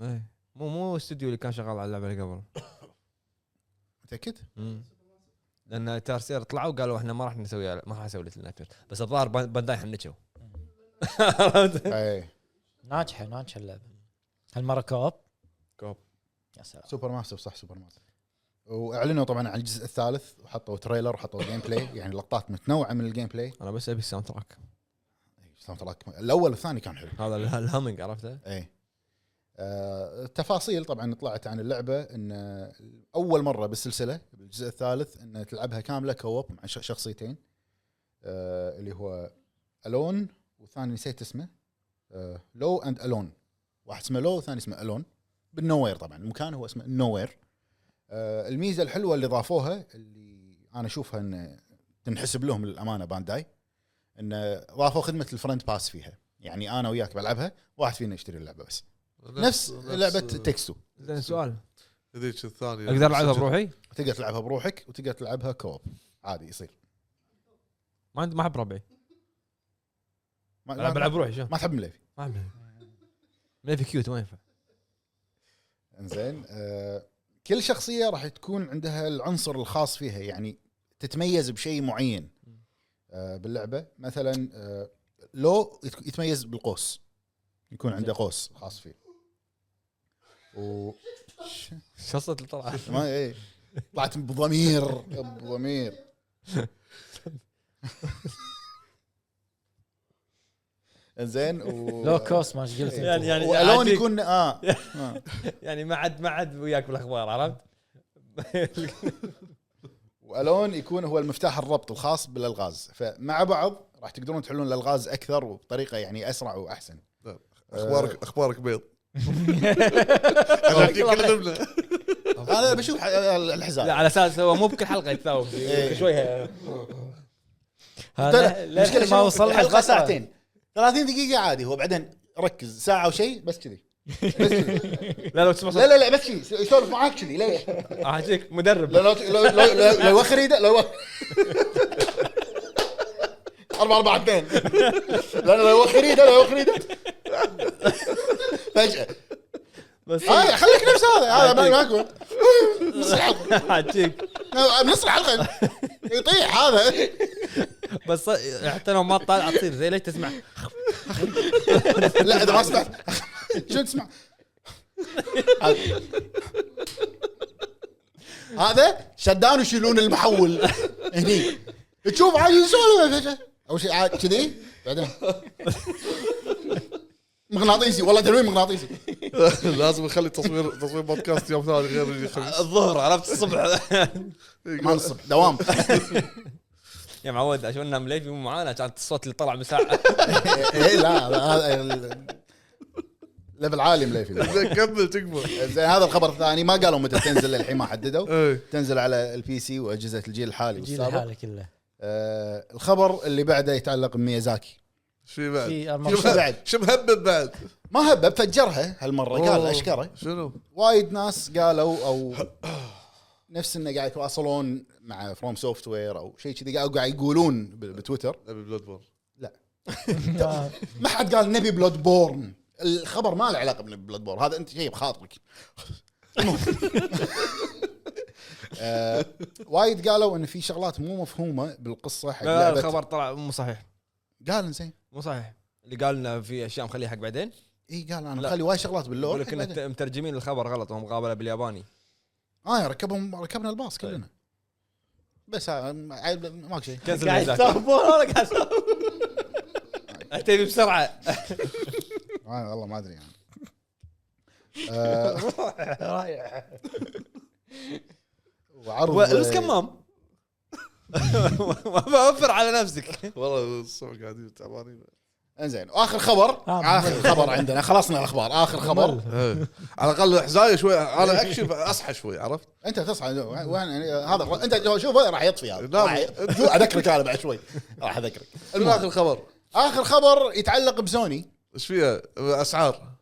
Speaker 1: اي مو مو الاستوديو اللي كان شغال على اللعبه اللي قبل
Speaker 3: متاكد؟
Speaker 1: مم. لان تارسير طلعوا وقالوا احنا ما راح نسوي ما راح نسوي ليتل نايت بس الظاهر بان- بانداي حنكوا
Speaker 3: اي
Speaker 6: ناجحه ناجحه اللعبه هالمره كوب
Speaker 1: كوب.
Speaker 6: يا سلام
Speaker 3: سوبر ماسف صح سوبر ماسف واعلنوا طبعا عن الجزء الثالث وحطوا تريلر وحطوا جيم بلاي يعني لقطات متنوعه من الجيم بلاي
Speaker 1: انا بس ابي الساوند تراك
Speaker 3: ساوند تراك الاول والثاني كان حلو
Speaker 1: هذا ال- الهامنج عرفته
Speaker 3: اي آه، التفاصيل طبعا طلعت عن اللعبه ان آه، اول مره بالسلسله بالجزء الثالث ان تلعبها كامله كوب مع ش- شخصيتين آه، اللي هو الون وثاني نسيت اسمه آه، لو اند الون واحد اسمه لو وثاني اسمه الون بالنوير طبعا المكان هو اسمه النوير آه، الميزه الحلوه اللي ضافوها اللي انا اشوفها ان تنحسب لهم للامانه بانداي ان آه، ضافوا خدمه الفرنت باس فيها يعني انا وياك بلعبها واحد فينا يشتري اللعبه بس نفس لعبه تكستو
Speaker 1: زين سؤال
Speaker 2: هذيك الثانيه
Speaker 1: اقدر العبها بروحي؟
Speaker 3: تقدر تلعبها بروحك وتقدر تلعبها كوب عادي يصير
Speaker 1: ما عندي ما احب ربعي
Speaker 3: ما,
Speaker 1: العب
Speaker 3: ما,
Speaker 1: بلعب بروحي شوف
Speaker 3: ما تحب مليفي
Speaker 1: ما أحب. مليفي كيوت ما ينفع
Speaker 3: انزين آه كل شخصيه راح تكون عندها العنصر الخاص فيها يعني تتميز بشيء معين آه باللعبه مثلا آه لو يت- يتميز بالقوس يكون عنده قوس خاص فيه و
Speaker 1: شصت طلعت
Speaker 3: ما ايه طلعت بضمير بضمير زين و
Speaker 6: لو كوس ما ايش قلت
Speaker 3: يعني
Speaker 6: أنت.
Speaker 1: يعني
Speaker 3: يعني
Speaker 1: يعني
Speaker 3: والون
Speaker 1: عاديك.
Speaker 3: يكون اه, آه.
Speaker 1: يعني ما عد ما عد وياك بالاخبار عرفت؟
Speaker 3: والون يكون هو المفتاح الربط الخاص بالالغاز فمع بعض راح تقدرون تحلون الالغاز اكثر وبطريقه يعني اسرع واحسن
Speaker 2: اخبارك اخبارك بيض عشان كذا كل ضمنه.
Speaker 3: انا بشوف ح- الحزام
Speaker 1: لا على اساس هو مو بكل حلقه يتساوم
Speaker 3: إيه.
Speaker 1: شويه
Speaker 3: طيب،
Speaker 6: هذا لا-
Speaker 3: المشكله
Speaker 6: ما وصلنا
Speaker 3: الحلقه
Speaker 6: الخطوة.
Speaker 3: ساعتين 30 دقيقه عادي هو بعدين ركز ساعه وشيء بس كذي
Speaker 1: لا لو تسمع
Speaker 3: لا لا لا بس كذي يسولف معاك كذي ليش؟
Speaker 1: احجيك مدرب
Speaker 3: لو لو لو لو, لو, لو يوخر ايده لو يوخر- أربعة أربعة اثنين لا لو يوخر ايده لو يوخر ايده فجأة
Speaker 1: بس
Speaker 3: هاي خليك نفس هذا هذا ما- ما يكون نص الحلقة
Speaker 1: احجيك
Speaker 3: نص الحلقة يطيح هذا
Speaker 1: بس حتى لو ما تطالع تصير زي ليش تسمع
Speaker 3: لا اذا ما سمعت شو تسمع؟ هذا- هذا شدان يشيلون المحول هني تشوف عاد يسولف فجأة. اول شيء عاد كذي بعدين مغناطيسي والله تنويم مغناطيسي
Speaker 2: لازم نخلي تصوير تصوير بودكاست يوم ثاني غير الخميس
Speaker 1: الظهر عرفت الصبح
Speaker 3: ما نصب دوام
Speaker 1: يا معود عشان نام ليفي مو معانا كان الصوت اللي طلع من ساعه
Speaker 3: إيه، لا هذا ال- ليفل عالي مليفي
Speaker 2: زين إيه، كمل تكبر
Speaker 3: زين هذا الخبر الثاني ما قالوا متى تنزل للحين ما حددوا
Speaker 2: إيه.
Speaker 3: تنزل على البي سي واجهزه الجيل الحالي
Speaker 6: جيل
Speaker 3: والسابق
Speaker 6: حاله كله
Speaker 3: آه، الخبر اللي بعده يتعلق بميازاكي
Speaker 2: شو في بعد؟
Speaker 6: في
Speaker 2: شو
Speaker 6: المقصود.
Speaker 2: مهب-
Speaker 3: بعد.
Speaker 2: شو مهبب بعد؟
Speaker 3: ما هبب فجرها هالمره قال
Speaker 2: أوه.
Speaker 3: اشكره
Speaker 2: شنو؟
Speaker 3: وايد ناس قالوا او نفس انه قاعد يتواصلون مع فروم سوفت وير او شيء كذي قاعد قاعد يقولون ب- بتويتر
Speaker 2: ابي بلود بور
Speaker 3: ما حد قال نبي بلود بورن الخبر ما له علاقه بالبلود بورن هذا انت شيء بخاطرك آه، وايد قالوا ان في شغلات مو مفهومه بالقصه حق
Speaker 1: لا
Speaker 3: لعبه
Speaker 1: الخبر طلع مو صحيح
Speaker 3: قال زين
Speaker 1: مو صحيح اللي قال لنا في اشياء مخليها حق بعدين
Speaker 3: اي قال انا
Speaker 1: لا.
Speaker 3: مخلي وايد شغلات باللور
Speaker 1: يقول لك ان مترجمين الخبر غلط وهم مقابله بالياباني
Speaker 3: اه ركبهم ركبنا الباص كلنا بس آه، عيب- ماك شيء
Speaker 1: كنسل
Speaker 6: قاعد
Speaker 1: ميزاكي
Speaker 6: يسولفون وأنا قاعد أسولف.
Speaker 1: تبي بسرعه
Speaker 3: آه، والله ما ادري يعني آه، وعرض
Speaker 1: البس كمام وفر على نفسك
Speaker 2: والله الصبح قاعدين تعبانين
Speaker 3: انزين واخر خبر
Speaker 6: آه،
Speaker 3: اخر خبر عندنا خلصنا الاخبار اخر خبر
Speaker 2: إيه. على الاقل حزايه شوي انا اكشف اصحى شوي عرفت؟
Speaker 3: انت تصحى وين يعني هذا انت لو شوفه راح يطفي هذا
Speaker 2: لا،
Speaker 3: راح ي- اذكرك انا بعد شوي راح اذكرك
Speaker 2: شنو اخر خبر؟
Speaker 3: اخر خبر يتعلق بسوني
Speaker 2: ايش فيها؟ اسعار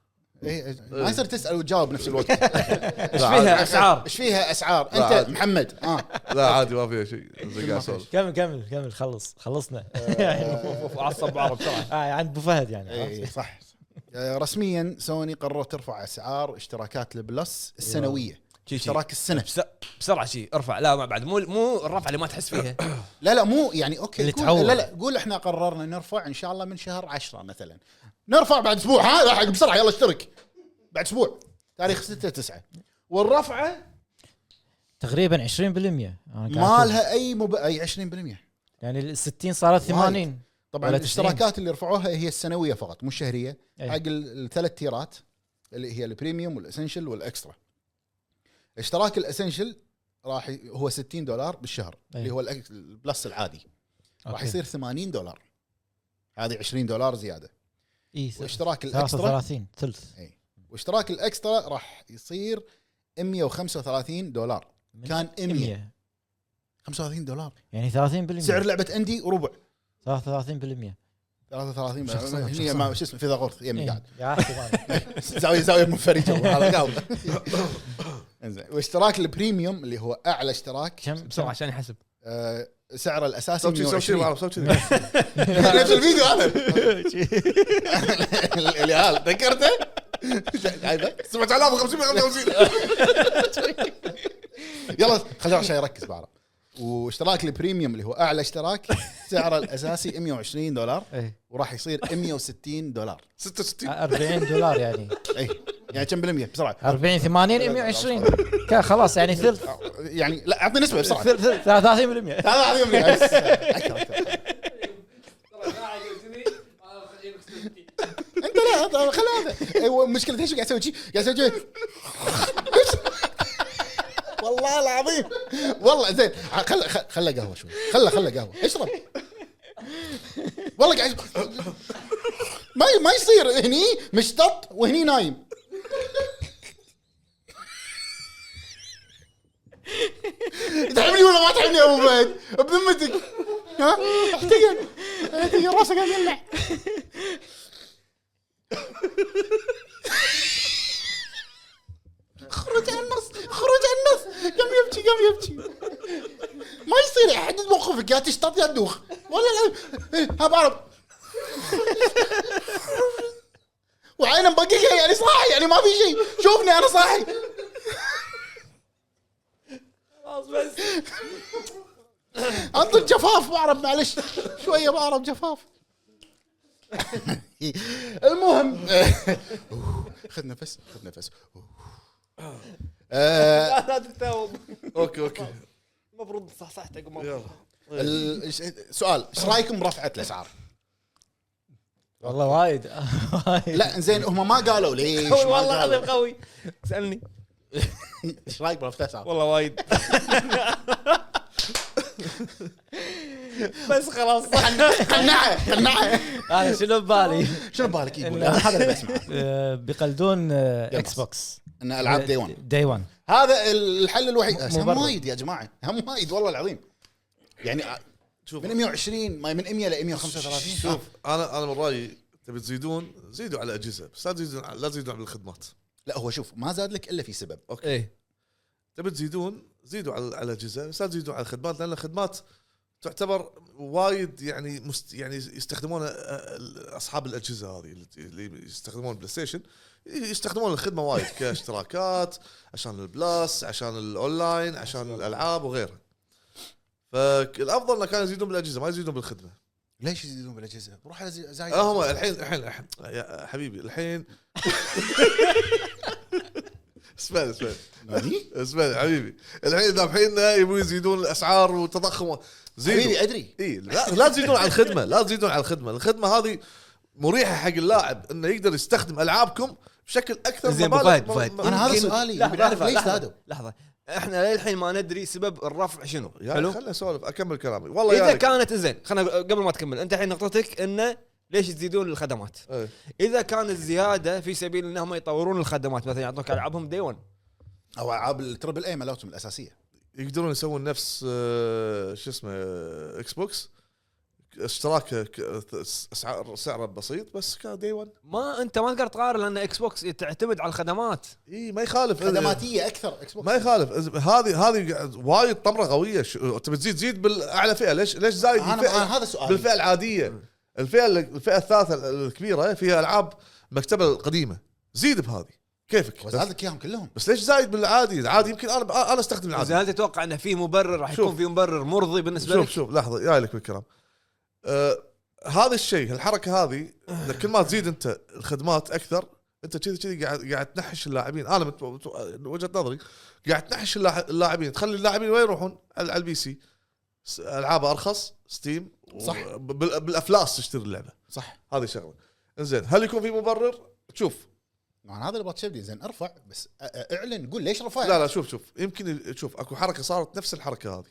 Speaker 3: إيه، ما يصير تسال وتجاوب بنفس الوقت
Speaker 1: ايش فيها اسعار
Speaker 3: ايش فيها اسعار
Speaker 2: لا،
Speaker 3: انت
Speaker 2: عادي.
Speaker 3: محمد اه
Speaker 2: لا عادي ما فيها شيء زي قاعد اسولف
Speaker 6: كمل كمل كمل خلص خلصنا
Speaker 3: آه،
Speaker 6: يعني
Speaker 1: عصب بعض بسرعه
Speaker 6: آه، عند ابو فهد يعني
Speaker 3: اي صح إيه. آه، رسميا سوني قررت ترفع اسعار اشتراكات البلس السنويه
Speaker 1: شي شي.
Speaker 3: اشتراك السنه
Speaker 1: بس- بسرعه شي ارفع لا ما بعد مو مو الرفعه اللي ما تحس فيها
Speaker 3: لا لا مو يعني
Speaker 6: اللي
Speaker 3: اوكي
Speaker 6: تعور.
Speaker 3: قول لا لا قول احنا قررنا نرفع ان شاء الله من شهر 10 مثلا نرفع بعد اسبوع ها لحق بسرعه يلا اشترك بعد اسبوع تاريخ 6 9 والرفعه
Speaker 6: تقريبا 20% أنا قاعد
Speaker 3: ما
Speaker 6: أشوف.
Speaker 3: لها اي مب... اي 20%
Speaker 6: يعني ال 60 صارت 80
Speaker 3: طبعا
Speaker 6: ولا إيه.
Speaker 3: الاشتراكات اللي رفعوها هي السنويه فقط مو الشهريه
Speaker 6: أي.
Speaker 3: حق ال- الثلاث تيرات اللي هي البريميوم والاسنشل والاكسترا اشتراك الاسنشل راح ي- هو 60 دولار بالشهر
Speaker 6: أي.
Speaker 3: اللي هو الأك- البلس العادي راح
Speaker 6: إيه. أوكي.
Speaker 3: يصير 80 دولار هذه 20 دولار زياده
Speaker 6: اي
Speaker 3: واشتراك الاكسترا
Speaker 6: 33 ثلث
Speaker 3: اي واشتراك الاكسترا راح يصير 135 دولار
Speaker 6: من
Speaker 3: كان 100
Speaker 6: 100
Speaker 3: 35 دولار
Speaker 6: يعني 30%
Speaker 3: سعر لعبه اندي وربع
Speaker 6: 33%
Speaker 3: 33
Speaker 6: شخصاً-
Speaker 3: هني
Speaker 6: شخصاً.
Speaker 3: ما- شو اسمه في ذا غرف يمي
Speaker 6: إيه.
Speaker 3: قاعد
Speaker 6: يا أخي والله.
Speaker 3: زاويه زاويه منفرجه وحلقات انزين واشتراك البريميوم اللي هو اعلى اشتراك
Speaker 6: كم
Speaker 1: بسرعه عشان يحسب
Speaker 3: آه، سعره الاساسي
Speaker 2: سوي شي- سوي شي
Speaker 3: 120
Speaker 2: معه، سوي شي.
Speaker 3: نفس الفيديو هذا اللي هذا ذكرته عيبه
Speaker 2: 7500 55
Speaker 3: يلا خلينا عشان يركز بعرف واشتراك البريميوم اللي هو اعلى اشتراك سعره الاساسي 120 دولار
Speaker 6: إيه.
Speaker 3: وراح يصير 160 دولار
Speaker 2: 66
Speaker 6: 40 دولار يعني
Speaker 3: اي يعني كم بالمية بسرعه
Speaker 6: 40 80 120 كان خلاص يعني ثلث
Speaker 3: يعني لا اعطني نسبه بسرعه
Speaker 6: ثلث ثلث- 30%
Speaker 3: هذا هذا يوم اكثر اكثر انت لا طب خل هذا ايوه مشكلة ايش قاعد اسوي شي؟ قاعد اسوي شي. والله العظيم والله زين خل خل- خله قهوه شوي خله خله قهوه اشرب والله قاعد ما ما يصير هني مشطط وهني نايم تحبني ولا ما تحبني يا ابو فهد بذمتك ها احتقن احتقن راسه قاعد يلع خرج عن النص خرج عن النص قام يبكي قام يبكي ما يصير احدد موقفك يا تشطط يا تدوخ ولا لا إيه، ها بعرف وعينه مبققه يعني صاحي يعني ما في شيء شوفني انا صاحي انطر جفاف بعرف معلش شويه بعرف جفاف المهم خذ نفس خذ نفس آه،
Speaker 5: لا تتثاوب
Speaker 2: اوكي اوكي
Speaker 5: المفروض صحصحتك وما
Speaker 2: يلا
Speaker 3: ال- إيش- سؤال ايش رايكم برفعه الاسعار؟
Speaker 6: والله وايد وايد
Speaker 3: لا زين هم ما قالوا ليش ما
Speaker 5: قوي والله
Speaker 3: قالوا.
Speaker 5: العظيم قوي
Speaker 1: اسالني
Speaker 3: ايش رايك برفعه الاسعار؟
Speaker 5: والله وايد بس خلاص
Speaker 3: قنعه قنعه
Speaker 6: انا شنو ببالي
Speaker 3: شنو ببالك يقول أنا هذا اللي بسمعه
Speaker 6: آه، بيقلدون آه، اكس بوكس
Speaker 3: ان العاب دي 1
Speaker 6: دي 1
Speaker 3: هذا الحل الوحيد أس- هم
Speaker 6: مبرر.
Speaker 3: وايد يا جماعه هم وايد والله العظيم يعني آه،
Speaker 2: شوف
Speaker 3: من 120 ما من 100 ل 135
Speaker 2: شوف انا انا من رايي تبي تزيدون زيدوا على اجهزه بس لا تزيدون لا تزيدون على الخدمات
Speaker 3: لا هو شوف ما زاد لك الا في سبب
Speaker 1: ايه
Speaker 2: تبي تزيدون زيدوا على على الاجهزه بس لا تزيدوا على الخدمات لان الخدمات تعتبر وايد يعني مست يعني يستخدمونها آه، اصحاب الاجهزه هذه اللي- اللي يستخدمون بلاي ستيشن يستخدمون الخدمه وايد كاشتراكات عشان البلاس عشان الاونلاين عشان الالعاب وغيرها فالافضل انه كانوا يزيدون بالاجهزه ما يزيدون بالخدمه
Speaker 3: ليش يزيدون بالاجهزه؟ روح على زي- زايد
Speaker 2: آه، هم الحين الحين الحين- يا حبيبي الحين اسمعني اسمعني
Speaker 3: نادي؟
Speaker 2: اسمعني حبيبي الحين ذابحين يبون يزيدون الاسعار والتضخم
Speaker 3: حبيبي
Speaker 2: زيدوا
Speaker 3: ادري
Speaker 2: اي لا لا تزيدون على الخدمه لا تزيدون على الخدمه الخدمه هذه مريحه حق اللاعب انه يقدر يستخدم العابكم بشكل اكثر
Speaker 1: زين أبو
Speaker 2: مبالغ-
Speaker 1: فهد، أبو فهد.
Speaker 2: م-
Speaker 3: انا هذا
Speaker 1: يمكن-
Speaker 3: سؤالي
Speaker 1: لحظة،
Speaker 3: بعرف
Speaker 1: لحظة،
Speaker 3: ليش
Speaker 1: لحظة.
Speaker 3: زادوا؟
Speaker 1: لحظه احنا للحين ما ندري سبب الرفع شنو
Speaker 2: يا
Speaker 1: حلو
Speaker 2: خلنا اسولف اكمل كلامي والله
Speaker 1: اذا
Speaker 2: يا
Speaker 1: كانت زين خلينا قبل ما تكمل انت الحين نقطتك انه ليش تزيدون الخدمات
Speaker 2: إيه.
Speaker 1: اذا كانت زياده في سبيل انهم يطورون الخدمات مثلا يعطوك العابهم دي 1
Speaker 3: او العاب التربل اي مالتهم الاساسيه
Speaker 2: يقدرون يسوون نفس آه، شو اسمه آه، اكس بوكس اشتراكه ك- اسعار سعره بسيط بس كان دي 1
Speaker 1: ما انت ما تقدر تقارن لان اكس بوكس تعتمد على الخدمات
Speaker 2: اي ما يخالف
Speaker 3: خدماتيه اكثر اكس بوكس
Speaker 2: ما يخالف إز- هذه هذه قاعد- وايد طمره قويه ش- تبي تزيد زيد بالاعلى فئه ليش ليش زايد
Speaker 3: أنا-
Speaker 2: بالفئة-
Speaker 3: أنا هذا سؤالي.
Speaker 2: بالفئه العاديه الفئه ال- الفئه الثالثه ال- الكبيره فيها العاب مكتبه القديمه زيد بهذه كيفك بس,
Speaker 3: وزاد لك اياهم كلهم
Speaker 2: بس ليش زايد بالعادي العادي يمكن انا انا استخدم
Speaker 1: اذا
Speaker 2: العادي
Speaker 1: هل تتوقع انه في مبرر راح
Speaker 2: نعم. شوف.
Speaker 1: يكون في مبرر مرضي بالنسبه
Speaker 2: شوف
Speaker 1: لك
Speaker 2: شوف لحظه جاي لك بالكلام آه هذا الشيء الحركه هذه إن كل ما تزيد انت الخدمات اكثر انت كذي كذي قاعد قاعد تنحش اللاعبين انا مت... مت- وجهه نظري قاعد تنحش اللاع- اللاعبين تخلي اللاعبين وين يروحون؟ على على البي سي س- العابها ارخص ستيم و-
Speaker 3: صح.
Speaker 2: ب- بال- بالافلاس تشتري اللعبه
Speaker 3: صح
Speaker 2: هذه شغله انزين هل يكون في مبرر؟ شوف
Speaker 3: ما أنا هذا اللي بتشبدي زين ارفع بس أ- أ- اعلن قول ليش رفعت
Speaker 2: لا لا شوف شوف يمكن ال- شوف اكو حركه صارت نفس الحركه هذه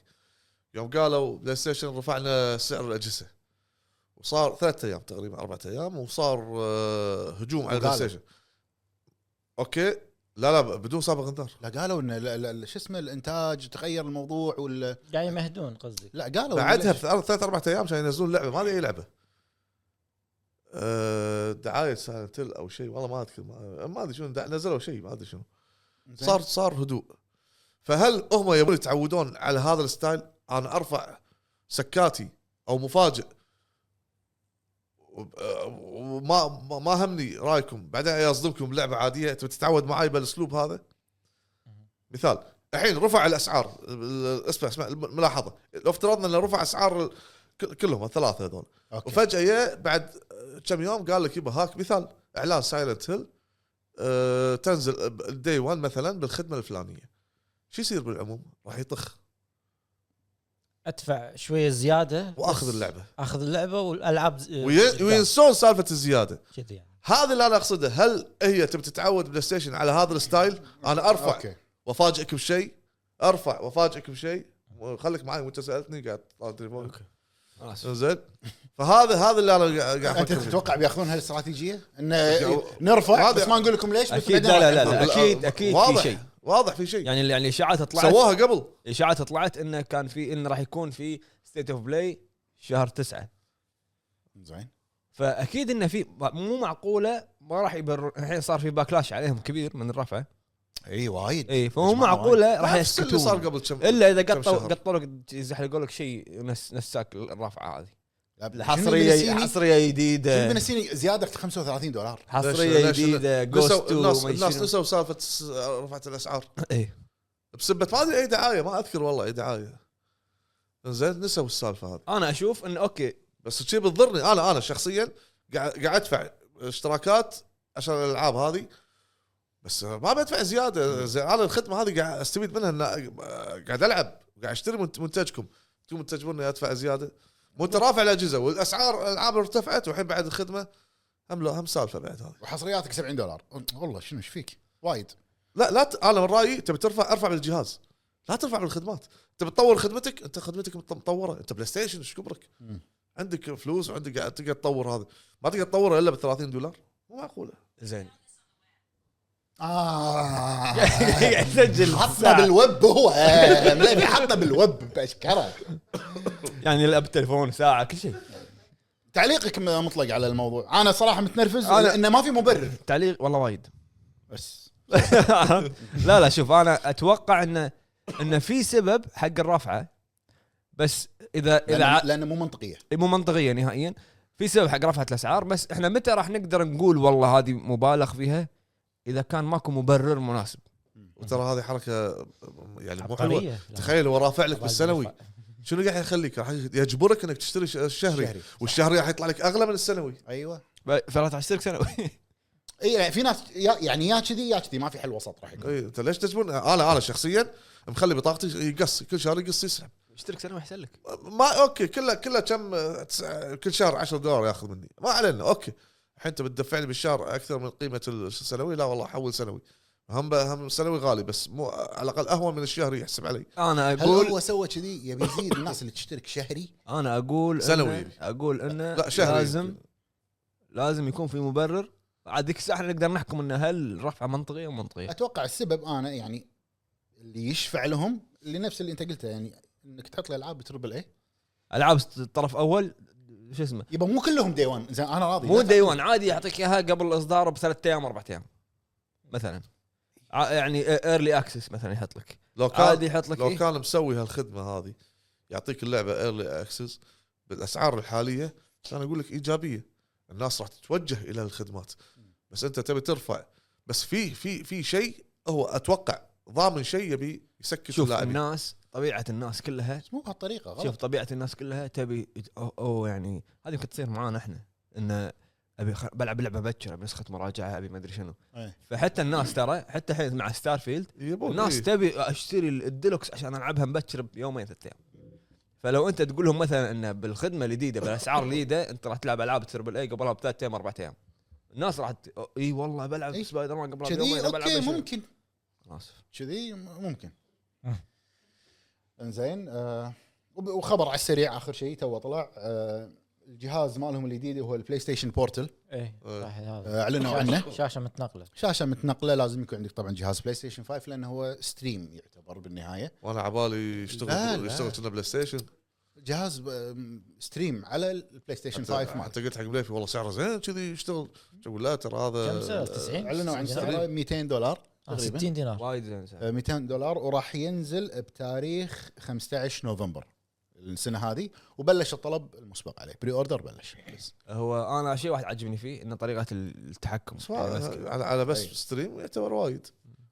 Speaker 2: يوم قالوا بلاي ستيشن رفعنا سعر الاجهزه وصار ثلاثة ايام تقريبا اربعة ايام وصار آه، هجوم على البلاي
Speaker 3: وقالوا.
Speaker 2: ستيشن اوكي لا لا ب- بدون سابق انذار
Speaker 3: لا قالوا ان لا- لا- شو اسمه الانتاج تغير الموضوع ولا
Speaker 6: قاعد يمهدون قصدي
Speaker 3: لا قالوا
Speaker 2: بعدها
Speaker 3: ليش.
Speaker 2: بثلاث ثلاث اربع ايام عشان ينزلون لعبه ما ادري اي لعبه أه دعايه سالنتل او شيء والله ما اذكر ما- ما ادري شنو دع- نزلوا شيء ما ادري شنو
Speaker 3: زين.
Speaker 2: صار صار هدوء فهل هم يبون يتعودون على هذا الستايل انا ارفع سكاتي او مفاجئ وب- آه، وما ما- ما همني رايكم بعدين يصدمكم بلعبه عاديه تبي تتعود معاي بالاسلوب هذا مثال الحين رفع الاسعار ال- اسمع اسمع الم- ملاحظه لو افترضنا انه رفع اسعار ال- ك- كلهم الثلاثه هذول
Speaker 3: اوكي
Speaker 2: وفجاه يا بعد كم يوم قال لك يبا هاك مثال اعلان سايلنت هيل أه تنزل دي 1 مثلا بالخدمه الفلانيه شو يصير بالعموم؟ راح يطخ
Speaker 6: ادفع شويه زياده
Speaker 2: واخذ
Speaker 6: بس
Speaker 2: اللعبه
Speaker 6: اخذ اللعبه والالعاب ز-
Speaker 2: وي-
Speaker 6: قدام.
Speaker 2: وينسون سالفه الزياده
Speaker 6: كذي يعني
Speaker 2: هذا اللي انا اقصده هل هي تبي تتعود بلاي ستيشن على هذا الستايل انا ارفع
Speaker 3: اوكي
Speaker 2: وافاجئك بشيء ارفع وافاجئك بشيء خليك معي وانت سالتني قاعد طالع تليفون
Speaker 1: أنا آسف.
Speaker 2: زين فهذا هذا اللي انا قاعد قاعد
Speaker 3: انت
Speaker 2: أفكر فيه.
Speaker 3: تتوقع بياخذون هالاستراتيجيه؟ انه
Speaker 2: أوكي.
Speaker 3: نرفع
Speaker 2: هذا-
Speaker 3: بس ما نقول لكم ليش بس
Speaker 1: اكيد
Speaker 3: بعدين
Speaker 1: لا لا
Speaker 3: راح
Speaker 1: لا,
Speaker 3: نرفع.
Speaker 1: لا اكيد اكيد في
Speaker 2: واضح
Speaker 1: شيء
Speaker 2: واضح في شيء
Speaker 1: يعني يعني الاشاعات طلعت
Speaker 2: سواها قبل
Speaker 1: الاشاعات طلعت انه كان في انه راح يكون في ستيت اوف بلاي شهر تسعة
Speaker 3: زين
Speaker 1: فاكيد انه في مو معقوله ما راح يبرر الحين صار في باكلاش عليهم كبير من الرفعه
Speaker 3: اي وايد
Speaker 1: اي فمو
Speaker 3: مجموعة
Speaker 1: معقوله راح
Speaker 2: نفس اللي صار
Speaker 1: يسكتون
Speaker 2: قبل كم
Speaker 1: الا اذا
Speaker 2: كم
Speaker 1: قطوا
Speaker 2: شهر.
Speaker 1: قطوا لك يزحلقوا لك شيء نس نساك الرفعه هذه
Speaker 3: شنو
Speaker 1: حصريه
Speaker 3: بنسيني-
Speaker 1: حصريه
Speaker 3: شنو
Speaker 1: جديده
Speaker 3: بنسيني زياده 35 دولار
Speaker 1: حصريه
Speaker 2: ليش- ليش-
Speaker 1: جديده
Speaker 2: نسوا-
Speaker 1: جوست
Speaker 2: الناس
Speaker 1: 2
Speaker 2: الناس نسوا سالفه س- رفعه الاسعار
Speaker 1: اي
Speaker 2: بسبه ما ادري اي دعايه ما اذكر والله اي دعايه زين نسوا السالفه هذه
Speaker 1: انا اشوف انه اوكي
Speaker 2: بس شي بتضرني انا انا شخصيا قاعد قاعد ادفع اشتراكات عشان الالعاب هذه بس ما بدفع زياده زين انا الخدمه هذه قاعد استفيد منها ان قاعد العب قاعد اشتري منت- منتجكم انتم منتجون اني ادفع زياده مو انت رافع الاجهزه والاسعار الالعاب ارتفعت والحين بعد الخدمه هم لا هم سالفه بعد هذه
Speaker 3: وحصرياتك 70 دولار والله شنو ايش فيك؟ وايد
Speaker 2: لا لا ت... انا من رايي تبي ترفع ارفع بالجهاز لا ترفع بالخدمات تبي تطور خدمتك انت خدمتك مط- مطوره انت بلاي ستيشن ايش كبرك
Speaker 3: مم.
Speaker 2: عندك فلوس وعندك قاعد تقدر تطور هذا ما تقدر تطوره الا ب 30 دولار مو معقوله
Speaker 1: زين
Speaker 3: آه.
Speaker 1: قاعد اسجل
Speaker 3: حطنا بالوب هو آه، مليفي حطنا بالوب باشكره
Speaker 1: يعني الاب تليفون ساعه كل شيء
Speaker 3: تعليقك م- مطلق على الموضوع انا صراحه متنرفز
Speaker 1: أنا-
Speaker 3: لانه ما في مبرر
Speaker 1: تعليق والله وايد
Speaker 3: بس
Speaker 1: لا لا شوف انا اتوقع انه انه في سبب حق الرفعه بس اذا اذا
Speaker 3: لأنه-
Speaker 1: ع-
Speaker 3: لانه مو منطقيه
Speaker 1: مو منطقيه نهائيا في سبب حق رفعه الاسعار بس احنا متى راح نقدر نقول والله هذه مبالغ فيها اذا كان ماكو مبرر مناسب
Speaker 2: وترى هذه حركه يعني مو حلوه
Speaker 6: عبقرية. لا.
Speaker 2: تخيل هو رافع لك
Speaker 6: طبعاً
Speaker 2: بالسنوي شنو قاعد يخليك راح يجبرك انك تشتري ش- الشهري
Speaker 3: شهري.
Speaker 2: والشهري راح يطلع لك اغلى من السنوي
Speaker 3: ايوه
Speaker 1: ب- 13 سنه
Speaker 3: اي لا، في ناس يا- يعني يا كذي يا كذي ما في حل وسط راح يكون
Speaker 2: اي انت إيه، ليش تجبرني انا انا شخصيا مخلي بطاقتي يقص كل شهر يقص يسحب
Speaker 1: اشترك سنه احسن لك
Speaker 2: ما اوكي كله كله كم آه، تسعة- كل شهر 10 دولار ياخذ مني ما علينا اوكي الحين انت بتدفع لي بالشهر اكثر من قيمه السنوي لا والله حول سنوي هم ب- هم سنوي غالي بس مو على الاقل اهون من الشهري يحسب علي
Speaker 1: انا
Speaker 3: هل
Speaker 1: اقول
Speaker 3: هو سوى كذي يبي يزيد الناس اللي تشترك شهري
Speaker 1: انا اقول إنه-
Speaker 2: سنوي.
Speaker 1: اقول انه
Speaker 2: لا،
Speaker 1: لا
Speaker 2: شهري.
Speaker 1: أه، لازم لازم يكون في مبرر عاد ذيك الساعه إحنا نقدر نحكم انه هل الرفعه منطقيه او منطقيه
Speaker 3: اتوقع السبب انا يعني اللي يشفع لهم اللي نفس اللي انت قلته يعني انك تحط لي العاب بتربل إيه. اي
Speaker 1: العاب الطرف اول شو اسمه
Speaker 3: يبا مو كلهم دي 1 زين انا راضي
Speaker 1: مو
Speaker 3: لا
Speaker 1: ديوان عادي يعطيك اياها قبل اصداره بثلاث ايام اربع ايام مثلا ع- يعني ايرلي اكسس مثلا يحط لك
Speaker 2: لو
Speaker 1: عادي
Speaker 2: كان
Speaker 1: يحط لك
Speaker 2: لو
Speaker 1: إيه؟
Speaker 2: كان مسوي هالخدمه هذه يعطيك اللعبه ايرلي اكسس بالاسعار الحاليه كان اقول لك ايجابيه الناس راح تتوجه الى الخدمات بس انت تبي ترفع بس في في في شيء هو اتوقع ضامن شيء يبي يسكت
Speaker 1: شوف
Speaker 2: اللاعبين
Speaker 1: الناس طبيعه الناس كلها
Speaker 3: بس مو بهالطريقه غلط
Speaker 1: شوف طبيعه الناس كلها تبي او, أو يعني هذه يمكن تصير معانا احنا انه ابي خ- بلعب لعبه بكر ابي نسخه مراجعه ابي ما ادري شنو
Speaker 3: إيه.
Speaker 1: فحتى الناس ترى حتى الحين مع ستار فيلد
Speaker 2: يبون
Speaker 1: الناس
Speaker 2: إيه.
Speaker 1: تبي اشتري الديلوكس عشان العبها مبكر بيومين ثلاث ايام فلو انت تقول لهم مثلا انه بالخدمه الجديده بالاسعار الجديده انت راح تلعب العاب تربل اي قبلها بثلاث ايام اربع ايام الناس راح ت... اي والله بلعب
Speaker 3: إي.
Speaker 1: سبايدر مان قبلها بيومين
Speaker 3: كذي
Speaker 1: أنا بلعب
Speaker 3: اوكي
Speaker 1: شنو.
Speaker 3: ممكن
Speaker 1: اسف
Speaker 3: كذي م- ممكن
Speaker 6: أه.
Speaker 3: انزين آه وب- وخبر على السريع اخر شيء تو طلع آه الجهاز مالهم الجديد هو البلاي ستيشن بورتل
Speaker 6: ايه صح هذا
Speaker 3: آه، اعلنوا عنه
Speaker 6: شاشه متنقله
Speaker 3: شاشه متنقله لازم يكون عندك طبعا جهاز بلاي ستيشن 5 لانه هو ستريم يعتبر بالنهايه
Speaker 2: وانا عبالي يشتغل
Speaker 3: لا، لا.
Speaker 2: يشتغل كنا بلاي ستيشن
Speaker 3: جهاز ب- ستريم على البلاي ستيشن 5 مالته
Speaker 2: حتى قلت حق بليفي والله سعره زين كذي يشتغل اقول لا ترى
Speaker 6: كم سعر
Speaker 2: هذا
Speaker 6: 90
Speaker 3: اعلنوا عن سعره
Speaker 2: ستريم.
Speaker 3: 200 دولار
Speaker 6: آه،
Speaker 3: تقريبا
Speaker 6: 60 دينار
Speaker 1: وايد زين سعر.
Speaker 3: آه، 200 دولار وراح ينزل بتاريخ 15 نوفمبر السنه هذه وبلش الطلب المسبق عليه بري اوردر بلش بس
Speaker 1: هو انا شيء واحد عجبني فيه انه طريقه التحكم يعني
Speaker 2: آه.
Speaker 6: طيب.
Speaker 2: بس ما- على على بس
Speaker 3: أي.
Speaker 2: ستريم يعتبر وايد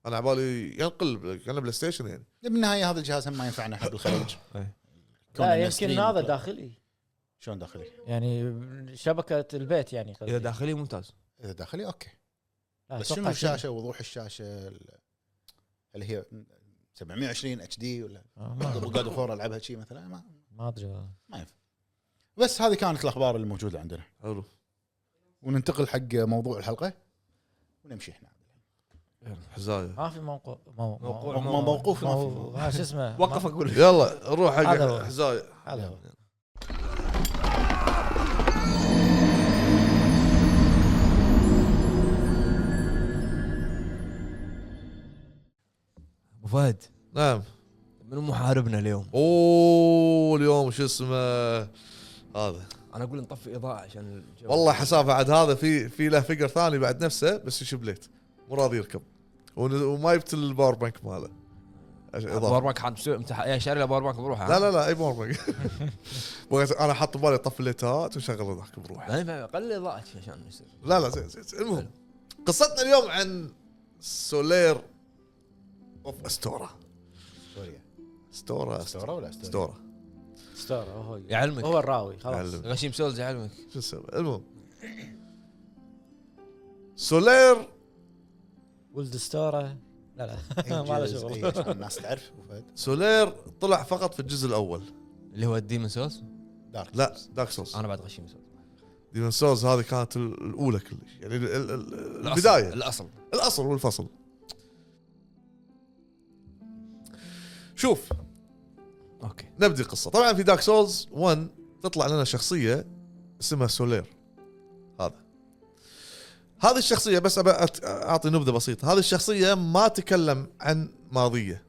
Speaker 2: انا عبالي ينقل كان بلاي ستيشن يعني
Speaker 3: بالنهايه هذا الجهاز هم ما ينفعنا احنا بالخليج
Speaker 1: إيه.
Speaker 3: كون إنه
Speaker 6: لا يمكن
Speaker 3: ستريم.
Speaker 6: هذا داخلي
Speaker 3: شلون داخلي؟
Speaker 6: يعني شبكه البيت يعني قصدي.
Speaker 1: اذا داخلي ممتاز
Speaker 3: اذا داخلي اوكي
Speaker 6: لا،
Speaker 3: بس
Speaker 6: أتوقع
Speaker 3: شنو الشاشه وضوح الشاشه ال- اللي هي 720 اتش دي ولا
Speaker 6: آه، ما-
Speaker 3: قاعد فور العبها شي مثلا ما
Speaker 6: ما ادري والله.
Speaker 3: ما ينفع بس هذه كانت الاخبار الموجوده عندنا
Speaker 2: حلو
Speaker 3: وننتقل حق موضوع الحلقه ونمشي احنا
Speaker 2: حزايه
Speaker 6: ما في موقع مو- مو-
Speaker 1: موقوع.
Speaker 6: مو-
Speaker 3: مو- موقوف ما في.
Speaker 6: مو- ما شو اسمه
Speaker 1: وقف اقول
Speaker 2: يلا نروح
Speaker 6: هذا هو.
Speaker 2: حق حزايه
Speaker 6: ما- هذا هو.
Speaker 1: ابو فهد
Speaker 2: نعم
Speaker 1: منو محاربنا اليوم؟
Speaker 2: اوه اليوم شو اسمه هذا
Speaker 1: انا اقول نطفي اضاءه عشان الجو.
Speaker 2: والله حسافه عاد هذا في في له فقر ثاني بعد نفسه بس شبليت مو راضي يركب ون- وما جبت الباور بانك ماله عش- إضافة.
Speaker 1: باور بانك حاط بسوق- امتح- يا شاري له باور بانك بروحه
Speaker 2: لا لا لا اي باور بانك بغيت- انا حاط بالي اطفي الليتات وشغل ذاك بروحي
Speaker 1: بعدين فهم- قلل اضاءتك يعني عشان يصير
Speaker 2: لا لا زين زين زين. المهم قصتنا اليوم عن سولير اوف استورا
Speaker 3: سوريا
Speaker 2: استورا
Speaker 3: استورا ولا استورا؟
Speaker 2: استورا
Speaker 6: ستار هو
Speaker 1: يعلمك.
Speaker 6: هو الراوي خلاص
Speaker 2: أعلم.
Speaker 1: غشيم سولز يعلمك
Speaker 2: شو اسمه المهم سولير
Speaker 6: ولد ستاره لا لا ما له
Speaker 3: إنجاز. إيه،
Speaker 6: شغل
Speaker 3: عشان الناس تعرف أبو فهد.
Speaker 2: سولير طلع فقط في الجزء الاول
Speaker 1: اللي هو الديمون سولز
Speaker 3: دارك
Speaker 2: لا دارك سولز
Speaker 1: انا بعد غشيم سولز
Speaker 2: ديمون سولز هذه كانت ال- الاولى كلش يعني ال- ال- ال-
Speaker 1: الأصل-
Speaker 2: البدايه
Speaker 1: الاصل
Speaker 2: الاصل والفصل شوف
Speaker 1: اوكي
Speaker 2: نبدا القصه طبعا في دارك سولز 1 تطلع لنا شخصيه اسمها سولير هذا هذه الشخصيه بس أبى أت- اعطي نبذه بسيطه هذه الشخصيه ما تكلم عن ماضيه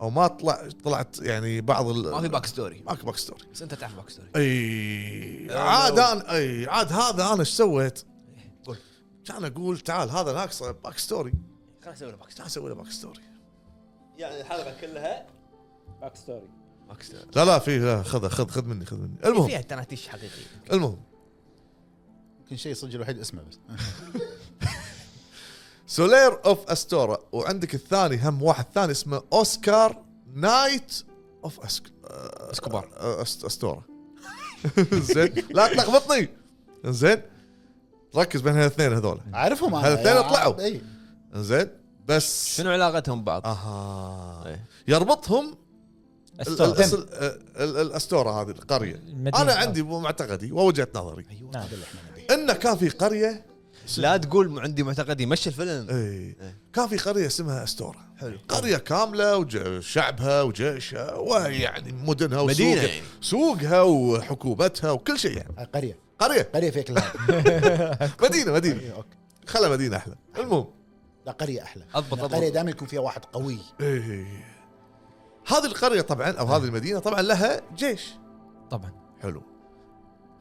Speaker 2: او ما طلع طلعت يعني بعض ال-
Speaker 1: ما في باك ستوري
Speaker 2: ماكو باك ستوري
Speaker 1: بس انت تعرف باك ستوري
Speaker 2: اي عاد انا اي عاد هذا انا ايش سويت؟
Speaker 1: قول.
Speaker 2: كان اقول تعال هذا ناقصه باك ستوري
Speaker 1: خلينا نسوي له باك
Speaker 2: تعال نسوي له باك ستوري
Speaker 5: يعني الحلقه كلها باك ستوري
Speaker 1: باك ستوري
Speaker 2: لا لا في لا خذ خذ خذ مني خذ مني المهم
Speaker 1: فيها تناتيش حقيقيه
Speaker 2: المهم
Speaker 3: يمكن شيء صدق الوحيد اسمه بس
Speaker 2: سولير اوف استورا وعندك الثاني هم واحد ثاني اسمه اوسكار نايت اوف أسك... آه،
Speaker 1: اسكوبار.
Speaker 2: آه، أست... استورا زين لا تلخبطني زين ركز بين هالاثنين هذول
Speaker 3: اعرفهم انا
Speaker 2: هالثاني
Speaker 3: يا-
Speaker 2: طلعوا.
Speaker 3: إيه.
Speaker 2: زين بس
Speaker 1: شنو علاقتهم ببعض؟
Speaker 2: اها
Speaker 1: إيه.
Speaker 2: يربطهم ال- ال-
Speaker 6: أستار.
Speaker 2: الأصل- آه، ال- الاستورا هذه القريه
Speaker 6: المدينة.
Speaker 2: انا عندي معتقدي ووجهه نظري
Speaker 6: نعم.
Speaker 3: هذا اللي احنا نبيه
Speaker 2: انه كان في قريه
Speaker 1: لا تقول عندي معتقدي مشي الفيلم
Speaker 2: اي
Speaker 1: إيه.
Speaker 2: كان في قريه اسمها استورا حلو قريه كامله وشعبها وجيشها ويعني مدنها
Speaker 1: مدينة
Speaker 2: وسوقها
Speaker 1: يعني.
Speaker 2: سوقها وحكومتها وكل شيء يعني
Speaker 3: آه، قريه
Speaker 2: قريه
Speaker 3: قريه فيك لا
Speaker 2: مدينه مدينه
Speaker 3: إيه، اوكي
Speaker 2: خلا مدينه احلى المهم
Speaker 3: لا قريه احلى
Speaker 1: اضبط
Speaker 3: القريه
Speaker 1: اضبط
Speaker 3: دائما يكون فيها واحد قوي
Speaker 2: إيه. هذه القريه طبعا او هذه المدينه طبعا لها جيش
Speaker 1: طبعا
Speaker 2: حلو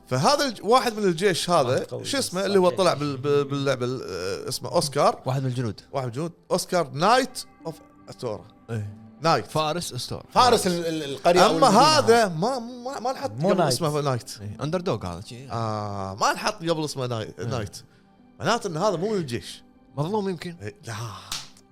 Speaker 2: فهذا الج... واحد من الجيش
Speaker 6: واحد
Speaker 2: هذا
Speaker 6: قوي
Speaker 2: شو
Speaker 6: بس
Speaker 2: اسمه اللي هو
Speaker 6: صار
Speaker 2: طلع بال... بال- باللعبه ال- آه، اسمه اوسكار
Speaker 1: واحد من الجنود
Speaker 2: واحد جنود اوسكار نايت اوف استورا
Speaker 1: ايه
Speaker 2: نايت
Speaker 1: فارس استور
Speaker 3: فارس ال- ال- القريه أو
Speaker 2: اما
Speaker 3: المدينة
Speaker 2: هذا ما ما, ما نحط
Speaker 6: مو
Speaker 2: قبل
Speaker 6: نايت.
Speaker 2: اسمه نايت
Speaker 1: اندر دوغ هذا شي.
Speaker 2: آه ما نحط قبل اسمه ناي... نايت معناته ان هذا مو من الجيش
Speaker 1: مظلوم يمكن
Speaker 2: إيه، لا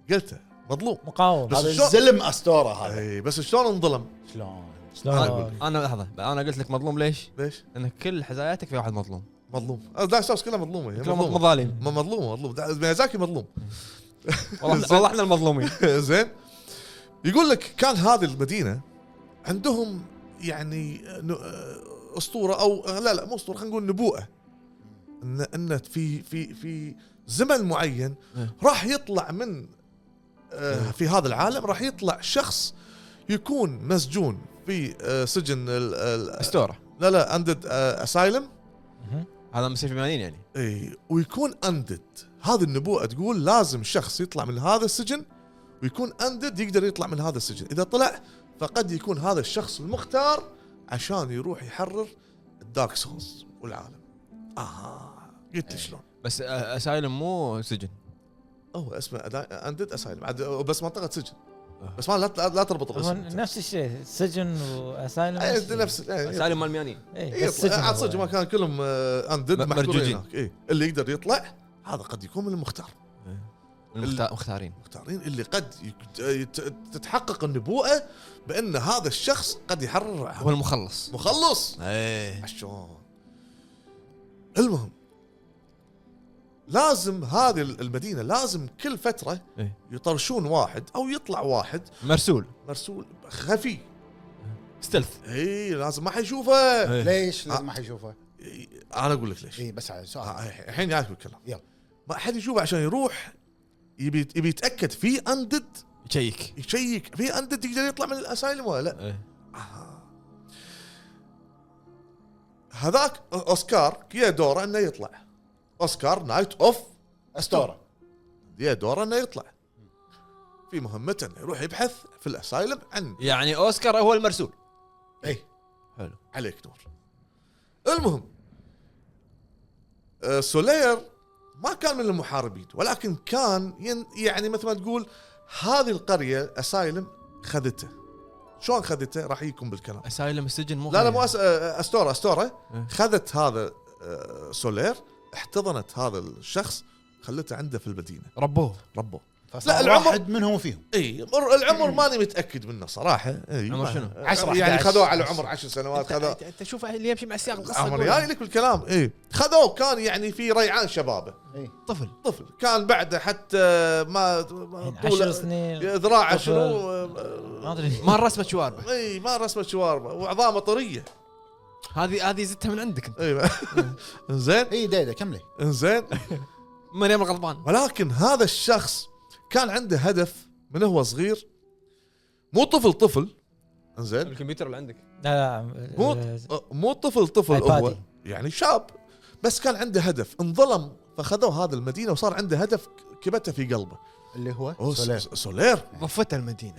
Speaker 2: قلته مظلوم
Speaker 6: مقاوم
Speaker 2: بس
Speaker 3: هذا
Speaker 2: شلون-
Speaker 3: الزلم استوره هذا
Speaker 2: اي بس شلون انظلم؟
Speaker 3: شلون
Speaker 1: آه.
Speaker 6: شلون
Speaker 1: انا لحظه انا قلت لك مظلوم ليش؟
Speaker 2: ليش؟
Speaker 1: لان كل حزاياتك في واحد مظلوم
Speaker 2: مظلوم آه، دارك سولز كلها مظلومه هي،
Speaker 1: كلهم
Speaker 2: مظلومه
Speaker 1: مظالم
Speaker 2: ما مظلومه مظلوم دا- ميازاكي مظلوم
Speaker 1: والله والله احنا المظلومين
Speaker 2: زين يقول لك كان هذه المدينه عندهم يعني آه، ن- اسطوره او لا لا مو اسطوره خلينا نقول نبوءه ان ان في في في زمن معين
Speaker 1: إيه.
Speaker 2: راح يطلع من آه، في هذا العالم راح يطلع شخص يكون مسجون في آه، سجن ال- ال-
Speaker 1: اسطوره
Speaker 2: لا لا آه، اندد اسايلم
Speaker 1: هذا مسير في مليانين يعني
Speaker 2: اي إيه، ويكون اندد هذه النبوءه تقول لازم شخص يطلع من هذا السجن ويكون اندد يقدر يطلع من هذا السجن اذا طلع فقد يكون هذا الشخص المختار عشان يروح يحرر الدارك سولز والعالم
Speaker 6: آه.
Speaker 2: اها
Speaker 6: إيه.
Speaker 2: قلت لي شلون
Speaker 1: بس آه، اسايلم مو سجن
Speaker 2: هو اسمه اندد اسايلم عاد بس منطقه سجن بس ما لا, لا تربط
Speaker 6: آه. هو
Speaker 2: بس
Speaker 6: نفس الشيء سجن واسايلم
Speaker 2: إيه، نفس إيه، إيه.
Speaker 1: اسايلم مال ميانين
Speaker 6: إيه، بس
Speaker 2: يطلع آه،
Speaker 6: سجن
Speaker 2: عاد
Speaker 6: هو
Speaker 2: صدق ما
Speaker 6: يعني.
Speaker 2: كان كلهم اندد
Speaker 1: م- مرجوجين.
Speaker 2: إيه. اي اللي يقدر يطلع هذا قد يكون من المختار
Speaker 1: إيه. المختا- مختارين
Speaker 2: مختارين اللي قد يك- يت- تتحقق النبوءه بان هذا الشخص قد يحرر
Speaker 1: هو
Speaker 2: عالم.
Speaker 1: المخلص
Speaker 2: مخلص إيه.
Speaker 1: ايه
Speaker 2: عشان المهم لازم هذه المدينه لازم كل فتره
Speaker 1: إيه.
Speaker 2: يطرشون واحد او يطلع واحد
Speaker 1: مرسول
Speaker 2: مرسول خفي
Speaker 1: ستلث
Speaker 2: اي لازم ما حيشوفه
Speaker 1: إيه.
Speaker 3: ليش لازم ما حيشوفه؟
Speaker 2: إيه، انا اقول لك ليش
Speaker 3: اي بس على سؤال
Speaker 2: آه، الحين جايك بالكلام
Speaker 3: يلا.
Speaker 2: ما حد يشوفه عشان يروح يبي يبي يتاكد في اندد
Speaker 1: يشيك
Speaker 2: يشيك في اندد يقدر يطلع من الاسايلم ولا لا
Speaker 1: ايه
Speaker 2: هذاك اوسكار يا دوره انه يطلع اوسكار نايت اوف
Speaker 3: استوره
Speaker 2: يا دوره انه يطلع في مهمته انه يروح يبحث في الاسايلم عن
Speaker 1: يعني اوسكار هو المرسول
Speaker 2: إيه.
Speaker 3: اي
Speaker 1: حلو
Speaker 2: عليك نور المهم آه، سولير ما كان من المحاربين ولكن كان ين- يعني مثل ما تقول هذه القريه اسايلم خذته شلون خذته راح يجيكم بالكلام
Speaker 1: اسايلم السجن مو
Speaker 2: لا لا مو أس... آه، استوره استوره
Speaker 1: إيه.
Speaker 2: خذت هذا آه، سولير احتضنت هذا الشخص خلته عنده في المدينه
Speaker 1: ربوه
Speaker 2: ربه لا،
Speaker 3: لا
Speaker 2: العمر-
Speaker 3: واحد منهم فيهم
Speaker 2: اي مر- العمر ماني متاكد منه صراحه اي
Speaker 1: عمر
Speaker 2: ما-
Speaker 1: شنو؟
Speaker 2: آه،
Speaker 3: 10
Speaker 2: يعني
Speaker 3: 11.
Speaker 2: خذوه على عمر 10 سنوات خذوه يعني
Speaker 5: انت أنت شوف اللي يمشي مع سياق القصه
Speaker 2: عمر
Speaker 5: يقول.
Speaker 2: جاي لك بالكلام اي خذوه كان يعني في ريعان شبابه
Speaker 3: اي
Speaker 1: طفل
Speaker 2: طفل كان بعده حتى ما ما
Speaker 6: يعني عشر سنين
Speaker 2: ذراعه
Speaker 6: طفل.
Speaker 2: شنو
Speaker 6: آه. ما ادري
Speaker 1: ما رسمت شواربه
Speaker 2: اي ما رسمه شوارما وعظامه طريه
Speaker 1: هذه هذه زدتها من عندك انت
Speaker 2: اي انزين
Speaker 3: اي إيه، ديدا كملي
Speaker 2: انزين
Speaker 1: من يوم الغضبان
Speaker 2: ولكن هذا الشخص كان عنده هدف من هو صغير مو طفل طفل انزين
Speaker 1: الكمبيوتر اللي عندك
Speaker 6: لا آه،
Speaker 2: مو
Speaker 6: لا
Speaker 3: أه،
Speaker 2: مو طفل طفل هو
Speaker 6: iPad.
Speaker 2: يعني شاب بس كان عنده هدف انظلم فخذوا هذا المدينه وصار عنده هدف كبته في قلبه
Speaker 3: اللي هو
Speaker 2: أوه،
Speaker 3: سولير
Speaker 2: س- سولير
Speaker 1: ضفته المدينه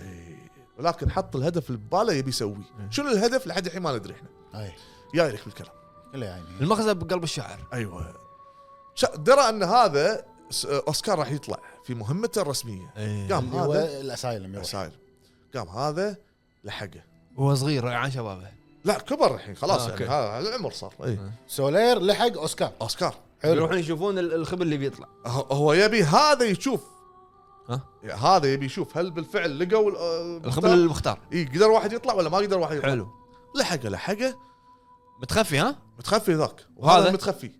Speaker 2: ولكن حط الهدف اللي بباله يبي يسويه
Speaker 3: إيه.
Speaker 2: شنو الهدف لحد الحين ما ندري احنا
Speaker 3: اي
Speaker 2: جاي لك بالكلام
Speaker 3: إيه. كله يعني
Speaker 1: المغزى بقلب الشعر
Speaker 2: ايوه شا- درى ان هذا س- اوسكار راح يطلع في مهمته الرسميه
Speaker 1: ايه
Speaker 2: قام
Speaker 3: إيه. اللي هو
Speaker 2: هذا
Speaker 3: الاسايلم
Speaker 1: طيب.
Speaker 3: يروح.
Speaker 2: وسائل قام هذا لحقه
Speaker 1: وهو صغير ريعان شبابه
Speaker 2: لا كبر الحين خلاص
Speaker 1: آه،
Speaker 2: يعني
Speaker 1: أوكي. إيه.
Speaker 2: هذا العمر صار اي
Speaker 3: سولير لحق اوسكار
Speaker 2: اوسكار
Speaker 3: حلو
Speaker 1: يشوفون الخبر اللي بيطلع
Speaker 2: هو- أه، هو يبي هذا يشوف
Speaker 1: ها؟
Speaker 2: هذا يبي يشوف هل بالفعل لقوا ال-
Speaker 1: الخبر
Speaker 2: المختار؟
Speaker 1: المختار
Speaker 2: اي قدر واحد يطلع ولا ما قدر واحد يطلع
Speaker 1: حلو
Speaker 2: لحقه لحقه
Speaker 1: متخفي ها
Speaker 2: متخفي ذاك
Speaker 1: وهذا؟
Speaker 2: وهذا متخفي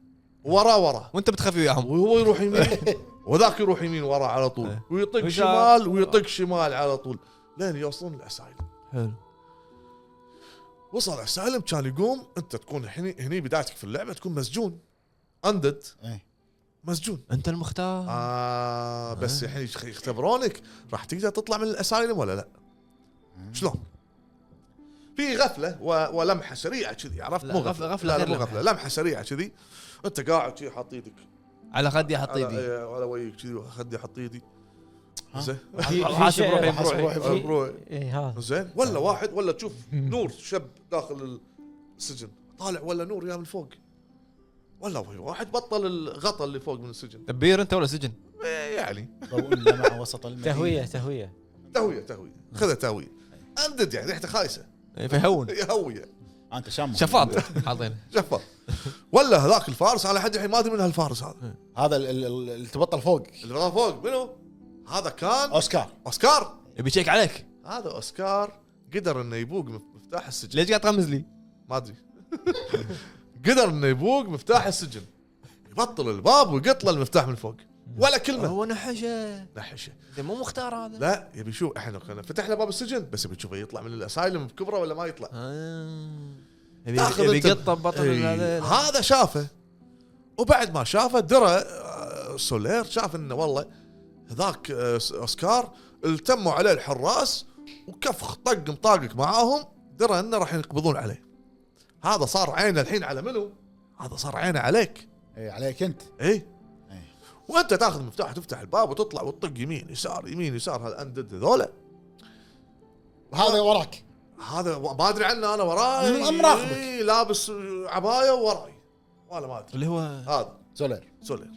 Speaker 2: وراه وراه
Speaker 1: وانت متخفي وياهم
Speaker 2: وهو يروح يمين وذاك يروح يمين وراه على طول
Speaker 1: إيه.
Speaker 2: ويطق
Speaker 1: وإذا-
Speaker 2: شمال ويطق شمال على طول لين يوصلون الاسايلم
Speaker 1: حلو
Speaker 2: وصل الاسايلم كان يقوم انت تكون هني هني بدايتك في اللعبه تكون مسجون اندد
Speaker 3: إيه.
Speaker 2: مسجون
Speaker 1: انت المختار
Speaker 2: آه بس الحين يخ- يختبرونك راح تقدر تطلع من الاسايلم ولا لا؟ شلون؟ في غفله و... ولمحه سريعه كذي عرفت؟
Speaker 1: لا،
Speaker 2: مو
Speaker 1: غفلة-
Speaker 2: غفله
Speaker 1: غفلة
Speaker 2: لا
Speaker 1: غير
Speaker 2: مو
Speaker 1: لمحة.
Speaker 2: غفله لمحه سريعه كذي انت قاعد كذي حاط ايدك
Speaker 1: على خدي حط
Speaker 2: على
Speaker 1: ايدي
Speaker 2: إيه، على وجهك كذي وخدي حاط ايدي
Speaker 3: ها؟
Speaker 2: زين
Speaker 6: في- في
Speaker 1: حاسب
Speaker 6: شعر-
Speaker 1: روحي
Speaker 6: حاسب
Speaker 1: بروحي.
Speaker 6: روحي. في- إيه،
Speaker 2: بروحي.
Speaker 6: اي هذا
Speaker 2: زين ولا
Speaker 1: طيب.
Speaker 2: واحد ولا تشوف نور شب داخل السجن طالع ولا نور يا من فوق ولا وي- واحد بطل الغطا اللي فوق من السجن
Speaker 1: تبير انت ولا سجن
Speaker 2: إيه، يعني
Speaker 3: ضوء اللمعة وسط المدينة
Speaker 6: تهويه تهويه
Speaker 2: تهويه تهويه خذها تهويه اندد يعني ريحته خايسه
Speaker 1: إيه، فيهون
Speaker 2: يهويه
Speaker 3: انت شامو
Speaker 1: شفاط حاطينه
Speaker 2: جفر ولا هذاك الفارس على حد الحين ما ادري من هالفارس هذا
Speaker 3: هذا ال- ال- ال- اللي تبطل فوق
Speaker 2: اللي وراه فوق منو؟ هذا كان
Speaker 3: اوسكار
Speaker 2: اوسكار
Speaker 1: يبي يشيك عليك
Speaker 2: هذا اوسكار قدر انه يبوق مف- مفتاح السجن
Speaker 1: ليش قاعد تغمز لي؟
Speaker 2: ما ادري قدر انه يبوق مفتاح السجن يبطل الباب ويقط له المفتاح من فوق ولا كلمه
Speaker 1: هو نحشه
Speaker 2: نحشه
Speaker 1: مو مختار هذا
Speaker 2: لا يبي يشوف احنا كنا فتحنا باب السجن بس يبي يشوفه يطلع من الاسايلم بكبره ولا ما يطلع
Speaker 1: آه. يبي
Speaker 2: تاخذ
Speaker 1: يبي إيه.
Speaker 2: أنت-
Speaker 1: يقطه ببطن
Speaker 2: إي.
Speaker 1: هذا
Speaker 2: هذا شافه وبعد ما شافه درى آه، سولير شاف انه والله ذاك آه، اوسكار التموا عليه الحراس وكفخ طق مطاقك معاهم درى انه راح ينقبضون عليه هذا صار عينه الحين على منو؟ هذا صار عينه عليك
Speaker 3: اي عليك انت
Speaker 2: ايه
Speaker 3: إيه.
Speaker 2: وانت تاخذ مفتاح تفتح الباب وتطلع وتطق يمين يسار يمين يسار هالاندد هذولا
Speaker 3: وهذا وراك
Speaker 2: هذا و- ما ادري عنه انا وراي
Speaker 3: من- مراقبك.
Speaker 2: إيه، لابس عبايه وراي ولا ما ادري
Speaker 1: اللي هو
Speaker 2: هذا
Speaker 3: سولير
Speaker 2: سولير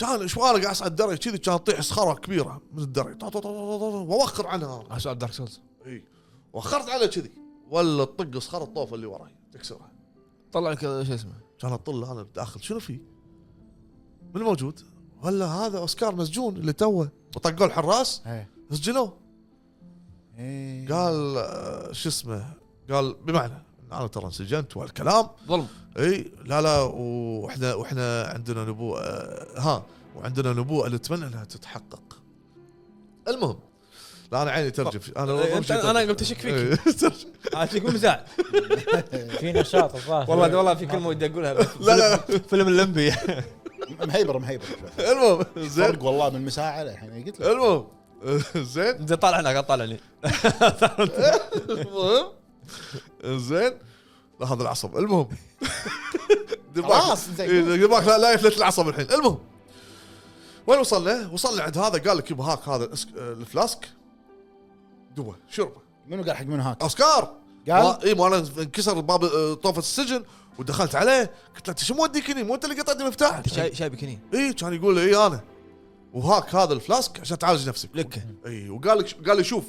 Speaker 2: كان شوارع قاعد على الدرج كذي كان تطيح صخره كبيره من الدرج طا- طا- طا- طا- طا- طا- واوخر عنها انا
Speaker 1: اسوء دارك سولز
Speaker 2: اي وخرت على كذي ولا تطق صخره الطوفه اللي وراي تكسرها
Speaker 1: طلع لك شو اسمه
Speaker 2: كان اطل انا داخل شنو في؟ من موجود؟ ولا هذا اوسكار مسجون اللي توه وطقوا الحراس
Speaker 3: إيه.
Speaker 2: سجنوه
Speaker 3: إيه.
Speaker 2: قال آه، شو اسمه قال بمعنى إن انا ترى انسجنت وهالكلام
Speaker 1: ظلم
Speaker 2: اي لا لا واحنا واحنا عندنا نبوءه ها وعندنا نبوءه نتمنى انها تتحقق. المهم لا انا عيني ترجف إيه. انا
Speaker 1: إيه، أنت- أنا قمت أشك فيك. هذا يقول مزاع
Speaker 6: في نشاط الظاهر
Speaker 1: والله والله في كلمه ودي اقولها
Speaker 2: لا لا
Speaker 1: فيلم اللمبي
Speaker 3: مهيبر مهيبر شوف.
Speaker 2: المهم زين
Speaker 3: فرق والله من مساعة الحين قلت لك
Speaker 2: المهم زين
Speaker 1: زين طالع هناك طالعني
Speaker 2: المهم زين لا هذا العصب المهم دباك.
Speaker 3: خلاص، زين.
Speaker 2: إيه، دباك لا لا يفلت العصب الحين المهم وين وصلنا؟ وصلنا عند هذا قال لك يبا هاك هذا الأسك- الفلاسك دوه شربه
Speaker 3: منو قال حق منو هاك؟
Speaker 2: اوسكار
Speaker 3: قال؟
Speaker 2: قال اي ما انا انكسر باب آه، طوفه السجن ودخلت عليه قلت له انت شو موديك هني مو انت اللي قطعت المفتاح
Speaker 1: شايبك هني
Speaker 2: اي كان يقول لي اي انا وهاك هذا الفلاسك عشان تعالج نفسك
Speaker 1: لكه
Speaker 2: اي وقال لك قال لي شوف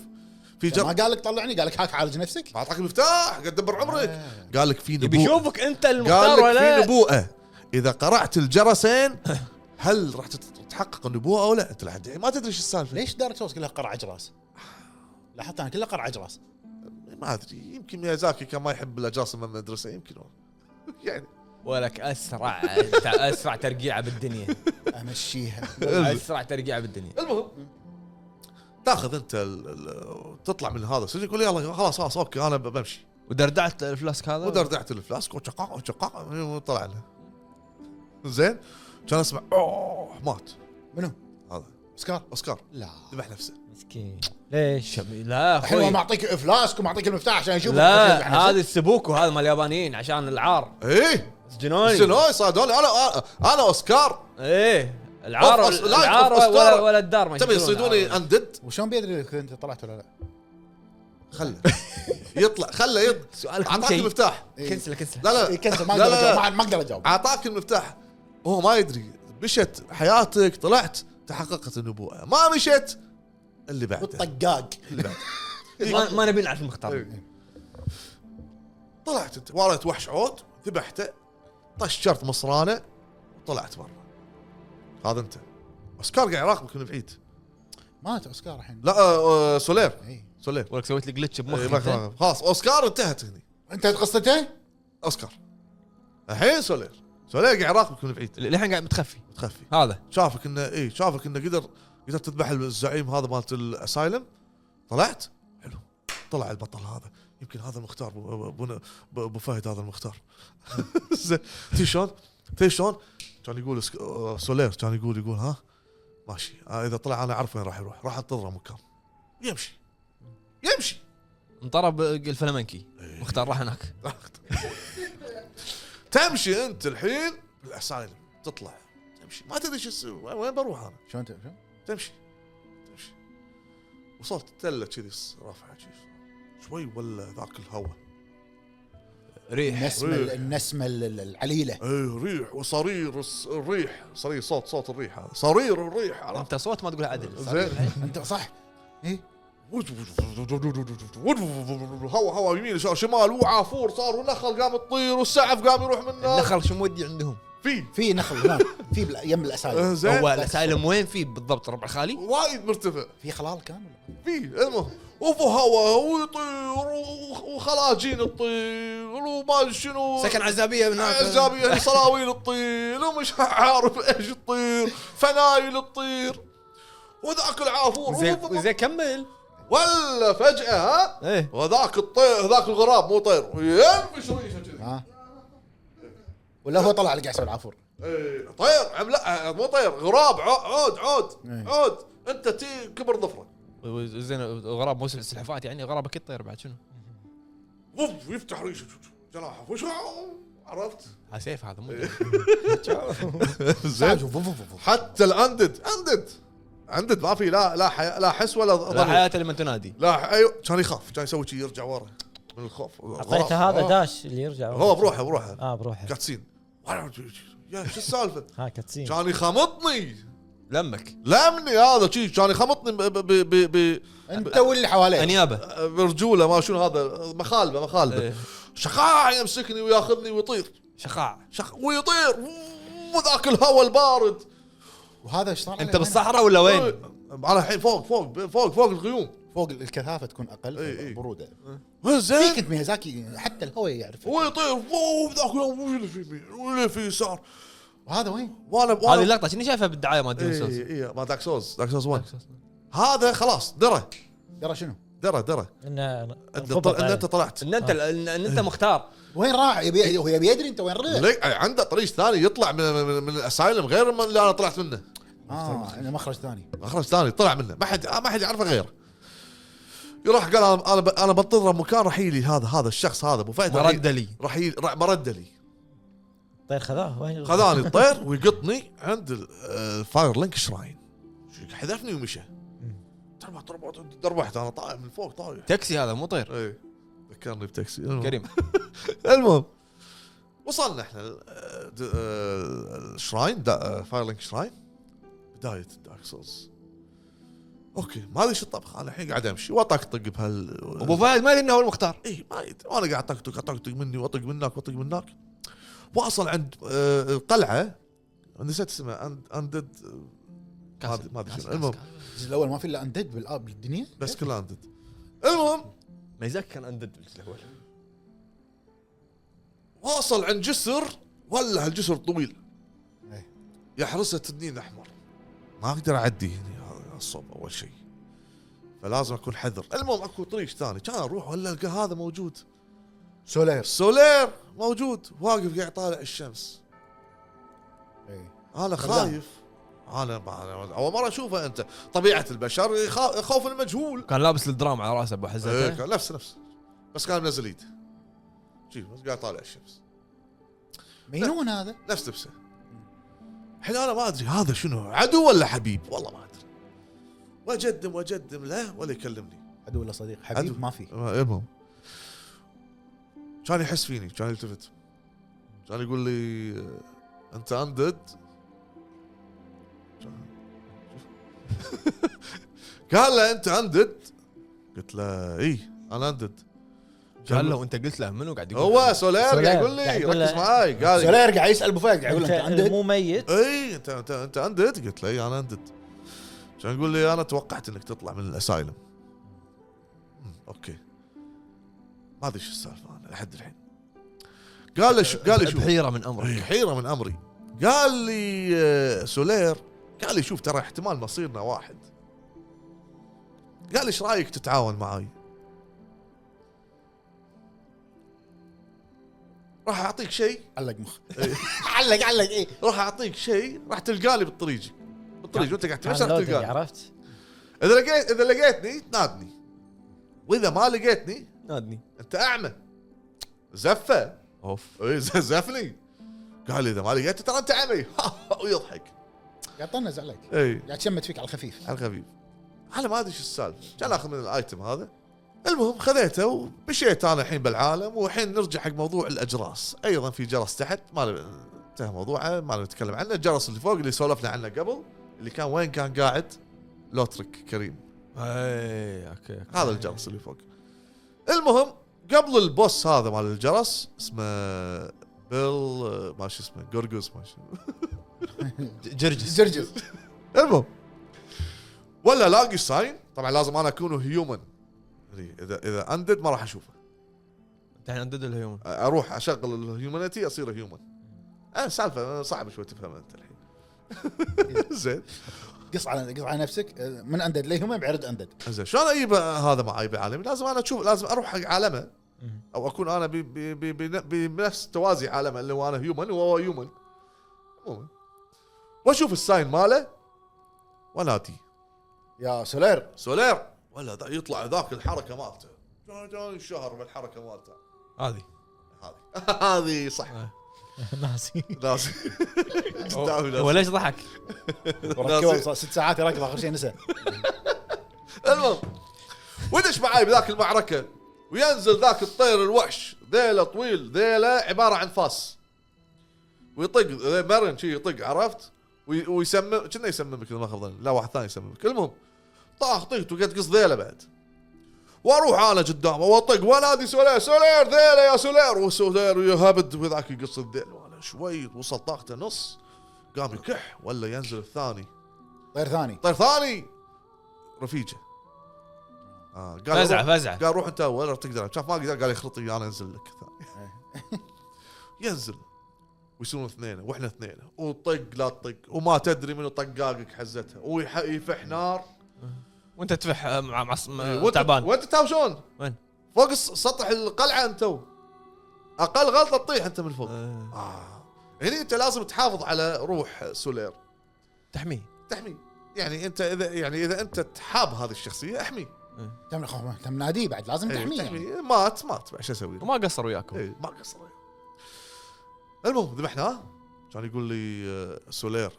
Speaker 2: في
Speaker 3: ما
Speaker 2: جر
Speaker 3: قال لك طلعني قال لك هاك عالج نفسك؟
Speaker 2: ما اعطاك المفتاح قد دبر عمرك
Speaker 3: آه.
Speaker 2: قال لك في
Speaker 1: يبي
Speaker 2: نبوءه
Speaker 1: يشوفك انت المختار
Speaker 2: قال لك في
Speaker 1: ولا
Speaker 2: نبوءه اذا قرعت الجرسين هل راح تت- تتحقق النبوءه او لا؟ انت لحد الحين ما تدري شو السالفه
Speaker 3: ليش دارك سولز كلها قرع عجراس؟ لاحظت انا كلها قرع عجراس
Speaker 2: ما ادري يمكن ميازاكي كان ما يحب الاجراس من المدرسه يمكن هو. يعني
Speaker 1: ولك اسرع أنت اسرع ترقيعه بالدنيا
Speaker 3: امشيها
Speaker 1: اسرع ترقيعه بالدنيا
Speaker 2: المهم تاخذ انت ال ال تطلع من هذا السجن يقول يلا خلاص خلاص اوكي انا ب- بمشي
Speaker 1: ودردعت الفلاسك هذا
Speaker 2: ودردعت الفلاسك وشقاق وشقاق وطلع له زين كان اسمع اوه مات
Speaker 3: منو؟
Speaker 2: هذا
Speaker 3: سكار
Speaker 2: اوسكار
Speaker 3: لا
Speaker 2: ذبح نفسه
Speaker 6: مسكين ليش؟
Speaker 1: شب- لا
Speaker 3: الحين
Speaker 2: طيب.
Speaker 1: اخوي
Speaker 3: هو معطيك فلاسك ومعطيك المفتاح عشان يشوف
Speaker 1: لا هذه السبوكو هذا مال اليابانيين عشان العار
Speaker 2: ايه
Speaker 3: طيب.
Speaker 1: سجنوني
Speaker 2: شنو هاي صادوني انا انا اوسكار
Speaker 1: ايه العار
Speaker 2: أوف، أص- لا،
Speaker 1: العار
Speaker 2: أوف،
Speaker 1: ولا,
Speaker 2: أسطورة.
Speaker 1: ولا الدار
Speaker 3: طيب.
Speaker 1: ما
Speaker 2: تبي
Speaker 1: يشوفون
Speaker 2: يصيدوني
Speaker 1: العار.
Speaker 2: اندد
Speaker 3: وشلون بيدري إذا انت طلعت ولا لا؟
Speaker 2: خله يطلع خله يطلع
Speaker 1: سؤالك مو
Speaker 2: اعطاك
Speaker 1: شيء.
Speaker 2: المفتاح
Speaker 1: كنسله كنسله
Speaker 2: لا لا
Speaker 3: إيه، كنسل ما
Speaker 2: لا،
Speaker 3: اقدر
Speaker 2: لا،
Speaker 3: أجاوب،
Speaker 2: لا.
Speaker 3: ما- ما اقدر اجاوب
Speaker 2: اعطاك المفتاح وهو ما يدري مشت حياتك طلعت تحققت النبوءه ما مشت اللي بعده
Speaker 3: والطقاق
Speaker 2: اللي بعده.
Speaker 1: ما, ما نبي نعرف المختار
Speaker 2: إيه. طلعت انت وريت وحش عود ذبحته طشرت مصرانه وطلعت برا هذا انت اسكار قاعد يراقبك من بعيد
Speaker 3: مات اوسكار الحين
Speaker 2: لا آه، آه، سولير
Speaker 3: إيه.
Speaker 2: سولير
Speaker 1: ولك سويت لي جلتش
Speaker 2: إيه،
Speaker 1: بمخي
Speaker 2: ما
Speaker 1: أنت.
Speaker 2: كان- خلاص اوسكار انتهت هني
Speaker 3: انت قصته؟
Speaker 2: اوسكار الحين سولير سولير قاعد يراقبك من بعيد
Speaker 1: للحين قاعد متخفي
Speaker 2: متخفي
Speaker 1: هذا
Speaker 2: شافك انه اي شافك انه قدر قدر تذبح الزعيم هذا مالت الاسايلم طلعت حلو طلع البطل هذا يمكن هذا المختار بو- بو بو- بو فهد هذا المختار زين. تي شلون تي شلون كان يقول سك- آه، سولير كان يقول يقول ها ماشي آه، اذا طلع انا اعرف وين راح يروح راح انتظره مكان يمشي يمشي
Speaker 1: انطرب الفلامنكي
Speaker 2: إيه.
Speaker 1: مختار راح هناك
Speaker 2: تمشي انت الحين بالاسايلم تطلع تمشي ما تدري شو تسوي، وين بروح انا
Speaker 3: شلون ت- شلون؟
Speaker 2: تمشي تمشي وصلت تله كذي ص- رافعه كذي شوي ولا ذاك الهواء
Speaker 1: ريح
Speaker 3: النسمه
Speaker 2: إيه.
Speaker 3: النسمه ال- ال- العليله
Speaker 2: اي إيه، ريح وصرير الس- الريح صرير صوت صوت الريح هذا صرير الريح عرفت؟
Speaker 1: انت صوت ما تقول عدل
Speaker 2: زين
Speaker 3: انت صح
Speaker 2: هوا هوا يمين شا- شمال وعافور صار ونخل قام تطير والسعف قام يروح منه
Speaker 1: دخل شو مودي عندهم
Speaker 2: في
Speaker 3: في نخل هناك في بال- يم الاسايل
Speaker 2: أه، زين
Speaker 1: هو الاسايلم وين فيه بالضبط ربع خالي
Speaker 2: وايد مرتفع
Speaker 3: في خلال كامل
Speaker 2: في المهم وفو هوا ويطير وخ- وخلاجين تطير وما شنو
Speaker 1: سكن عزابيه من هناك
Speaker 2: عزابية يعني صراويل تطير ومش عارف ايش تطير فنايل تطير وذاك العافور
Speaker 1: زين زين كمل
Speaker 2: ولا فجأة ها
Speaker 1: ايه
Speaker 2: وذاك الطير ذاك الغراب مو طير ينفش ريشه كذي
Speaker 3: ها ولا هو طلع اللي قاعد يسوي العافور
Speaker 2: إيه، طير عم لا مو طير غراب ع- عود عود
Speaker 3: إيه.
Speaker 2: عود انت تي كبر ظفرك
Speaker 1: زين غراب موسم السلحفات يعني غراب اكيد طير بعد شنو
Speaker 2: وف يفتح ريشه جناحه وش عرفت
Speaker 1: سيف هذا مو
Speaker 3: زين فو- فو- فو- فو.
Speaker 2: حتى الاندد اندد اندد ما في لا لا حي... لا حس ولا
Speaker 1: لا
Speaker 2: ضمير
Speaker 1: حياه لما طيب. تنادي
Speaker 2: لا ايوه كان يخاف كان يسوي شي يرجع ورا من الخوف غرف.
Speaker 6: اعطيته هذا داش اللي يرجع
Speaker 2: آه، هو بروحه بروحه
Speaker 1: آه.
Speaker 6: اه بروحه
Speaker 2: كاتسين يا شو السالفه؟
Speaker 6: ها كاتسين
Speaker 2: كان يخمطني
Speaker 1: لمك
Speaker 2: لمني هذا شي كان يخمطني ب- ب- ب- ب- ب-
Speaker 3: انت واللي حواليك
Speaker 1: انيابه
Speaker 2: برجوله ما شنو هذا مخالبه مخالبه
Speaker 1: إيه.
Speaker 2: شقاع يمسكني وياخذني ويطير
Speaker 1: شقاع
Speaker 2: شخ... ويطير وذاك الهواء البارد
Speaker 3: وهذا ايش صار
Speaker 1: انت
Speaker 3: عليه؟
Speaker 1: بالصحراء ولا وين؟
Speaker 2: انا الحين فوق فوق فوق فوق الغيوم
Speaker 3: فوق الكثافه تكون اقل
Speaker 2: إي، إي.
Speaker 3: بروده في
Speaker 2: زين
Speaker 3: كنت ميازاكي حتى الهواء يعرف
Speaker 2: هو يطير فوق ذاك اليوم ويلي في يمين ويلي في يسار
Speaker 3: وهذا وين؟
Speaker 2: وانا
Speaker 1: هذه
Speaker 2: وانا
Speaker 1: اللقطه شنو شايفها بالدعايه مال ديمون سولز
Speaker 2: اي اي ما داك سوز داك سوز 1 هذا خلاص درى
Speaker 3: ترى شنو؟
Speaker 2: درى درى
Speaker 6: انه
Speaker 2: انت
Speaker 6: انضبط
Speaker 2: طل-
Speaker 6: عليه.
Speaker 2: انت طلعت
Speaker 1: ان انت ان إن انت مختار
Speaker 3: وين راح؟ يبي هو يبي يدري انت وين رحت؟
Speaker 2: ليك- عنده طريق ثاني يطلع من من, من الاسايلم غير من اللي انا طلعت منه
Speaker 3: اه انا مخرج ثاني
Speaker 2: مخرج ثاني طلع منه ما حد ما حد يعرفه غيره يروح قال انا انا ب- انا بنتظر مكان راح يجي هذا هذا الشخص هذا ابو فهد راح ي-
Speaker 1: مردلي
Speaker 2: راح يجي- راح- مرد لي
Speaker 6: طير طيب، خذاه وين
Speaker 2: خذاني الطير ويقطني عند ال- آه، الفاير لينك شراين حذفني ومشى تربح تربح تربحت انا طايح من فوق طايح
Speaker 1: تاكسي هذا مو طير
Speaker 2: اي ذكرني بتاكسي المهم.
Speaker 1: كريم
Speaker 2: المهم وصلنا احنا ال- آه، د- آه، الشراين دا- آه، فاير لينك شراين بدايه الدارك سولز اوكي ما ادري شو الطبخ انا الحين قاعد امشي واطقطق بهال
Speaker 1: ابو فهد ما يدري انه هو المختار
Speaker 2: اي ما يد- وانا قاعد طقطق طقطق مني واطق منك واطق منك واصل عند آه، القلعه نسيت اسمها أند- اندد آه، ما أدري- ما ادري شنو المهم
Speaker 3: الجزء الاول ما في الا اندد بالاب بالدنيا
Speaker 2: بس كلها اندد المهم
Speaker 1: ميزاك كان اندد بالجزء الاول
Speaker 2: واصل عند جسر ولا هالجسر طويل
Speaker 3: إيه.
Speaker 2: يحرسه تنين احمر ما اقدر اعدي هنا هذا الصوب اول شيء فلازم اكون حذر المهم اكو طريق ثاني كان اروح ولا القى هذا موجود
Speaker 3: سولير
Speaker 2: السولير موجود واقف قاعد يطالع الشمس
Speaker 3: إي.
Speaker 2: انا خايف انا أنا اول مره اشوفه انت طبيعه البشر يخا- يخاف المجهول
Speaker 1: كان لابس الدرام على راسه ابو
Speaker 2: إيه،
Speaker 1: حزته
Speaker 2: كان نفس نفس بس كان منزل ايده شي بس قاعد طالع الشمس
Speaker 3: مينون هذا
Speaker 2: نفس لبسه الحين انا ما ادري هذا شنو عدو ولا حبيب والله ما ادري واجدم واجدم له ولا يكلمني
Speaker 3: عدو ولا صديق
Speaker 2: عدو.
Speaker 3: حبيب ما في
Speaker 2: المهم كان يحس فيني كان يلتفت كان يقول لي "آه، انت اندد قال له انت اندد قلت له "إيه، اي انا اندد
Speaker 1: قال له انت قلت له منو قاعد يقول
Speaker 2: هو سولير قاعد
Speaker 6: سولير
Speaker 2: يقول لي
Speaker 6: قاعد يقول
Speaker 2: ركز
Speaker 6: له-
Speaker 2: معاي قال
Speaker 3: سولير قاعد يسال ابو فهد قاعد يقول له انت
Speaker 6: انت
Speaker 3: عندك
Speaker 6: مو ميت
Speaker 2: اي انت انت انت اندد قلت له إيه، اي انا اندد كان يقول لي انا توقعت انك تطلع من الاسايلم أمم، اوكي ما ادري شو السالفه انا لحد الحين قال لي شو قال لي شو
Speaker 1: بحيره من امرك
Speaker 2: حيره من امري قال لي آه، سولير قال لي شوف ترى احتمال مصيرنا واحد قال لي ايش رايك تتعاون معاي راح اعطيك شيء
Speaker 3: علق مخ إيه.
Speaker 2: علق علق ايه راح اعطيك شيء راح تلقاني بالطريق بالطريق وانت قاعد تمشي
Speaker 6: كان
Speaker 2: راح
Speaker 6: لودنج،
Speaker 2: تلقاني
Speaker 6: عرفت
Speaker 2: اذا لقيت اذا لقيتني تنادني واذا ما لقيتني
Speaker 1: نادني
Speaker 2: انت اعمى زفه
Speaker 1: اوف
Speaker 2: إيه، ز- زفني قال اذا ما لقيتني ترى انت اعمى ويضحك
Speaker 3: قاعد طنز عليك
Speaker 2: اي
Speaker 3: قاعد تشمت فيك على الخفيف
Speaker 2: على الخفيف انا ما ادري شو السالفه كان اخذ من الايتم هذا المهم خذيته ومشيت انا الحين بالعالم والحين نرجع حق موضوع الاجراس ايضا في جرس تحت ما له- انتهى موضوعه ما له نتكلم عنه الجرس اللي فوق اللي سولفنا عنه قبل اللي كان وين كان قاعد لوتريك كريم
Speaker 1: اي اوكي إيه، أوكي.
Speaker 2: هذا الجرس اللي فوق المهم قبل البوس هذا مال الجرس اسمه بيل ما شو اسمه جورجوس ما شو
Speaker 1: جرجس
Speaker 3: زرجز
Speaker 2: المهم ولا لاقي ساين طبعا لازم انا اكون هيومن اذا اذا اندد ما راح اشوفه
Speaker 1: انت الحين عندد الهيومن
Speaker 2: اروح اشغل الهيومانيتي اصير هيومن أه سالفه صعب شوي تفهمها انت الحين زين
Speaker 3: قص على قص على نفسك آه، من اندد ليهم بعرض اندد
Speaker 2: زين شلون اجيب هذا معاي بعالمي؟ لازم انا اشوف لازم اروح حق عالمه او اكون انا بي- بي- بي- بي- بنفس توازي عالمه اللي هو انا هيومن وهو هيومن عموما واشوف الساين ماله وانادي
Speaker 3: يا سولير
Speaker 2: سولير ولا ذا يطلع ذاك الحركه مالته جون جون الشهر بالحركه مالته
Speaker 1: هذه
Speaker 2: هذه هذه صح
Speaker 6: ناسي
Speaker 2: لازم
Speaker 1: هو ليش ضحك؟
Speaker 3: وركبه صار ست ساعات يركض اخر شيء نسى
Speaker 2: المهم ودش معاي بذاك المعركه وينزل ذاك الطير الوحش ذيله طويل ذيله عباره عن فاس ويطق ذي مرن شي يطق عرفت وي- ويسمم كنا يسممك اذا ما خاب ظني لا واحد ثاني يسممك المهم طاح طقت وقعد قص ذيله بعد واروح انا قدامه واطق وانادي سولير سولير ذيله يا سولير وسولير يهبد وذاك يقص الذيل وانا شوي وصل طاقته نص قام يكح ولا ينزل الثاني
Speaker 3: طير ثاني
Speaker 2: طير ثاني رفيجه آه قال
Speaker 1: فزعه
Speaker 2: روح-
Speaker 1: فزعه
Speaker 2: قال روح انت ولا تقدر شاف ما قدر قال يخلط وياي انا انزل لك ثاني ينزل ويصيرون اثنين واحنا اثنين وطق لا تطق وما تدري منو طقاقك حزتها ويفح نار
Speaker 1: وانت تفح آه، مع مع مع-
Speaker 2: إيه، وانت-
Speaker 1: تعبان
Speaker 2: وانت تاوشون
Speaker 1: وين؟
Speaker 2: فوق الس- سطح القلعه انت اقل غلطه تطيح انت من فوق
Speaker 1: آه،
Speaker 2: آه. هني انت لازم تحافظ على روح سولير
Speaker 1: تحميه
Speaker 2: تحميه يعني انت اذا يعني اذا انت تحاب هذه الشخصيه احميه
Speaker 3: تم خوف تم ناديه بعد لازم
Speaker 2: إيه،
Speaker 3: تحميه يعني.
Speaker 2: تحميه مات مات بعد شو اسوي
Speaker 1: وما قصر وياكم
Speaker 2: اي ما قصر إيه، المهم ذبحناه كان يقول لي آه، سولير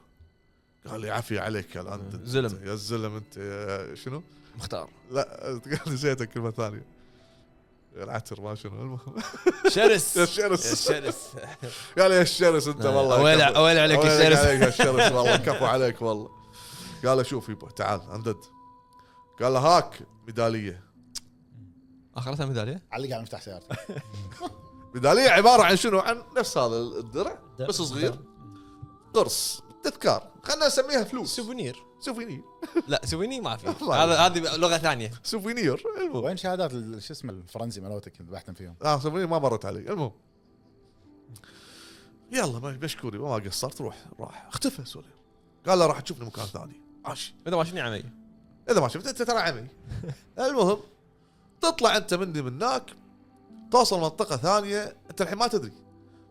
Speaker 2: قال لي عافيه عليك يا انت
Speaker 1: زلم.
Speaker 2: يا الزلم انت يا شنو؟
Speaker 1: مختار
Speaker 2: لا آه، نسيت كلمه ثانيه العتر ما شنو المهم
Speaker 1: شرس
Speaker 2: يا الشرس.
Speaker 1: يا الشرس
Speaker 2: قال لي يا الشرس انت والله
Speaker 1: ويلي
Speaker 2: كفو.
Speaker 1: ويلي عليك
Speaker 2: ويلك
Speaker 1: الشرس
Speaker 2: عليك يا الشرس والله كفو عليك والله قال له شوف يبا تعال اندد قال له هاك ميداليه
Speaker 1: اخرتها ميداليه
Speaker 3: علق على مفتاح سيارته
Speaker 2: ميداليه عباره عن شنو عن نفس هذا الدرع بس صغير قرص تذكار خلينا نسميها فلوس
Speaker 1: سوفونير
Speaker 2: سوفينير
Speaker 1: لا سوفينير ما في
Speaker 2: والله.
Speaker 1: هذا هذه لغه ثانيه
Speaker 2: سوفينير المهم
Speaker 3: وين شهادات ال- شو اسمه الفرنسي مالوتك اللي ذبحتهم فيهم
Speaker 2: اه سوفينير ما مرت علي المهم يلا ما- مشكوري ما قصرت روح راح اختفى سولير قال له راح تشوفني مكان ثاني ماشي
Speaker 1: اذا ما شفني عمي
Speaker 2: اذا ما شفت انت ترى عمي المهم تطلع انت مني من هناك توصل منطقه ثانيه انت الحين ما تدري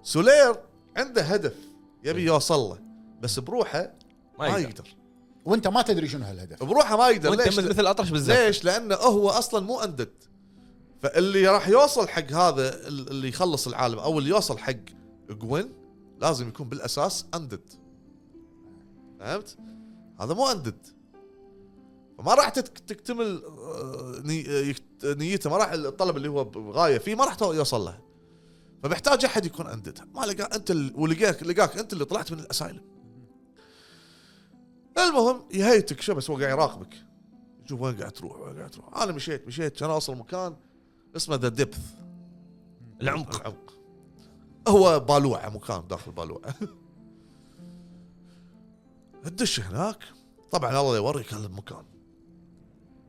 Speaker 2: سولير عنده هدف يبي يوصل له بس بروحه
Speaker 1: إيه. ما يقدر
Speaker 3: وانت ما تدري شنو هالهدف
Speaker 2: بروحه ما يقدر
Speaker 1: وانت
Speaker 2: ليش؟
Speaker 1: مثل مثل الاطرش بالزفت
Speaker 2: ليش؟ لانه هو اصلا مو اندد فاللي راح يوصل حق هذا ال- اللي يخلص العالم او اللي يوصل حق جوين لازم يكون بالاساس اندد فهمت؟ هذا مو اندد فما راح تت- تكتمل آه، ني- آه، يكت- نيته ما راح الطلب اللي هو بغايه فيه ما راح تو- يوصل له فمحتاج احد يكون اندد ما لقى انت ال- ولقاك لقاك انت اللي طلعت من الاسايلم المهم يهيتك شو بس هو قاعد يراقبك شوف وين قاعد تروح وين قاعد تروح انا مشيت مشيت كان اوصل مكان اسمه ذا ديبث
Speaker 1: العمق.
Speaker 2: العمق هو بالوعه مكان داخل بالوعه تدش هناك طبعا الله يوريك هالمكان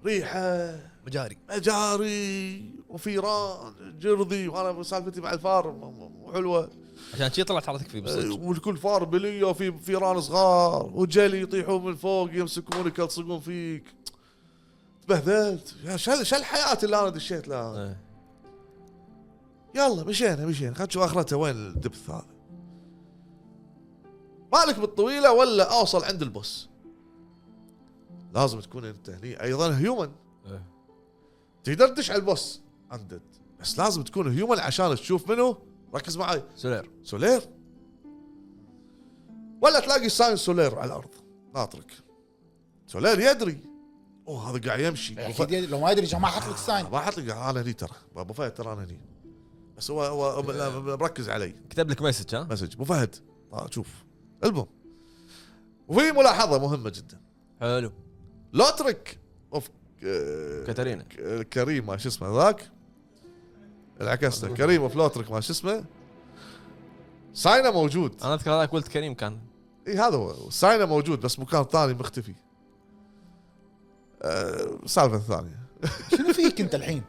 Speaker 2: ريحه
Speaker 1: مجاري
Speaker 2: مجاري وفيران جرذي وانا سالفتي مع الفار م- م- حلوه
Speaker 1: عشان شي طلعت حرتك فيه بالصدق
Speaker 2: والكل فار بليه وفي فيران صغار وجلي يطيحون من فوق يمسكونك يلصقون فيك تبهذلت يا شل شل الحياه اللي انا دشيت لها
Speaker 1: إيه.
Speaker 2: يلا مشينا مشينا خلينا نشوف اخرتها وين الدبث هذا مالك بالطويله ولا اوصل عند البوس لازم تكون انت هني ايضا هيومن
Speaker 1: إيه.
Speaker 2: تقدر تدش على البوس اندد بس لازم تكون هيومن عشان تشوف منه ركز معي
Speaker 1: سولير
Speaker 2: سولير ولا تلاقي ساين سولير على الارض ناطرك سولير يدري اوه هذا قاعد يمشي
Speaker 3: اكيد يعني يد- لو ما يدري جا ما حط لك ساين
Speaker 2: ما حط لك انا هني ترى ابو فهد ترى انا هني بس هو هو لا، مركز علي
Speaker 1: كتب لك مسج ها
Speaker 2: مسج ابو فهد آه، شوف المهم وفي ملاحظه مهمه جدا
Speaker 1: حلو
Speaker 2: لوتريك اوف
Speaker 1: كاترينا
Speaker 2: ك- كريم ما شو اسمه ذاك انعكسنا كريم اوف لوتريك ما شو اسمه ساينا موجود
Speaker 1: انا اذكر هذاك ولد كريم كان
Speaker 2: اي إيه، هذا هو ساينا موجود بس مكان ثاني مختفي أه سالفه ثانيه
Speaker 3: شنو فيك انت الحين؟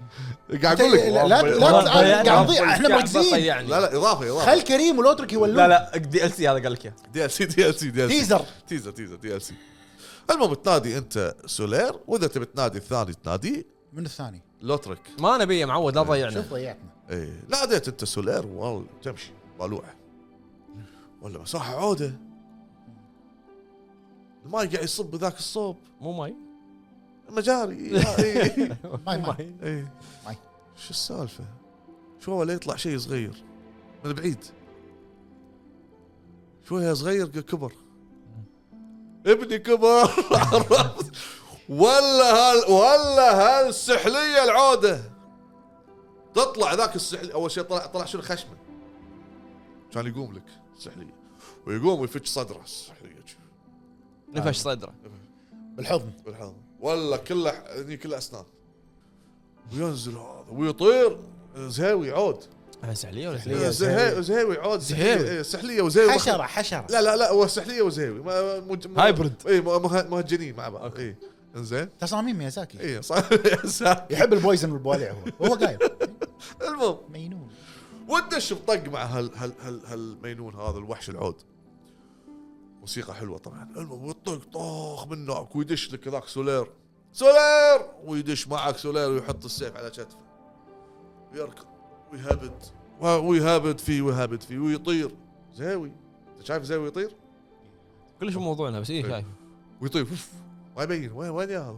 Speaker 2: قاعد اقول لك
Speaker 3: لا لا لا
Speaker 5: ضيعنا.
Speaker 3: قاعد نضيع احنا
Speaker 1: والكعبة
Speaker 3: مركزين
Speaker 1: طيعني.
Speaker 2: إيه، لا لا اضافه اضافه
Speaker 3: خل كريم ولوترك يولون
Speaker 1: لا لا دي ال سي هذا قال لك اياه
Speaker 2: دي ال سي دي ال سي دي ال سي
Speaker 3: تيزر
Speaker 2: تيزر تيزر دي ال سي المهم تنادي انت سولير واذا تبي تنادي الثاني تنادي
Speaker 3: من الثاني
Speaker 2: لوتريك
Speaker 1: ما نبيه معود لا
Speaker 2: إيه.
Speaker 3: شوف
Speaker 1: تضيعنا
Speaker 3: ضيعتنا
Speaker 2: ايه ناديت انت سولير والله تمشي ضلوعه ولا مساحه عوده الماي قاعد يصب ذاك الصوب
Speaker 1: مو ماي
Speaker 2: مجاري إيه.
Speaker 3: ماي ماي
Speaker 2: ايه
Speaker 3: ماي.
Speaker 2: شو السالفه؟ شو ولا يطلع شيء صغير من بعيد شوية صغير ك- كبر ابني كبر عرفت؟ ولا هال ولا هالسحليه العوده تطلع ذاك السحلي اول شيء طلع طلع شنو خشمه كان يقوم لك السحليه ويقوم ويفتش صدره السحليه
Speaker 1: نفش صدره
Speaker 3: بالحضن
Speaker 2: بالحضن ولا كله هني كله اسنان وينزل هذا ويطير زهاوي عود
Speaker 1: سحليه ولا
Speaker 3: سحلية.
Speaker 1: سحليه؟
Speaker 2: زهي- زهيوي عود
Speaker 1: زهيوي.
Speaker 2: سحلية- سحليه وزهيوي
Speaker 3: حشره حشره
Speaker 2: أيوة. لا لا لا هو سحليه وزهيوي ما- مج- م-
Speaker 1: هايبرد.
Speaker 2: اي م- مه- مهجنين مع بعض اي انزين
Speaker 3: تصاميم ميازاكي
Speaker 2: اي صح
Speaker 3: يحب البويزن والبوالع هو هو قايل
Speaker 2: المهم
Speaker 3: مينون
Speaker 2: ودش بطق مع هال هال هال هالمينون هذا الوحش العود موسيقى حلوه طبعا المهم يطق طاخ منك ويدش لك ذاك سولير سولير ويدش معك سولير ويحط السيف على كتفه ويركض ويهبد و- ويهبد فيه ويهبد فيه ويطير زاوي انت شايف زاوي يطير؟
Speaker 1: كلش موضوعنا بس إيه، اي شايف
Speaker 2: ويطير اوف ما يبين وين وين يا هذا؟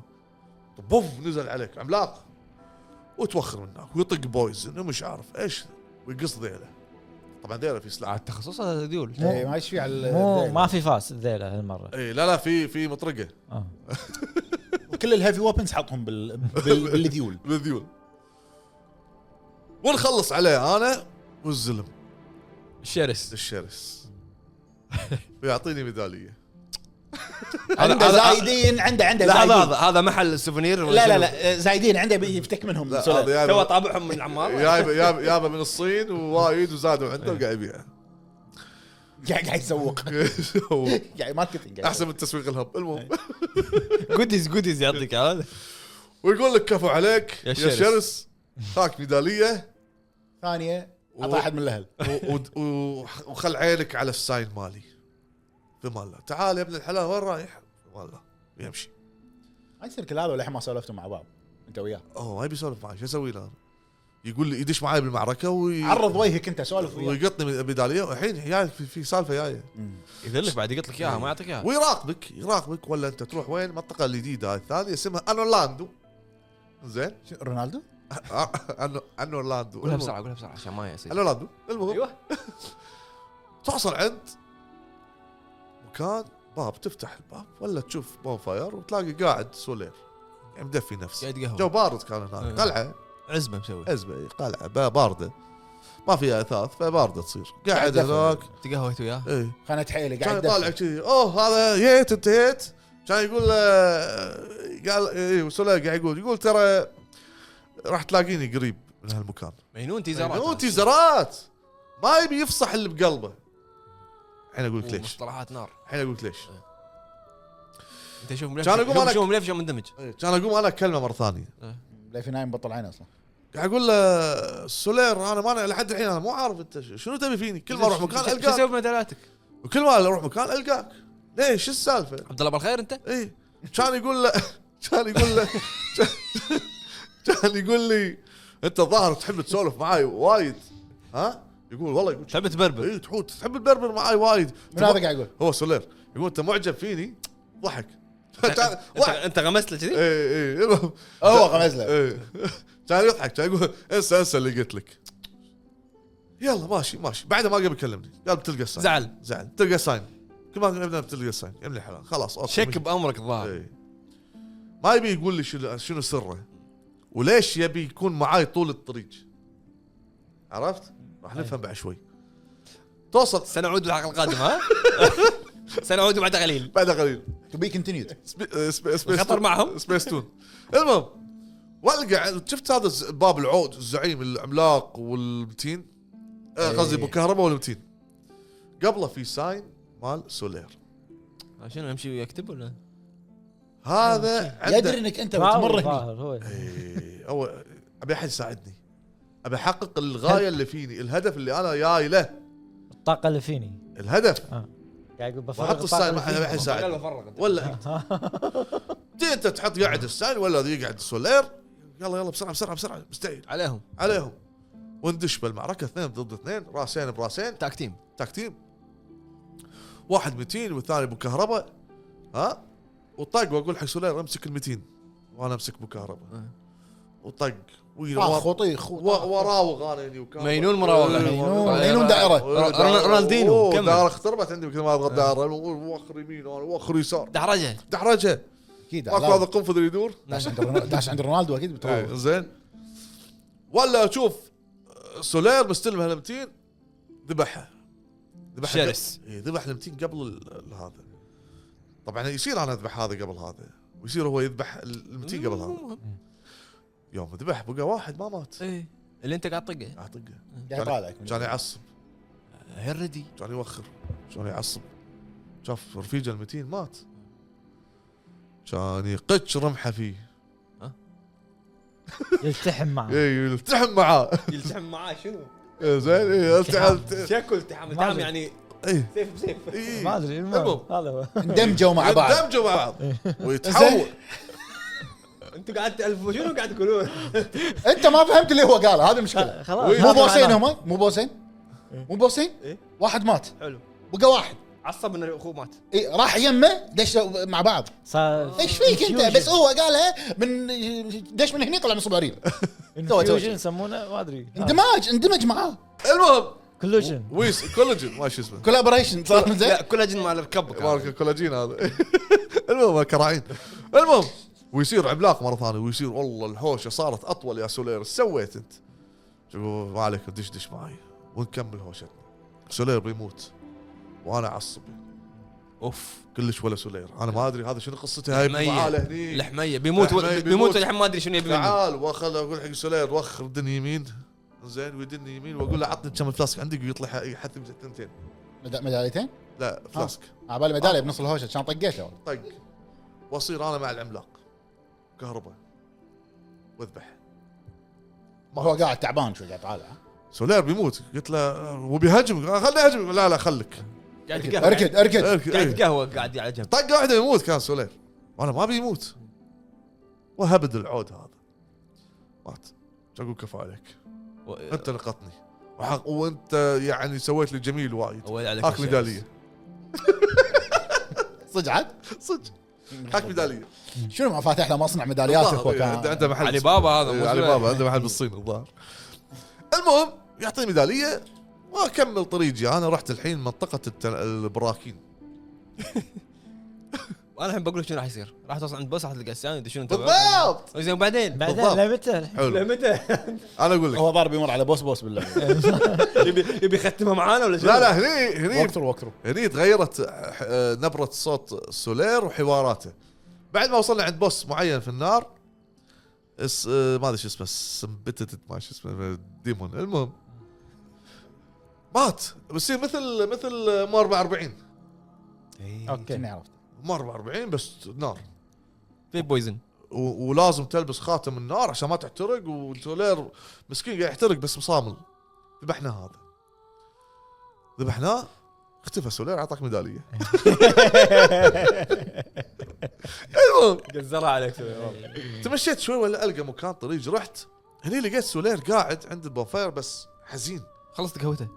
Speaker 2: بوف نزل عليك عملاق وتوخر منك ويطق بويزن ومش عارف ايش ويقص ذيله طبعا ذيله في سلاح
Speaker 1: عاد تخصص هذا ديول
Speaker 6: مو-
Speaker 3: إيه، ما يشفي على
Speaker 6: مو
Speaker 3: ال-
Speaker 6: ما في فاس ذيله هالمره
Speaker 2: اي إيه، لا لا في في مطرقه
Speaker 6: آه.
Speaker 3: وكل الهيفي ويبنز حطهم بال بال- بالذيول
Speaker 2: بالذيول ونخلص عليه انا والزلم
Speaker 1: الشرس
Speaker 2: الشرس ويعطيني ميداليه
Speaker 3: عنده زايدين عنده عنده
Speaker 1: لحظه
Speaker 3: زايدين
Speaker 1: هذا هذا محل السوفونير ولا
Speaker 3: لا لا
Speaker 1: شنو؟
Speaker 3: لا زايدين عنده بيفتك منهم
Speaker 2: لا
Speaker 3: سولار.
Speaker 2: هذا
Speaker 5: تو
Speaker 2: يابا-
Speaker 5: طابعهم من العماره
Speaker 2: يابا يابا يابا من الصين ووايد وزادوا عنده وقاعد يبيعه
Speaker 3: قاعد قاعد يسوق يعني قاعد ماركتنج قاعد
Speaker 2: احسن من تسويق الهب المهم
Speaker 1: جوديز جوديز يعطيك هذا
Speaker 2: ويقول لك كفو عليك
Speaker 1: يا
Speaker 2: يا
Speaker 1: شرس.
Speaker 2: شرس هاك ميداليه
Speaker 3: يسوق. ثانيه اعطى احد من الاهل
Speaker 2: و- و- و- وخل عينك على الساين مالي في ماله تعال يا ابن الحلال وين رايح؟ في ماله يمشي
Speaker 3: ما يصير كل هذا وللحين ما سولفتوا مع بعض انت وياه
Speaker 2: اوه ما يبي يسولف معي شو اسوي له أنا؟ يقول لي يدش معي بالمعركه وي...
Speaker 3: عرض وجهك انت سولف وياه
Speaker 2: ويقطني من- بداليه والحين جاي في, في سالفه جايه
Speaker 1: يذلك بعد يقط لك اياها ما يعطيك اياها
Speaker 2: ويراقبك يراقبك ولا انت تروح وين المنطقه الجديده هاي الثانيه اسمها انورلاندو زين
Speaker 3: شو، رونالدو؟
Speaker 2: أنو- انورلاندو
Speaker 1: قولها
Speaker 2: المهم.
Speaker 1: بسرعه قولها بسرعه عشان ما يصير
Speaker 2: انورلاندو المهم
Speaker 5: ايوه
Speaker 2: توصل عند مكان باب تفتح الباب ولا تشوف بون فاير وتلاقي قاعد سولير يعني مدفي نفسه
Speaker 1: قاعد قهوه
Speaker 2: جو بارد كان هناك
Speaker 1: أيوة.
Speaker 2: قلعه
Speaker 1: عزبه مسوي
Speaker 3: إيه.
Speaker 2: ازمه إي، قلعه إيه، با- بارده ما فيها اثاث فبارده تصير قاعد
Speaker 3: دفى.
Speaker 2: هناك
Speaker 1: تقهويت وياه
Speaker 2: اي
Speaker 3: خانة حيلي
Speaker 2: كان
Speaker 3: قاعد
Speaker 2: يطالع
Speaker 3: يدفع.
Speaker 2: كذي اوه هذا جيت انتهيت كان يقول له- قال اي سولير قاعد يقول يقول ترى راح تلاقيني قريب من هالمكان
Speaker 1: مجنون تيزرات
Speaker 2: مجنون تيزرات ما يبي يفصح اللي بقلبه الحين اقول لك ليش
Speaker 1: مصطلحات نار
Speaker 2: الحين اقول لك ليش
Speaker 1: انت شوف ملفش
Speaker 2: كان يقول
Speaker 1: شوف-
Speaker 2: أنا-
Speaker 1: شوف ملفش مندمج
Speaker 2: إيه، كان اقوم انا اكلمه مره ثانيه
Speaker 3: لا في نايم بطل عينه اصلا
Speaker 2: قاعد آه، اقول له سولير انا ما لحد الحين انا مو عارف انت ش- شنو تبي فيني كل ما اروح مكان
Speaker 1: شو تسوي
Speaker 2: القاك
Speaker 1: بمدالاتك؟
Speaker 2: وكل ما اروح مكان القاك ليش شو السالفه؟
Speaker 1: عبد الله بالخير انت؟
Speaker 2: اي كان يقول له كان يقول له كان يقول لي انت ظاهر تحب تسولف معاي وايد ها؟ يقول والله يقول
Speaker 1: تحب تبربر
Speaker 2: اي تحوت تحب تبربر معاي وايد
Speaker 3: من هذا قاعد يقول
Speaker 2: هو سولير يقول انت معجب فيني ضحك
Speaker 1: أنت- انت غمست له
Speaker 3: إيه.
Speaker 1: كذي؟
Speaker 2: اي اي المهم
Speaker 3: هو غمز له
Speaker 2: إيه. كان يضحك كان يقول انسى انسى اللي قلت لك يلا ماشي ماشي بعدها ما قبل يكلمني قال بتلقى الساين
Speaker 1: زعل
Speaker 2: زعل تلقى الساين كل ما قلنا بتلقى الساين يا ابن الحلال خلاص اوكي
Speaker 1: شك
Speaker 2: مشي.
Speaker 1: بامرك الظاهر
Speaker 2: إيه. ما يبي يقول لي شنو شنو سره وليش يبي يكون معاي طول الطريق عرفت؟ راح نفهم
Speaker 1: إيه.
Speaker 2: بعد شوي توصل
Speaker 1: سنعود بالحلقه القادمه ها؟ سنعود بعد قليل
Speaker 2: بعد قليل
Speaker 3: تو بي كونتينيود
Speaker 2: سبي... آه، سبي... سبيس
Speaker 1: الخطر
Speaker 2: تون.
Speaker 1: معهم؟
Speaker 2: سبيس تون المهم والقى شفت هذا الز- باب العود الزعيم العملاق والمتين آه، قصدي ابو كهرباء والمتين قبله في ساين مال سولير
Speaker 1: آه، شنو امشي ويكتب ولا؟
Speaker 2: هذا
Speaker 3: يدري
Speaker 2: عنده
Speaker 3: انك انت
Speaker 6: ما هو
Speaker 3: بتمر هني
Speaker 6: ظاهر هو.
Speaker 2: إيه، هو ابي احد يساعدني ابي احقق الغايه اللي فيني الهدف اللي انا جاي له
Speaker 6: الطاقه اللي فيني
Speaker 2: الهدف
Speaker 6: قاعد يقول بفرغ
Speaker 2: بحط
Speaker 6: الطاقه
Speaker 2: الساين
Speaker 6: اللي
Speaker 2: ما أبي
Speaker 6: فيني.
Speaker 2: احد يساعدني ولا انت دي انت تحط قاعد الساين ولا ذي قاعد السولير يلا يلا بسرعه بسرعه بسرعه مستعجل
Speaker 1: عليهم
Speaker 2: عليهم وندش بالمعركه اثنين ضد اثنين راسين براسين
Speaker 1: تاك تيم
Speaker 2: تاك تيم واحد متين والثاني ابو كهرباء ها وطق واقول حق سولير امسك المتين وانا امسك ابو كهرباء
Speaker 1: أه.
Speaker 2: وطق وي-
Speaker 3: آه،
Speaker 2: ور-
Speaker 3: خطي
Speaker 2: و-
Speaker 3: خط
Speaker 2: وراوغ انا هني وكهرباء. إيه،
Speaker 1: مينون مراوغة.
Speaker 3: مينون مينون دائره
Speaker 2: أوه،
Speaker 1: ر- ر- رونالدينو،
Speaker 2: أوه،
Speaker 1: كمل.
Speaker 2: دائره اختربت عندي كل ما اضغط دائره واخر يمين وانا واخر يسار
Speaker 1: دحرجه
Speaker 2: دحرجه
Speaker 3: اكيد
Speaker 2: اكو هذا القنفذ اللي يدور
Speaker 3: داش عند رونالدو- داش عند رونالدو اكيد
Speaker 2: إيه،
Speaker 3: بتراوغ
Speaker 2: زين ولا اشوف سولير مستلم هالمتين ذبحها ذبح
Speaker 1: شرس.
Speaker 2: إيه، ذبح الامتين قبل ال- ال- هذا طبعا يصير انا اذبح هذا قبل هذا ويصير هو يذبح ال- الامتين قبل هذا يوم ذبح بقى واحد ما مات
Speaker 1: ايه اللي انت قاعد تطقه
Speaker 2: اطقه
Speaker 3: قاعد يطالعك
Speaker 2: كان يعصب
Speaker 1: هردي
Speaker 2: كان يوخر كان يعصب شاف رفيجه المتين مات كان يقتش رمحه فيه
Speaker 6: يلتحم معه
Speaker 2: اي إيه، يلتحم معاه إيه،
Speaker 5: يلتحم معاه شنو؟
Speaker 2: زين إي، التحم
Speaker 5: شكو التحام
Speaker 6: ما
Speaker 5: التحام
Speaker 6: أدري.
Speaker 5: يعني
Speaker 2: إيه.
Speaker 5: سيف بسيف
Speaker 2: إي.
Speaker 6: ما ادري المهم،
Speaker 2: المهم.
Speaker 6: هذا هو
Speaker 3: اندمجوا مع بعض
Speaker 2: يندمجوا مع بعض ويتحول
Speaker 3: زين
Speaker 5: انتوا قاعد تالفوا شنو قاعد تقولون؟
Speaker 3: انت ما فهمت اللي هو قاله هذه المشكله
Speaker 6: خلاص
Speaker 3: مو
Speaker 6: هذا
Speaker 3: بوسين
Speaker 6: معناه.
Speaker 3: هم مو بوسين مو بوسين
Speaker 5: إيه.
Speaker 3: واحد مات
Speaker 5: حلو
Speaker 3: بقى واحد
Speaker 5: عصب ان اخوه مات
Speaker 3: إيه راح يمه دش مع بعض
Speaker 6: صار
Speaker 3: ايش فيك انت بس هو قالها من دش من هنا طلع من صبارين
Speaker 6: انفيوجن يسمونه ما ادري
Speaker 3: اندماج اندمج معاه
Speaker 2: المهم
Speaker 6: كلوجن
Speaker 2: ويس كولاجين ما شو اسمه
Speaker 3: كولابوريشن صار زين
Speaker 5: لا كولاجين مال ركبك
Speaker 2: مارك الكولاجين هذا المهم كراعين المهم ويصير عملاق مره ثانيه ويصير والله الهوشه صارت اطول يا سولير ايش سويت انت؟ شو ما عليك دش دش معي ونكمل هوشتنا سولير بيموت وانا عصبي
Speaker 1: اوف
Speaker 2: كلش ولا سولير انا ما ادري هذا شنو قصته هاي
Speaker 1: لحمية.
Speaker 2: تعال هني
Speaker 1: لحميه بيموت
Speaker 2: لحمية
Speaker 1: بيموت,
Speaker 2: بيموت.
Speaker 1: بيموت الحين ما ادري شنو يبي منه
Speaker 2: تعال واخذ اقول حق سولير وخر دن يمين زين ويدن يمين واقول له عطني كم فلاسك عندك ويطلع يحثم ثنتين
Speaker 3: مدا- مداليتين
Speaker 2: لا فلاسك
Speaker 3: على بالي مداليه بنص الهوشه كان طقيته والله.
Speaker 2: طق واصير انا مع العملاق كهرباء واذبح
Speaker 3: هو قاعد تعبان شوي قاعد طالع
Speaker 2: سولير بيموت قلت له وبيهاجمك آه، خلني اهاجمك لا لا خلك
Speaker 1: قاعد يتقهوى.
Speaker 3: اركد اركد
Speaker 1: قاعد
Speaker 2: إيه.
Speaker 1: يتقهوى قاعد على جنب
Speaker 2: طقه واحده يموت كان سولير وانا ما بيموت وهبد العود هذا مات شو اقول كفى عليك انت نقطني وحق وانت يعني سويت لي جميل وايد
Speaker 1: ولا عليك
Speaker 2: هاك
Speaker 1: شيء.
Speaker 2: ميداليه
Speaker 3: صدق عاد
Speaker 2: صدق هاك ميداليه
Speaker 3: شنو ما فاتح له مصنع ميداليات
Speaker 2: الظاهر،
Speaker 3: اخوه
Speaker 2: إيه، عنده
Speaker 3: كان
Speaker 2: عنده محل
Speaker 1: علي يعني بابا هذا
Speaker 2: إيه،
Speaker 1: مو
Speaker 2: علي
Speaker 1: سولير.
Speaker 2: بابا عنده محل بالصين الظاهر المهم يعطيني ميداليه واكمل طريقي انا رحت الحين منطقه التل... البراكين
Speaker 1: انا الحين بقول لك شنو راح يصير راح توصل عند بوس راح تلقى السيان يدشون
Speaker 2: بالضبط
Speaker 1: زين وبعدين
Speaker 6: بعدين
Speaker 2: بالضبط.
Speaker 6: لمتى
Speaker 2: حلو
Speaker 5: متى؟
Speaker 2: انا اقول لك
Speaker 3: هو ضارب يمر على بوس بوس بالله
Speaker 5: يبي يبي يختمها معانا ولا شنو؟
Speaker 2: لا لا هني هني
Speaker 3: وقت وقت
Speaker 2: هني تغيرت ح- آه، نبره صوت سولير وحواراته بعد ما وصلنا عند بوس معين في النار اس آه، ما ادري شو اسمه سمبتت ما شو اسمه ديمون المهم مات بصير مثل مثل مو 44
Speaker 6: اوكي
Speaker 1: إيه.
Speaker 3: كنا عرفت
Speaker 2: مو 44 بس نار
Speaker 1: في بويزن
Speaker 2: و- ولازم تلبس خاتم النار عشان ما تحترق والسولير مسكين قاعد يحترق بس مصامل ذبحناه هذا ذبحناه اختفى سولير اعطاك ميداليه المهم
Speaker 5: قزرها عليك
Speaker 6: إيه.
Speaker 2: تمشيت شوي ولا القى مكان طريق رحت هني لقيت سولير قاعد عند البونفاير بس حزين
Speaker 1: خلصت قهوته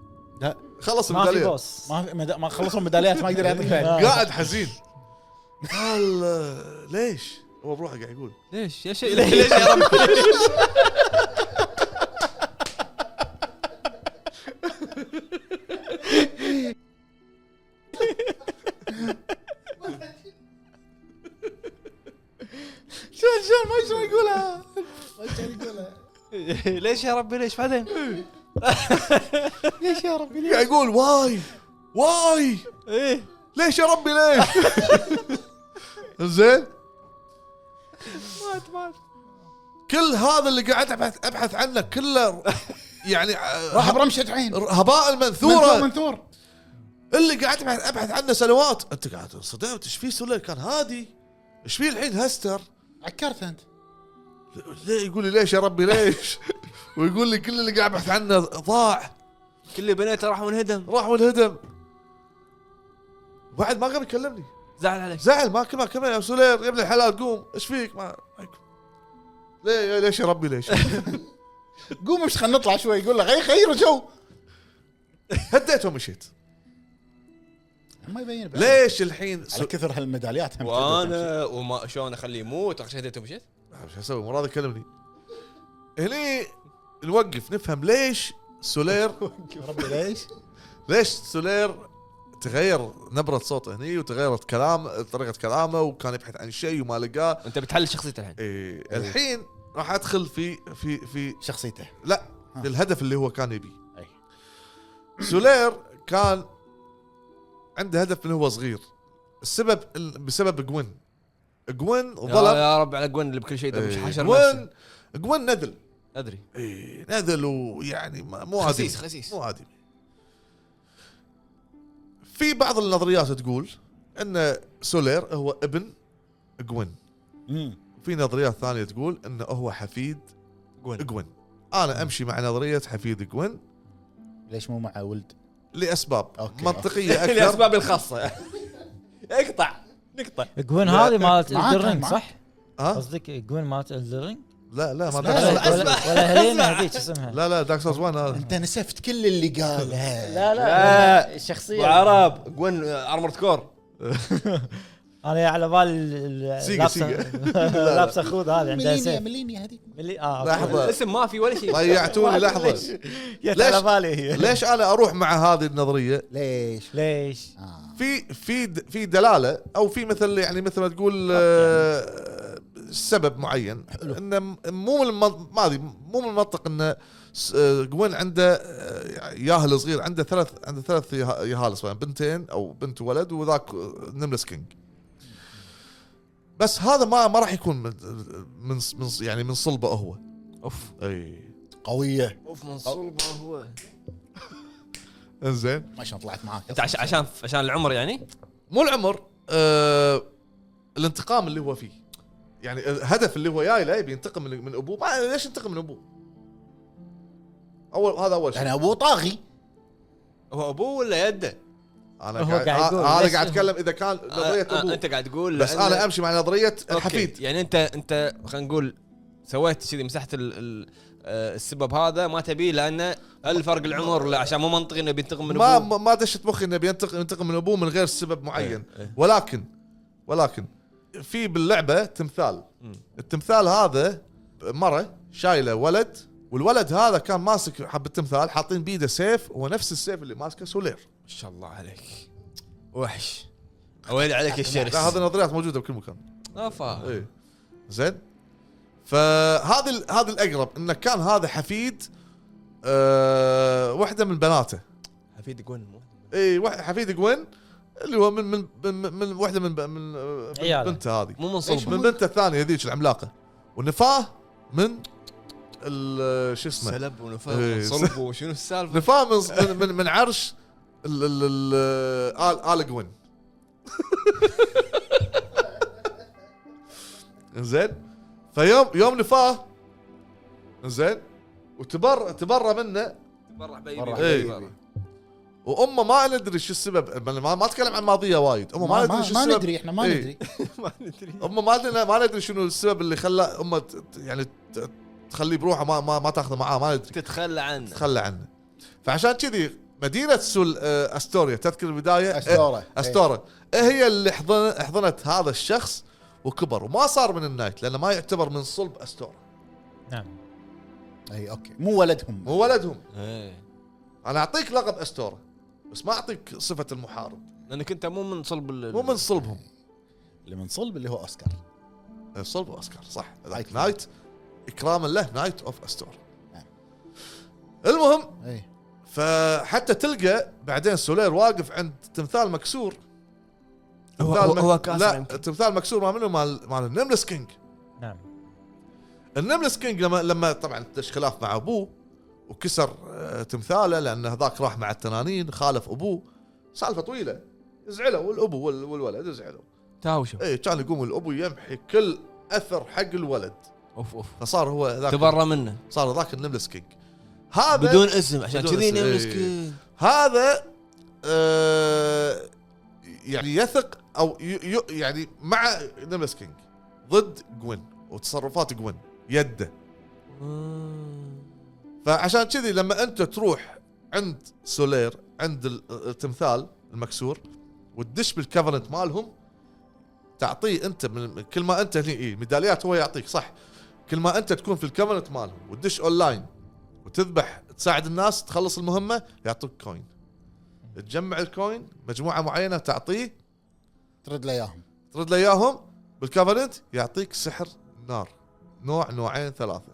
Speaker 2: خلص
Speaker 6: ما في
Speaker 2: الميداليه
Speaker 6: بوس
Speaker 3: ما في مدا- ما خلصوا ميداليات ما يقدر يعطيك فيها.
Speaker 2: قاعد حزين قال آه، ليش؟ هو بروحه قاعد يقول
Speaker 1: ليش يا شيء ليش ليش يا رب ليش يا ربي ليش بعدين ليش يا ربي
Speaker 2: قاعد يقول واي واي
Speaker 1: ايه
Speaker 2: ليش يا ربي ليش؟ زين
Speaker 1: مات مات
Speaker 2: كل هذا اللي قاعد ابحث ابحث عنه كله يعني آه،
Speaker 3: راح برمشه عين
Speaker 2: هباء
Speaker 3: منثور
Speaker 2: المنثوره
Speaker 3: منثور
Speaker 2: اللي قاعد ابحث ابحث عنه سنوات انت قاعد انصدمت ايش فيه سولير كان هادي ايش فيه الحين هستر
Speaker 3: عكرت انت
Speaker 2: ليه يقول لي ليش يا ربي ليش ويقول لي كل اللي قاعد ابحث عنه ضاع
Speaker 1: كل اللي بنيته راح منهدم
Speaker 2: راح وانهدم بعد ما قام يكلمني
Speaker 1: زعل عليك
Speaker 2: زعل ما كمان كمان يا سولير يا ابن الحلال قوم ايش فيك ما ما يقوم. ليه ليش يا ربي ليش
Speaker 3: قوم مش خلينا نطلع شوي يقول له غير غير جو
Speaker 2: هديت ومشيت
Speaker 3: ما يبين بعد.
Speaker 2: ليش الحين
Speaker 3: على كثر هالميداليات هم تقدر
Speaker 1: وانا وما شلون اخليه يموت اخر شيء هديته مشيت
Speaker 2: آه، شو اسوي مو راضي يكلمني هني نوقف نفهم ليش سولير
Speaker 3: تمشي. يا ربي ليش؟
Speaker 2: ليش سولير تغير نبرة صوته هني وتغيرت كلام طريقة كلامه وكان يبحث عن شيء وما لقاه
Speaker 1: انت بتحلل شخصيته الحين
Speaker 2: إيه الحين راح ادخل في في في
Speaker 3: شخصيته
Speaker 2: لا
Speaker 3: ها.
Speaker 2: للهدف اللي هو كان يبيه
Speaker 3: أي.
Speaker 2: سولير كان عنده هدف من هو صغير السبب بسبب جوين جوين
Speaker 1: يا,
Speaker 2: ظلم
Speaker 1: يا رب على جوين اللي بكل شيء ده مش
Speaker 2: إيه،
Speaker 1: حشر
Speaker 2: جوين
Speaker 1: نفسه
Speaker 2: جوين نذل
Speaker 1: ادري
Speaker 2: اي نذل ويعني ما- مو عادي
Speaker 1: خسيس خسيس
Speaker 2: مو عادي في بعض النظريات تقول ان سولير هو ابن جوين في نظريات ثانيه تقول انه هو حفيد
Speaker 1: جوين
Speaker 2: جوين انا امشي مع نظريه حفيد جوين
Speaker 3: ليش مو مع ولد؟
Speaker 2: لاسباب
Speaker 3: أوكي.
Speaker 2: منطقيه اكثر
Speaker 1: لاسبابي الخاصه اقطع نقطع
Speaker 6: جوين هذه مالت
Speaker 3: معاك،
Speaker 6: الدرينج
Speaker 3: معاك.
Speaker 6: صح؟
Speaker 2: ها
Speaker 6: قصدك جوين مالت الدرينج؟
Speaker 2: لا لا ما
Speaker 6: ولا
Speaker 2: دارك
Speaker 1: أسمع،
Speaker 6: ولا
Speaker 1: أسمع،
Speaker 6: ولا هيلينا
Speaker 1: أسمع.
Speaker 6: هذيك اسمها
Speaker 2: لا لا دارك سورس 1 هذا
Speaker 3: انت نسفت كل اللي قاله
Speaker 6: لا
Speaker 1: لا.
Speaker 6: لا الشخصيه
Speaker 1: وعرب جوين ارمورد كور
Speaker 6: انا على بالي
Speaker 2: سيجا، سيجا.
Speaker 6: لابسه خوذ هذه عندها
Speaker 3: ملينيا
Speaker 6: سيف
Speaker 3: ملينيا هذيك
Speaker 6: ملي اه أوكي.
Speaker 2: لحظة.
Speaker 1: الاسم ما في ولا شيء
Speaker 2: ضيعتوني
Speaker 6: ليش؟
Speaker 2: لحظه
Speaker 6: جت
Speaker 2: ليش؟
Speaker 6: على بالي هي
Speaker 2: ليش انا اروح مع هذه النظريه
Speaker 3: ليش؟
Speaker 6: ليش؟
Speaker 3: آه.
Speaker 2: في في د- في دلاله او في مثل يعني مثل ما تقول آه، سبب معين انه م- مو من المن- ما ادري مو من المنطق انه س- آه، جوين عنده آه، ياهل صغير عنده ثلاث عنده ثلاث يه- يهال اسمه بنتين او بنت وولد وذاك آه، نملس كينج بس هذا ما ما راح يكون من من من- يعني من صلبه هو
Speaker 1: اوف
Speaker 2: اي
Speaker 3: قويه
Speaker 1: اوف من صلبه هو
Speaker 2: انزين
Speaker 3: ما شلون طلعت معاك
Speaker 1: انت عش- عشان عشان العمر يعني؟
Speaker 2: مو العمر آه الانتقام اللي هو فيه يعني الهدف اللي هو جاي له يبي ينتقم من من ابوه ما ليش ينتقم من ابوه؟ اول هذا اول شيء
Speaker 3: انا ابوه طاغي
Speaker 1: هو ابوه ولا يده؟
Speaker 2: انا
Speaker 6: هو
Speaker 2: قاعد
Speaker 6: قاعد
Speaker 2: آه،
Speaker 6: يقول
Speaker 2: انا
Speaker 6: ليش-
Speaker 2: قاعد اتكلم اذا كان نظريه
Speaker 1: آه، آه،
Speaker 2: ابوه
Speaker 1: انت قاعد تقول
Speaker 2: بس
Speaker 1: لأن-
Speaker 2: انا امشي مع نظريه
Speaker 1: أوكي،
Speaker 2: الحفيد
Speaker 1: يعني انت انت خلينا نقول سويت كذي مسحت ال- ال- آه، السبب هذا ما تبيه لانه هل فرق العمر لا عشان مو منطقي انه بينتقم من
Speaker 2: ما
Speaker 1: ابوه
Speaker 2: ما ما دشت مخي انه بينتقم ينتقم من ابوه من غير سبب معين
Speaker 1: إيه، إيه.
Speaker 2: ولكن ولكن في باللعبه تمثال
Speaker 1: مم.
Speaker 2: التمثال هذا مره شايله ولد والولد هذا كان ماسك حبه تمثال حاطين بيده سيف هو نفس السيف اللي ماسكه سولير
Speaker 1: ما شاء الله عليك وحش ويلي عليك الشرس
Speaker 2: لا هذه نظريات موجوده بكل مكان
Speaker 1: افا
Speaker 2: اي زين فهذا ال- هذا الاقرب انه كان هذا حفيد أه واحده من بناته
Speaker 1: حفيد جون مو
Speaker 2: اي واحد- حفيد جوين اللي هو من من من, من واحده من ب- من, آه، من
Speaker 6: عياله.
Speaker 2: بنته هذه
Speaker 1: مو منصوب
Speaker 2: من بنته الثانيه ذيك العملاقه ونفاه من ال- شو اسمه
Speaker 1: سلب
Speaker 2: إيه.
Speaker 1: ونفاق وصلب وشنو السالفه
Speaker 2: نفاه من من, من عرش ال ال ال آل- ال جوين زين فيوم يوم نفاه زين وتبر تبرى منه
Speaker 1: برا
Speaker 3: برا
Speaker 2: حبيبي.
Speaker 1: حبيبي
Speaker 2: وامه ما ندري شو السبب ما ما اتكلم عن ماضيه وايد امه ما, ندري شو
Speaker 3: ما
Speaker 2: السبب
Speaker 3: ندري احنا ما
Speaker 2: إيه.
Speaker 3: ندري
Speaker 1: ما ندري
Speaker 2: امه ما ادري ما ندري شنو السبب اللي خلى امه ت- ت- يعني ت- تخليه بروحه ما ما, ما تاخذه معاه ما ندري
Speaker 1: تتخلى عنه
Speaker 2: تخلى عنه فعشان كذي مدينه سول آه، استوريا تذكر البدايه آه،
Speaker 3: استوره
Speaker 2: استوريا آه، هي اللي حضن- حضنت هذا الشخص وكبر وما صار من النايت لانه ما يعتبر من صلب استوريا
Speaker 6: نعم
Speaker 3: إيه. اي اوكي مو ولدهم
Speaker 2: هو ولدهم
Speaker 1: إيه.
Speaker 2: انا اعطيك لقب استوريا بس ما اعطيك صفه المحارب
Speaker 1: لانك انت مو من صلب ال-
Speaker 2: مو من صلبهم
Speaker 3: اللي من صلب اللي هو اوسكار
Speaker 2: صلب اوسكار صح
Speaker 3: أيكون.
Speaker 2: نايت اكراما له نايت اوف استور
Speaker 3: نعم.
Speaker 2: المهم
Speaker 3: اي
Speaker 2: فحتى تلقى بعدين سولير واقف عند تمثال مكسور
Speaker 1: هو-
Speaker 2: تمثال
Speaker 1: هو-
Speaker 2: مك-
Speaker 1: هو كاسر
Speaker 2: لا
Speaker 1: يمكن.
Speaker 2: تمثال مكسور ما منه مال مال النملس كينج
Speaker 6: نعم
Speaker 2: النملس كينج لما لما طبعا دش خلاف مع ابوه وكسر آه، تمثاله لان هذاك راح مع التنانين خالف ابوه سالفه طويله زعلوا الابو وال- والولد زعلوا
Speaker 1: تهاوشوا
Speaker 2: اي كان يقوم الابو يمحي كل اثر حق الولد
Speaker 1: اوف اوف
Speaker 2: فصار هو ذاك
Speaker 1: تبرى منه
Speaker 2: صار ذاك النملس كينج هذا بدون
Speaker 1: بدون اسم عشان
Speaker 2: بدون
Speaker 1: كذي
Speaker 2: اسم، إيه.
Speaker 1: مسكين
Speaker 2: هذا آه يعني يثق او ي- ي- يعني مع نملس كينج ضد جوين وتصرفات جوين يده فعشان كذي لما انت تروح عند سولير عند ال- التمثال المكسور وتدش بالكفرنت مالهم تعطيه انت من كل ما انت هني إيه ميداليات هو يعطيك صح كل ما انت تكون في الكفرنت مالهم وتدش اونلاين وتذبح تساعد الناس تخلص المهمه يعطوك كوين تجمع الكوين مجموعه معينه تعطيه
Speaker 3: ترد لي اياهم
Speaker 2: ترد له اياهم بالكفرنت يعطيك سحر نار نوع نوعين ثلاثه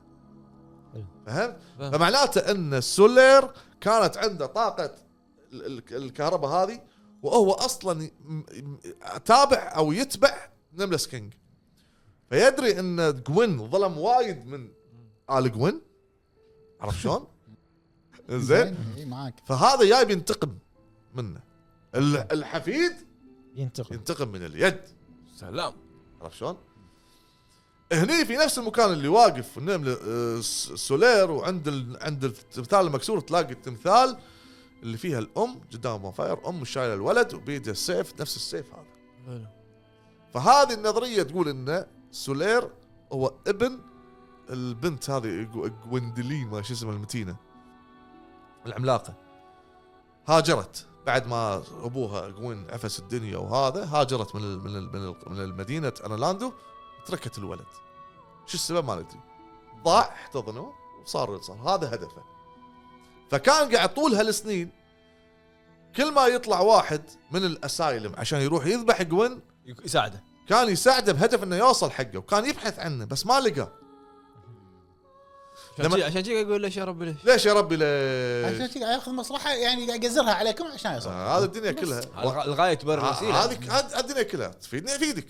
Speaker 6: حلو.
Speaker 2: فهمت؟
Speaker 1: فهمت.
Speaker 2: فمعناته ان السولير كانت عنده طاقه ال- ال- الكهرباء هذه وهو اصلا ي- م- م- تابع او يتبع نملس كينج فيدري ان جوين ظلم وايد من ال جوين عرفت شلون؟ زين
Speaker 3: اي إيه، معاك
Speaker 2: فهذا جاي بينتقم منه ال- الحفيد
Speaker 6: ينتقل
Speaker 2: ينتقم من اليد
Speaker 1: سلام
Speaker 2: عرفت شلون؟ هني في نفس المكان اللي واقف النمل آه، س- سولير وعند ال... عند التمثال المكسور تلاقي التمثال اللي فيها الام قدام بونفاير ام شايله الولد وبيده السيف نفس السيف هذا
Speaker 1: حلو.
Speaker 2: فهذه النظريه تقول ان سولير هو ابن البنت هذه جو- جويندلين ما شو اسمها المتينه العملاقه هاجرت بعد ما ابوها جوين عفس الدنيا وهذا هاجرت من ال من ال من, ال من مدينه انلاندو تركت الولد شو السبب ما ندري ضاع احتضنه وصار صار هذا هدفه فكان قاعد طول هالسنين كل ما يطلع واحد من الاسايلم عشان يروح يذبح جوين
Speaker 1: يك- يساعده
Speaker 2: كان يساعده بهدف انه يوصل حقه وكان يبحث عنه بس ما لقاه
Speaker 1: عشان
Speaker 2: لما-
Speaker 1: شي- عشان كذا اقول ليش يا ربي ليش
Speaker 2: ليش يا ربي
Speaker 3: عشان
Speaker 2: ليش
Speaker 3: كذا ياخذ مصلحه يعني قاعد يقزرها عليكم عشان يوصل
Speaker 2: آه، هذا الدنيا كلها
Speaker 1: الغ- الغايه تبرر الوسيله
Speaker 2: هذه هذه الدنيا كلها تفيدني افيدك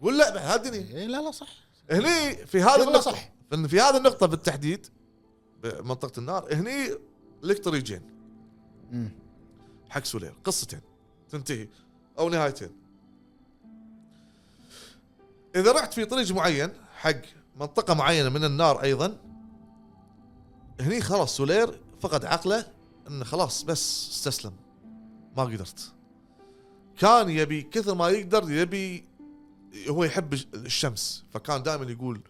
Speaker 2: ولا لا هذه الدنيا
Speaker 3: إيه، لا لا صح
Speaker 2: هني في هذه
Speaker 3: شغله
Speaker 2: النقطة
Speaker 3: صح.
Speaker 2: صح. في هذه النقطة بالتحديد بمنطقة النار هني لك طريقين
Speaker 3: مم.
Speaker 2: حق سولير قصتين تنتهي أو نهايتين إذا رحت في طريق معين حق منطقة معينة من النار أيضا هني خلاص سولير فقد عقله انه خلاص بس استسلم ما قدرت كان يبي كثر ما يقدر يبي هو يحب الش- الشمس فكان دائما يقول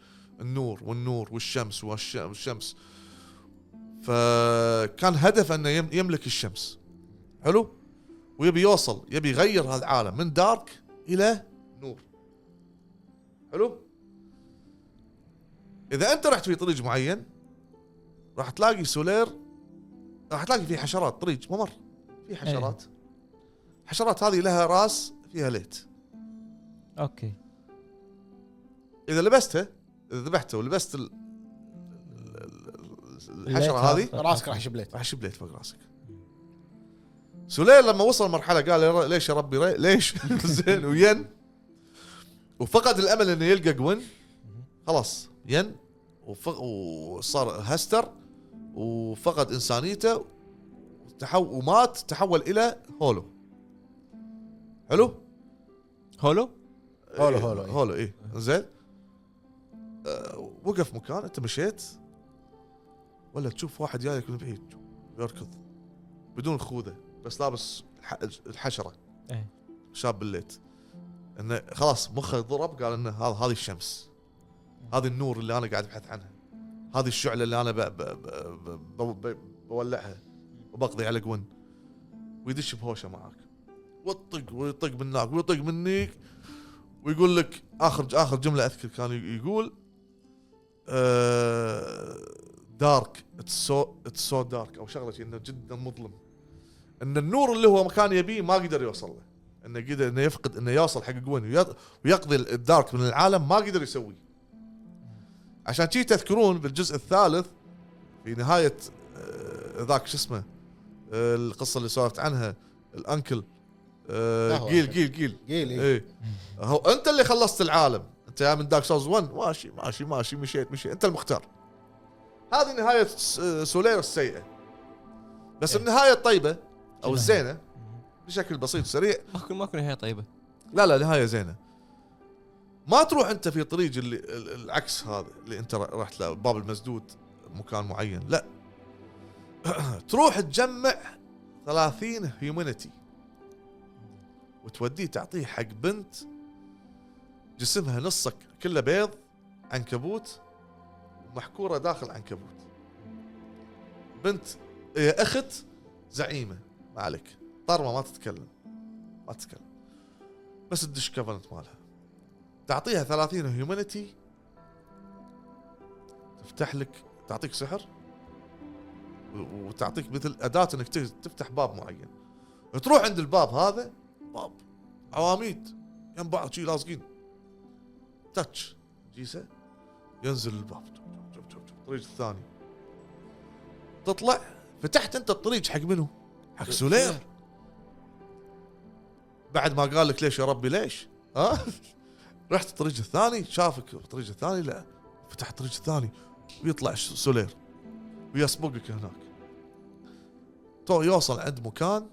Speaker 2: النور والنور والشمس والش- والشمس فكان هدفه انه يم- يملك الشمس حلو ويبي يوصل يبي يغير هذا العالم من دارك الى نور حلو اذا انت رحت في طريق معين راح تلاقي سولير راح تلاقي فيه حشرات طريق ممر في حشرات حشرات هذه لها راس فيها ليت
Speaker 6: اوكي
Speaker 2: اذا لبسته اذا ذبحته ولبست ال... ال- ال- الحشره هذه
Speaker 3: راسك راح يشبليت
Speaker 2: راح يشب ليت فوق راسك سليل لما وصل مرحله قال يا ر- ليش يا ربي ري- ليش زين وين وفقد الامل انه يلقى جوين خلاص ين وفق وصار هستر وفقد انسانيته تحول ومات تحول الى هولو حلو
Speaker 1: هولو
Speaker 3: هولو- هولو، إيه.
Speaker 2: هولو اي زين أه، وقف مكان انت مشيت ولا تشوف واحد جايك من بعيد يركض بدون خوذه بس لابس الح- الحشره
Speaker 6: إيه.
Speaker 2: شاب بالليت انه خلاص مخه ضرب قال انه هذا هذه الشمس هذا النور اللي انا قاعد ابحث عنها هذه الشعله اللي انا ب... ب... ب... ب... ب... بولعها وبقضي على جون ويدش بهوشه معاك ويطق ويطق من هناك ويطق منيك ويقول لك اخر اخر جمله اذكر كان يقول آه، دارك اتس سو اتس سو دارك او شغله شي، انه جدا مظلم ان النور اللي هو كان يبيه ما قدر يوصل له انه قدر انه يفقد انه يوصل حق جوين ويق- ويقضي الدارك من العالم ما قدر يسويه عشان شي تذكرون بالجزء الثالث في نهايه آه، ذاك شو اسمه آه، القصه اللي سولفت عنها الانكل
Speaker 3: لا هو
Speaker 2: آه، جيل
Speaker 3: أنكل.
Speaker 2: جيل جيل
Speaker 3: قيل إيه.
Speaker 2: ايه هو انت اللي خلصت العالم انت يا من دارك سولز 1 ماشي ماشي ماشي مشيت مشيت انت المختار هذه نهايه س- سولير السيئه بس النهايه الطيبه او الزينه بشكل بسيط سريع
Speaker 1: اكل ماكو نهايه طيبه
Speaker 2: لا لا نهايه زينه ما تروح انت في طريق اللي ال- العكس هذا اللي انت ر- رحت له باب المسدود مكان معين لا تروح تجمع 30 هيومانيتي وتوديه تعطيه حق بنت جسمها نصك كله بيض عنكبوت محكوره داخل عنكبوت بنت اه، اخت زعيمه ما عليك طرمه ما تتكلم ما تتكلم بس تدش كفنت مالها تعطيها 30 هيومانيتي تفتح لك تعطيك سحر و- وتعطيك مثل اداه انك ت- تفتح باب معين تروح عند الباب هذا باب عواميد يم بعض شي لازقين تاتش جيسه ينزل الباب جب- جب- جب- جب. الطريق الثاني تطلع فتحت انت الطريق حق منو؟ حق سولير بعد ما قال لك ليش يا ربي ليش؟ ها؟ رحت الطريق الثاني شافك الطريق الثاني لا فتح الطريق الثاني ويطلع س- سولير ويسبقك هناك تو يوصل عند مكان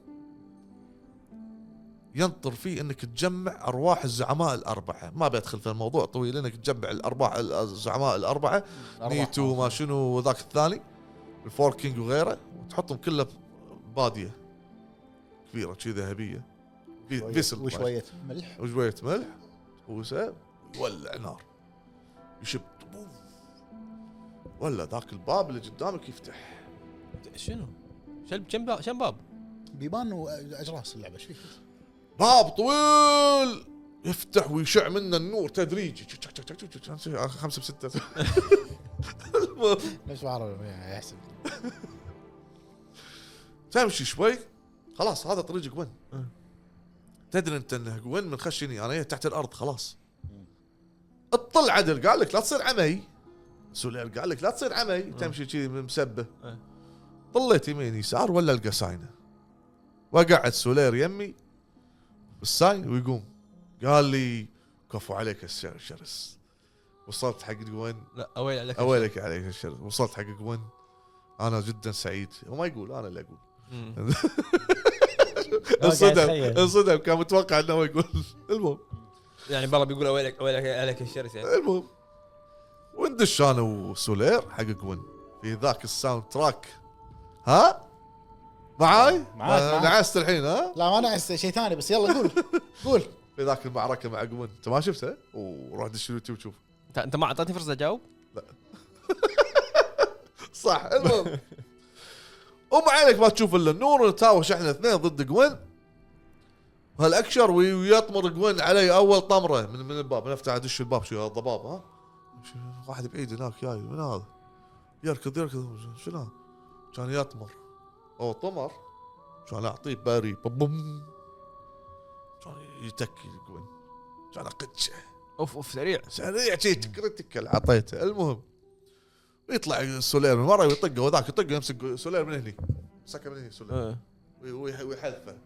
Speaker 2: ينطر فيه انك تجمع ارواح الزعماء الاربعه ما بيدخل في الموضوع طويل انك تجمع الارباح الزعماء الاربعه نيتو وما شنو وذاك الثاني الفور كينج وغيره وتحطهم كله باديه كبيره شي ذهبيه في- فيسل
Speaker 3: وشويه ملح
Speaker 2: وشوية ملح وسب يولع نار يشب طبوف. ولا ذاك الباب اللي قدامك يفتح
Speaker 1: شنو؟ شل كم باب كم باب؟
Speaker 3: بيبان واجراس اللعبه ايش فيك؟
Speaker 2: باب طويل يفتح ويشع منه النور تدريجي تشك- تشك- تشك- تشك- تشك- خمسة بستة المهم،
Speaker 3: ليش بعرف يعني احسب
Speaker 2: تمشي شوي خلاص هذا طريق قوين تدري انت انه قوين من خشني انا تحت الارض خلاص اطلع عدل قال لك لا تصير عمي سولير قال لك لا تصير عمي تمشي كذي مسبه
Speaker 1: أه.
Speaker 2: طليت يمين يسار ولا القى ساينه وقعد سولير يمي بالساين ويقوم قال لي كفو عليك الشر- الشرس وصلت حق قوين
Speaker 1: لا اويل عليك
Speaker 2: اويلك عليك الشر وصلت حق قوين انا جدا سعيد هو ما يقول انا اللي اقول
Speaker 1: مم.
Speaker 2: انصدم
Speaker 6: أتخيل.
Speaker 2: انصدم كان متوقع انه هو يقول المهم
Speaker 1: يعني برا بيقول اويلك اويلك عليك الشرس يعني
Speaker 2: المهم وندش انا وسولير حق جوين في ذاك الساوند تراك ها معاي؟
Speaker 3: معاك،
Speaker 2: آه،
Speaker 3: معاك.
Speaker 2: نعست الحين ها؟
Speaker 3: لا ما نعس شيء ثاني بس يلا قول قول
Speaker 2: في ذاك المعركه مع جوين انت ما شفتها؟ وروح دش اليوتيوب شوف
Speaker 1: أنت- انت ما اعطيتني فرصه اجاوب؟
Speaker 2: صح المهم وما عليك ما تشوف الا النور نتهاوش احنا اثنين ضد جوين وهالاكشر وي- ويطمر جوين علي اول طمره من من الباب نفتح ادش الباب شو الضباب ها شو- واحد بعيد هناك جاي من هذا يركض يركض شنو هذا؟ كان يطمر او طمر كان اعطيه باري ببم كان يتكي جوين كان اقدشه
Speaker 1: اوف اوف سريع
Speaker 2: سريع شي تكرتكل اعطيته المهم يطلع سولير من ورا ويطقه وذاك يطقه يمسك سولير من هني مسكه من هني سولير
Speaker 1: آه.
Speaker 2: وي- وي- ويحذفه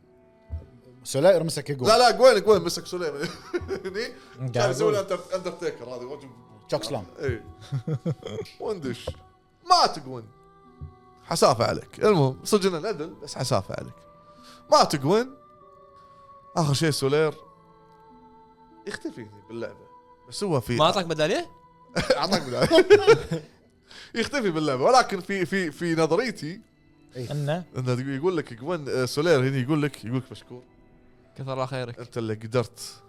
Speaker 3: سولير مسك يقول
Speaker 2: لا لا قوين قوين مسك سولير من هني كان
Speaker 6: قاعد
Speaker 2: يسوي
Speaker 6: أقول.
Speaker 2: له أندر- اندرتيكر هذه وجه
Speaker 3: تشوك سلام
Speaker 2: اي وندش مات قوين حسافه عليك المهم صدقنا نذل بس حسافه عليك مات قوين اخر شيء سولير يختفي هني باللعبه بس هو في
Speaker 1: ما اعطاك ميداليه؟
Speaker 2: اعطاك بداية يختفي باللعبه ولكن في في في نظريتي
Speaker 6: انه
Speaker 2: انه يقول لك جوين آه، سولير هنا يقول لك يقول لك مشكور
Speaker 1: كثر الله خيرك
Speaker 2: انت اللي قدرت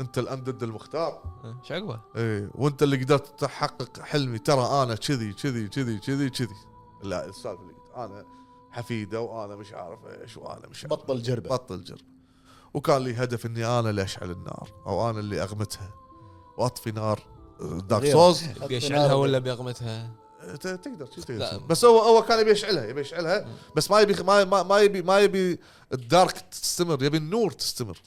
Speaker 2: انت الاندد المختار
Speaker 1: آه. ايش عقبه؟
Speaker 2: اي وانت اللي قدرت تحقق حلمي ترى انا كذي كذي كذي كذي كذي لا السالفه اللي قلت، انا حفيده وانا مش عارف ايش وانا مش عارف
Speaker 3: بطل جربه
Speaker 2: بطل جرب وكان لي هدف اني انا اللي اشعل النار او انا اللي اغمتها واطفي نار آه، دارك
Speaker 3: غير.
Speaker 2: سوز
Speaker 1: بيشعلها ولا بيغمتها؟
Speaker 2: ت- تقدر شي تقدر
Speaker 1: لا.
Speaker 2: تسوي. بس هو هو كان يبي يشعلها يبي يشعلها بس ما يبي ما ما, ما يبي ما يبي الدارك تستمر يبي النور تستمر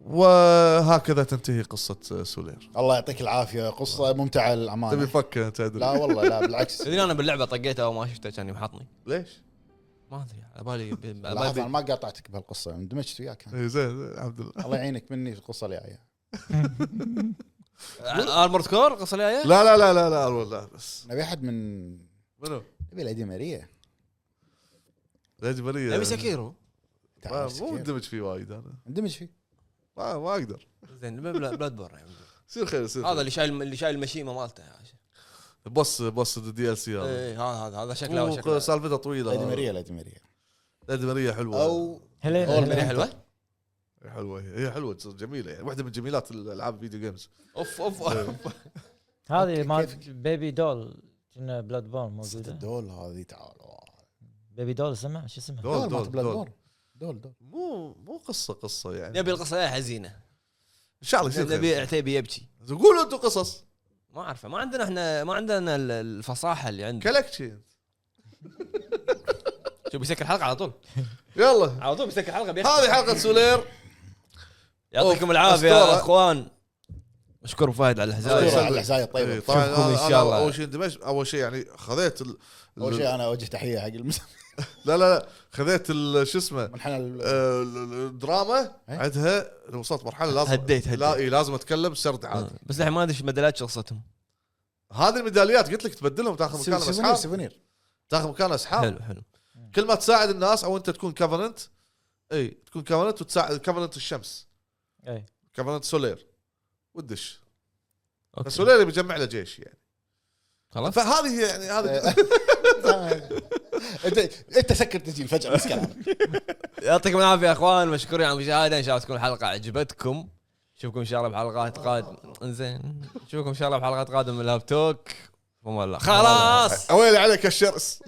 Speaker 2: وهكذا تنتهي قصة سولير
Speaker 3: الله يعطيك العافيه قصه ممتعه
Speaker 2: آه. تبي
Speaker 3: للامانه
Speaker 2: فكة انت
Speaker 3: آه، نعم. لا
Speaker 2: ادري
Speaker 3: والله لا بالعكس
Speaker 1: تدري انا باللعبه طقيتها او ما شفتها كان يمحطني
Speaker 2: ليش؟
Speaker 1: ما ادري على بالي ب- على
Speaker 3: لحظه انا
Speaker 1: بالي
Speaker 3: ما قاطعتك بهالقصه اندمجت وياك أنا.
Speaker 2: إيه، زين زين، الحمد لله
Speaker 3: الله يعينك مني القصه اللي جايه
Speaker 1: ارمورد كور قصه الجايه؟
Speaker 2: لا لا لا لا لا والله بس
Speaker 3: نبي احد من
Speaker 2: منو؟
Speaker 3: نبي ليدي ماريا
Speaker 2: لا جبرية
Speaker 1: ابي سكيرو
Speaker 2: ما-
Speaker 3: تعال
Speaker 2: مو
Speaker 3: سكير.
Speaker 2: مندمج فيه وايد انا
Speaker 3: اندمج فيه
Speaker 2: ما, ما اقدر
Speaker 1: زين بلا- بلاد بورن يعني.
Speaker 2: يصير خير يصير
Speaker 1: هذا اللي شايل اللي شايل المشيمه مالته يا عشان.
Speaker 2: بص بص الدي ال سي هذا
Speaker 1: إيه، هذا هذا هذا شكله
Speaker 2: مو-
Speaker 1: شكله
Speaker 2: سالفته طويلة
Speaker 3: ليدي ماريا ليدي ماريا
Speaker 2: لا جبرية حلوة
Speaker 3: او
Speaker 6: هلينا
Speaker 3: أول
Speaker 1: هي
Speaker 6: هلينا.
Speaker 1: حلوه
Speaker 2: حلوة هي هي حلوة تصير جميلة يعني واحدة من جميلات الالعاب الفيديو جيمز
Speaker 1: اوف اوف اوف
Speaker 6: هذه
Speaker 3: كيف-
Speaker 6: مالت بيبي دول كنا بلاد بورن
Speaker 3: قصه
Speaker 6: موجوده
Speaker 3: الدول هذه تعال
Speaker 6: بيبي دول اسمها شو اسمها؟
Speaker 2: دول
Speaker 3: دول
Speaker 2: دول
Speaker 3: مالت بلاد
Speaker 2: دول
Speaker 3: بورن دول دول
Speaker 2: مو مو قصه قصه يعني
Speaker 1: نبي القصه الجاية حزينه
Speaker 2: ان شاء الله يصير
Speaker 1: نبي
Speaker 2: خير.
Speaker 1: عتيبي يبكي
Speaker 2: قولوا انتم قصص
Speaker 1: ما اعرفه ما عندنا احنا ما عندنا ال- الفصاحه اللي عندنا
Speaker 2: كلك شيء
Speaker 1: شو بيسكر حلقه على طول
Speaker 2: يلا
Speaker 1: على طول بيسكر حلقه بيحكي.
Speaker 2: هذه حلقه سولير
Speaker 1: يعطيكم
Speaker 2: أوف،
Speaker 1: العافيه
Speaker 2: أسطورة.
Speaker 1: يا اخوان مشكور فهد على الهزايا
Speaker 2: أيوة.
Speaker 3: على الحزايا
Speaker 2: إيه،
Speaker 3: الطيبه
Speaker 2: طبعا
Speaker 1: نشوفكم طيب، إن
Speaker 2: أنا-
Speaker 1: شاء
Speaker 2: أنا
Speaker 1: الله.
Speaker 2: اول شيء اندمجت اول شيء يعني خذيت ال...
Speaker 3: اول
Speaker 2: ال-
Speaker 3: شيء انا اوجه تحيه حق المس-
Speaker 2: لا لا لا خذيت ال- شو اسمه
Speaker 3: منحنى ال-
Speaker 2: آه، ال- ال- الدراما
Speaker 3: إيه.
Speaker 2: عندها وصلت مرحله لازم
Speaker 1: هديت- هديت.
Speaker 2: لا إيه، لازم اتكلم سرد عادي
Speaker 1: آه، بس الحين ما ادري ايش مدلات شو قصتهم
Speaker 2: هذه الميداليات قلت لك تبدلهم تاخذ مكان
Speaker 3: سيفونير
Speaker 2: اصحاب
Speaker 3: سيفونير
Speaker 2: تاخذ مكان اصحاب
Speaker 1: حلو حلو
Speaker 2: كل ما تساعد الناس او انت تكون كفرنت اي تكون كفرنت وتساعد كفرنت الشمس
Speaker 6: اي
Speaker 2: كفرنت سولير وتدش
Speaker 1: أوكي.
Speaker 2: بس سولير بيجمع له جيش يعني
Speaker 1: خلاص
Speaker 2: فهذه يعني هذه
Speaker 3: انت انت إيه. سكر تسجيل فجاه بس كلام
Speaker 1: يعطيكم العافيه يا اخوان مشكورين على المشاهده ان شاء الله تكون الحلقه عجبتكم نشوفكم ان شاء الله بحلقات قادمه انزين نشوفكم ان شاء الله بحلقات قادمه من الهاب توك والله خلاص
Speaker 2: ويلي عليك الشرس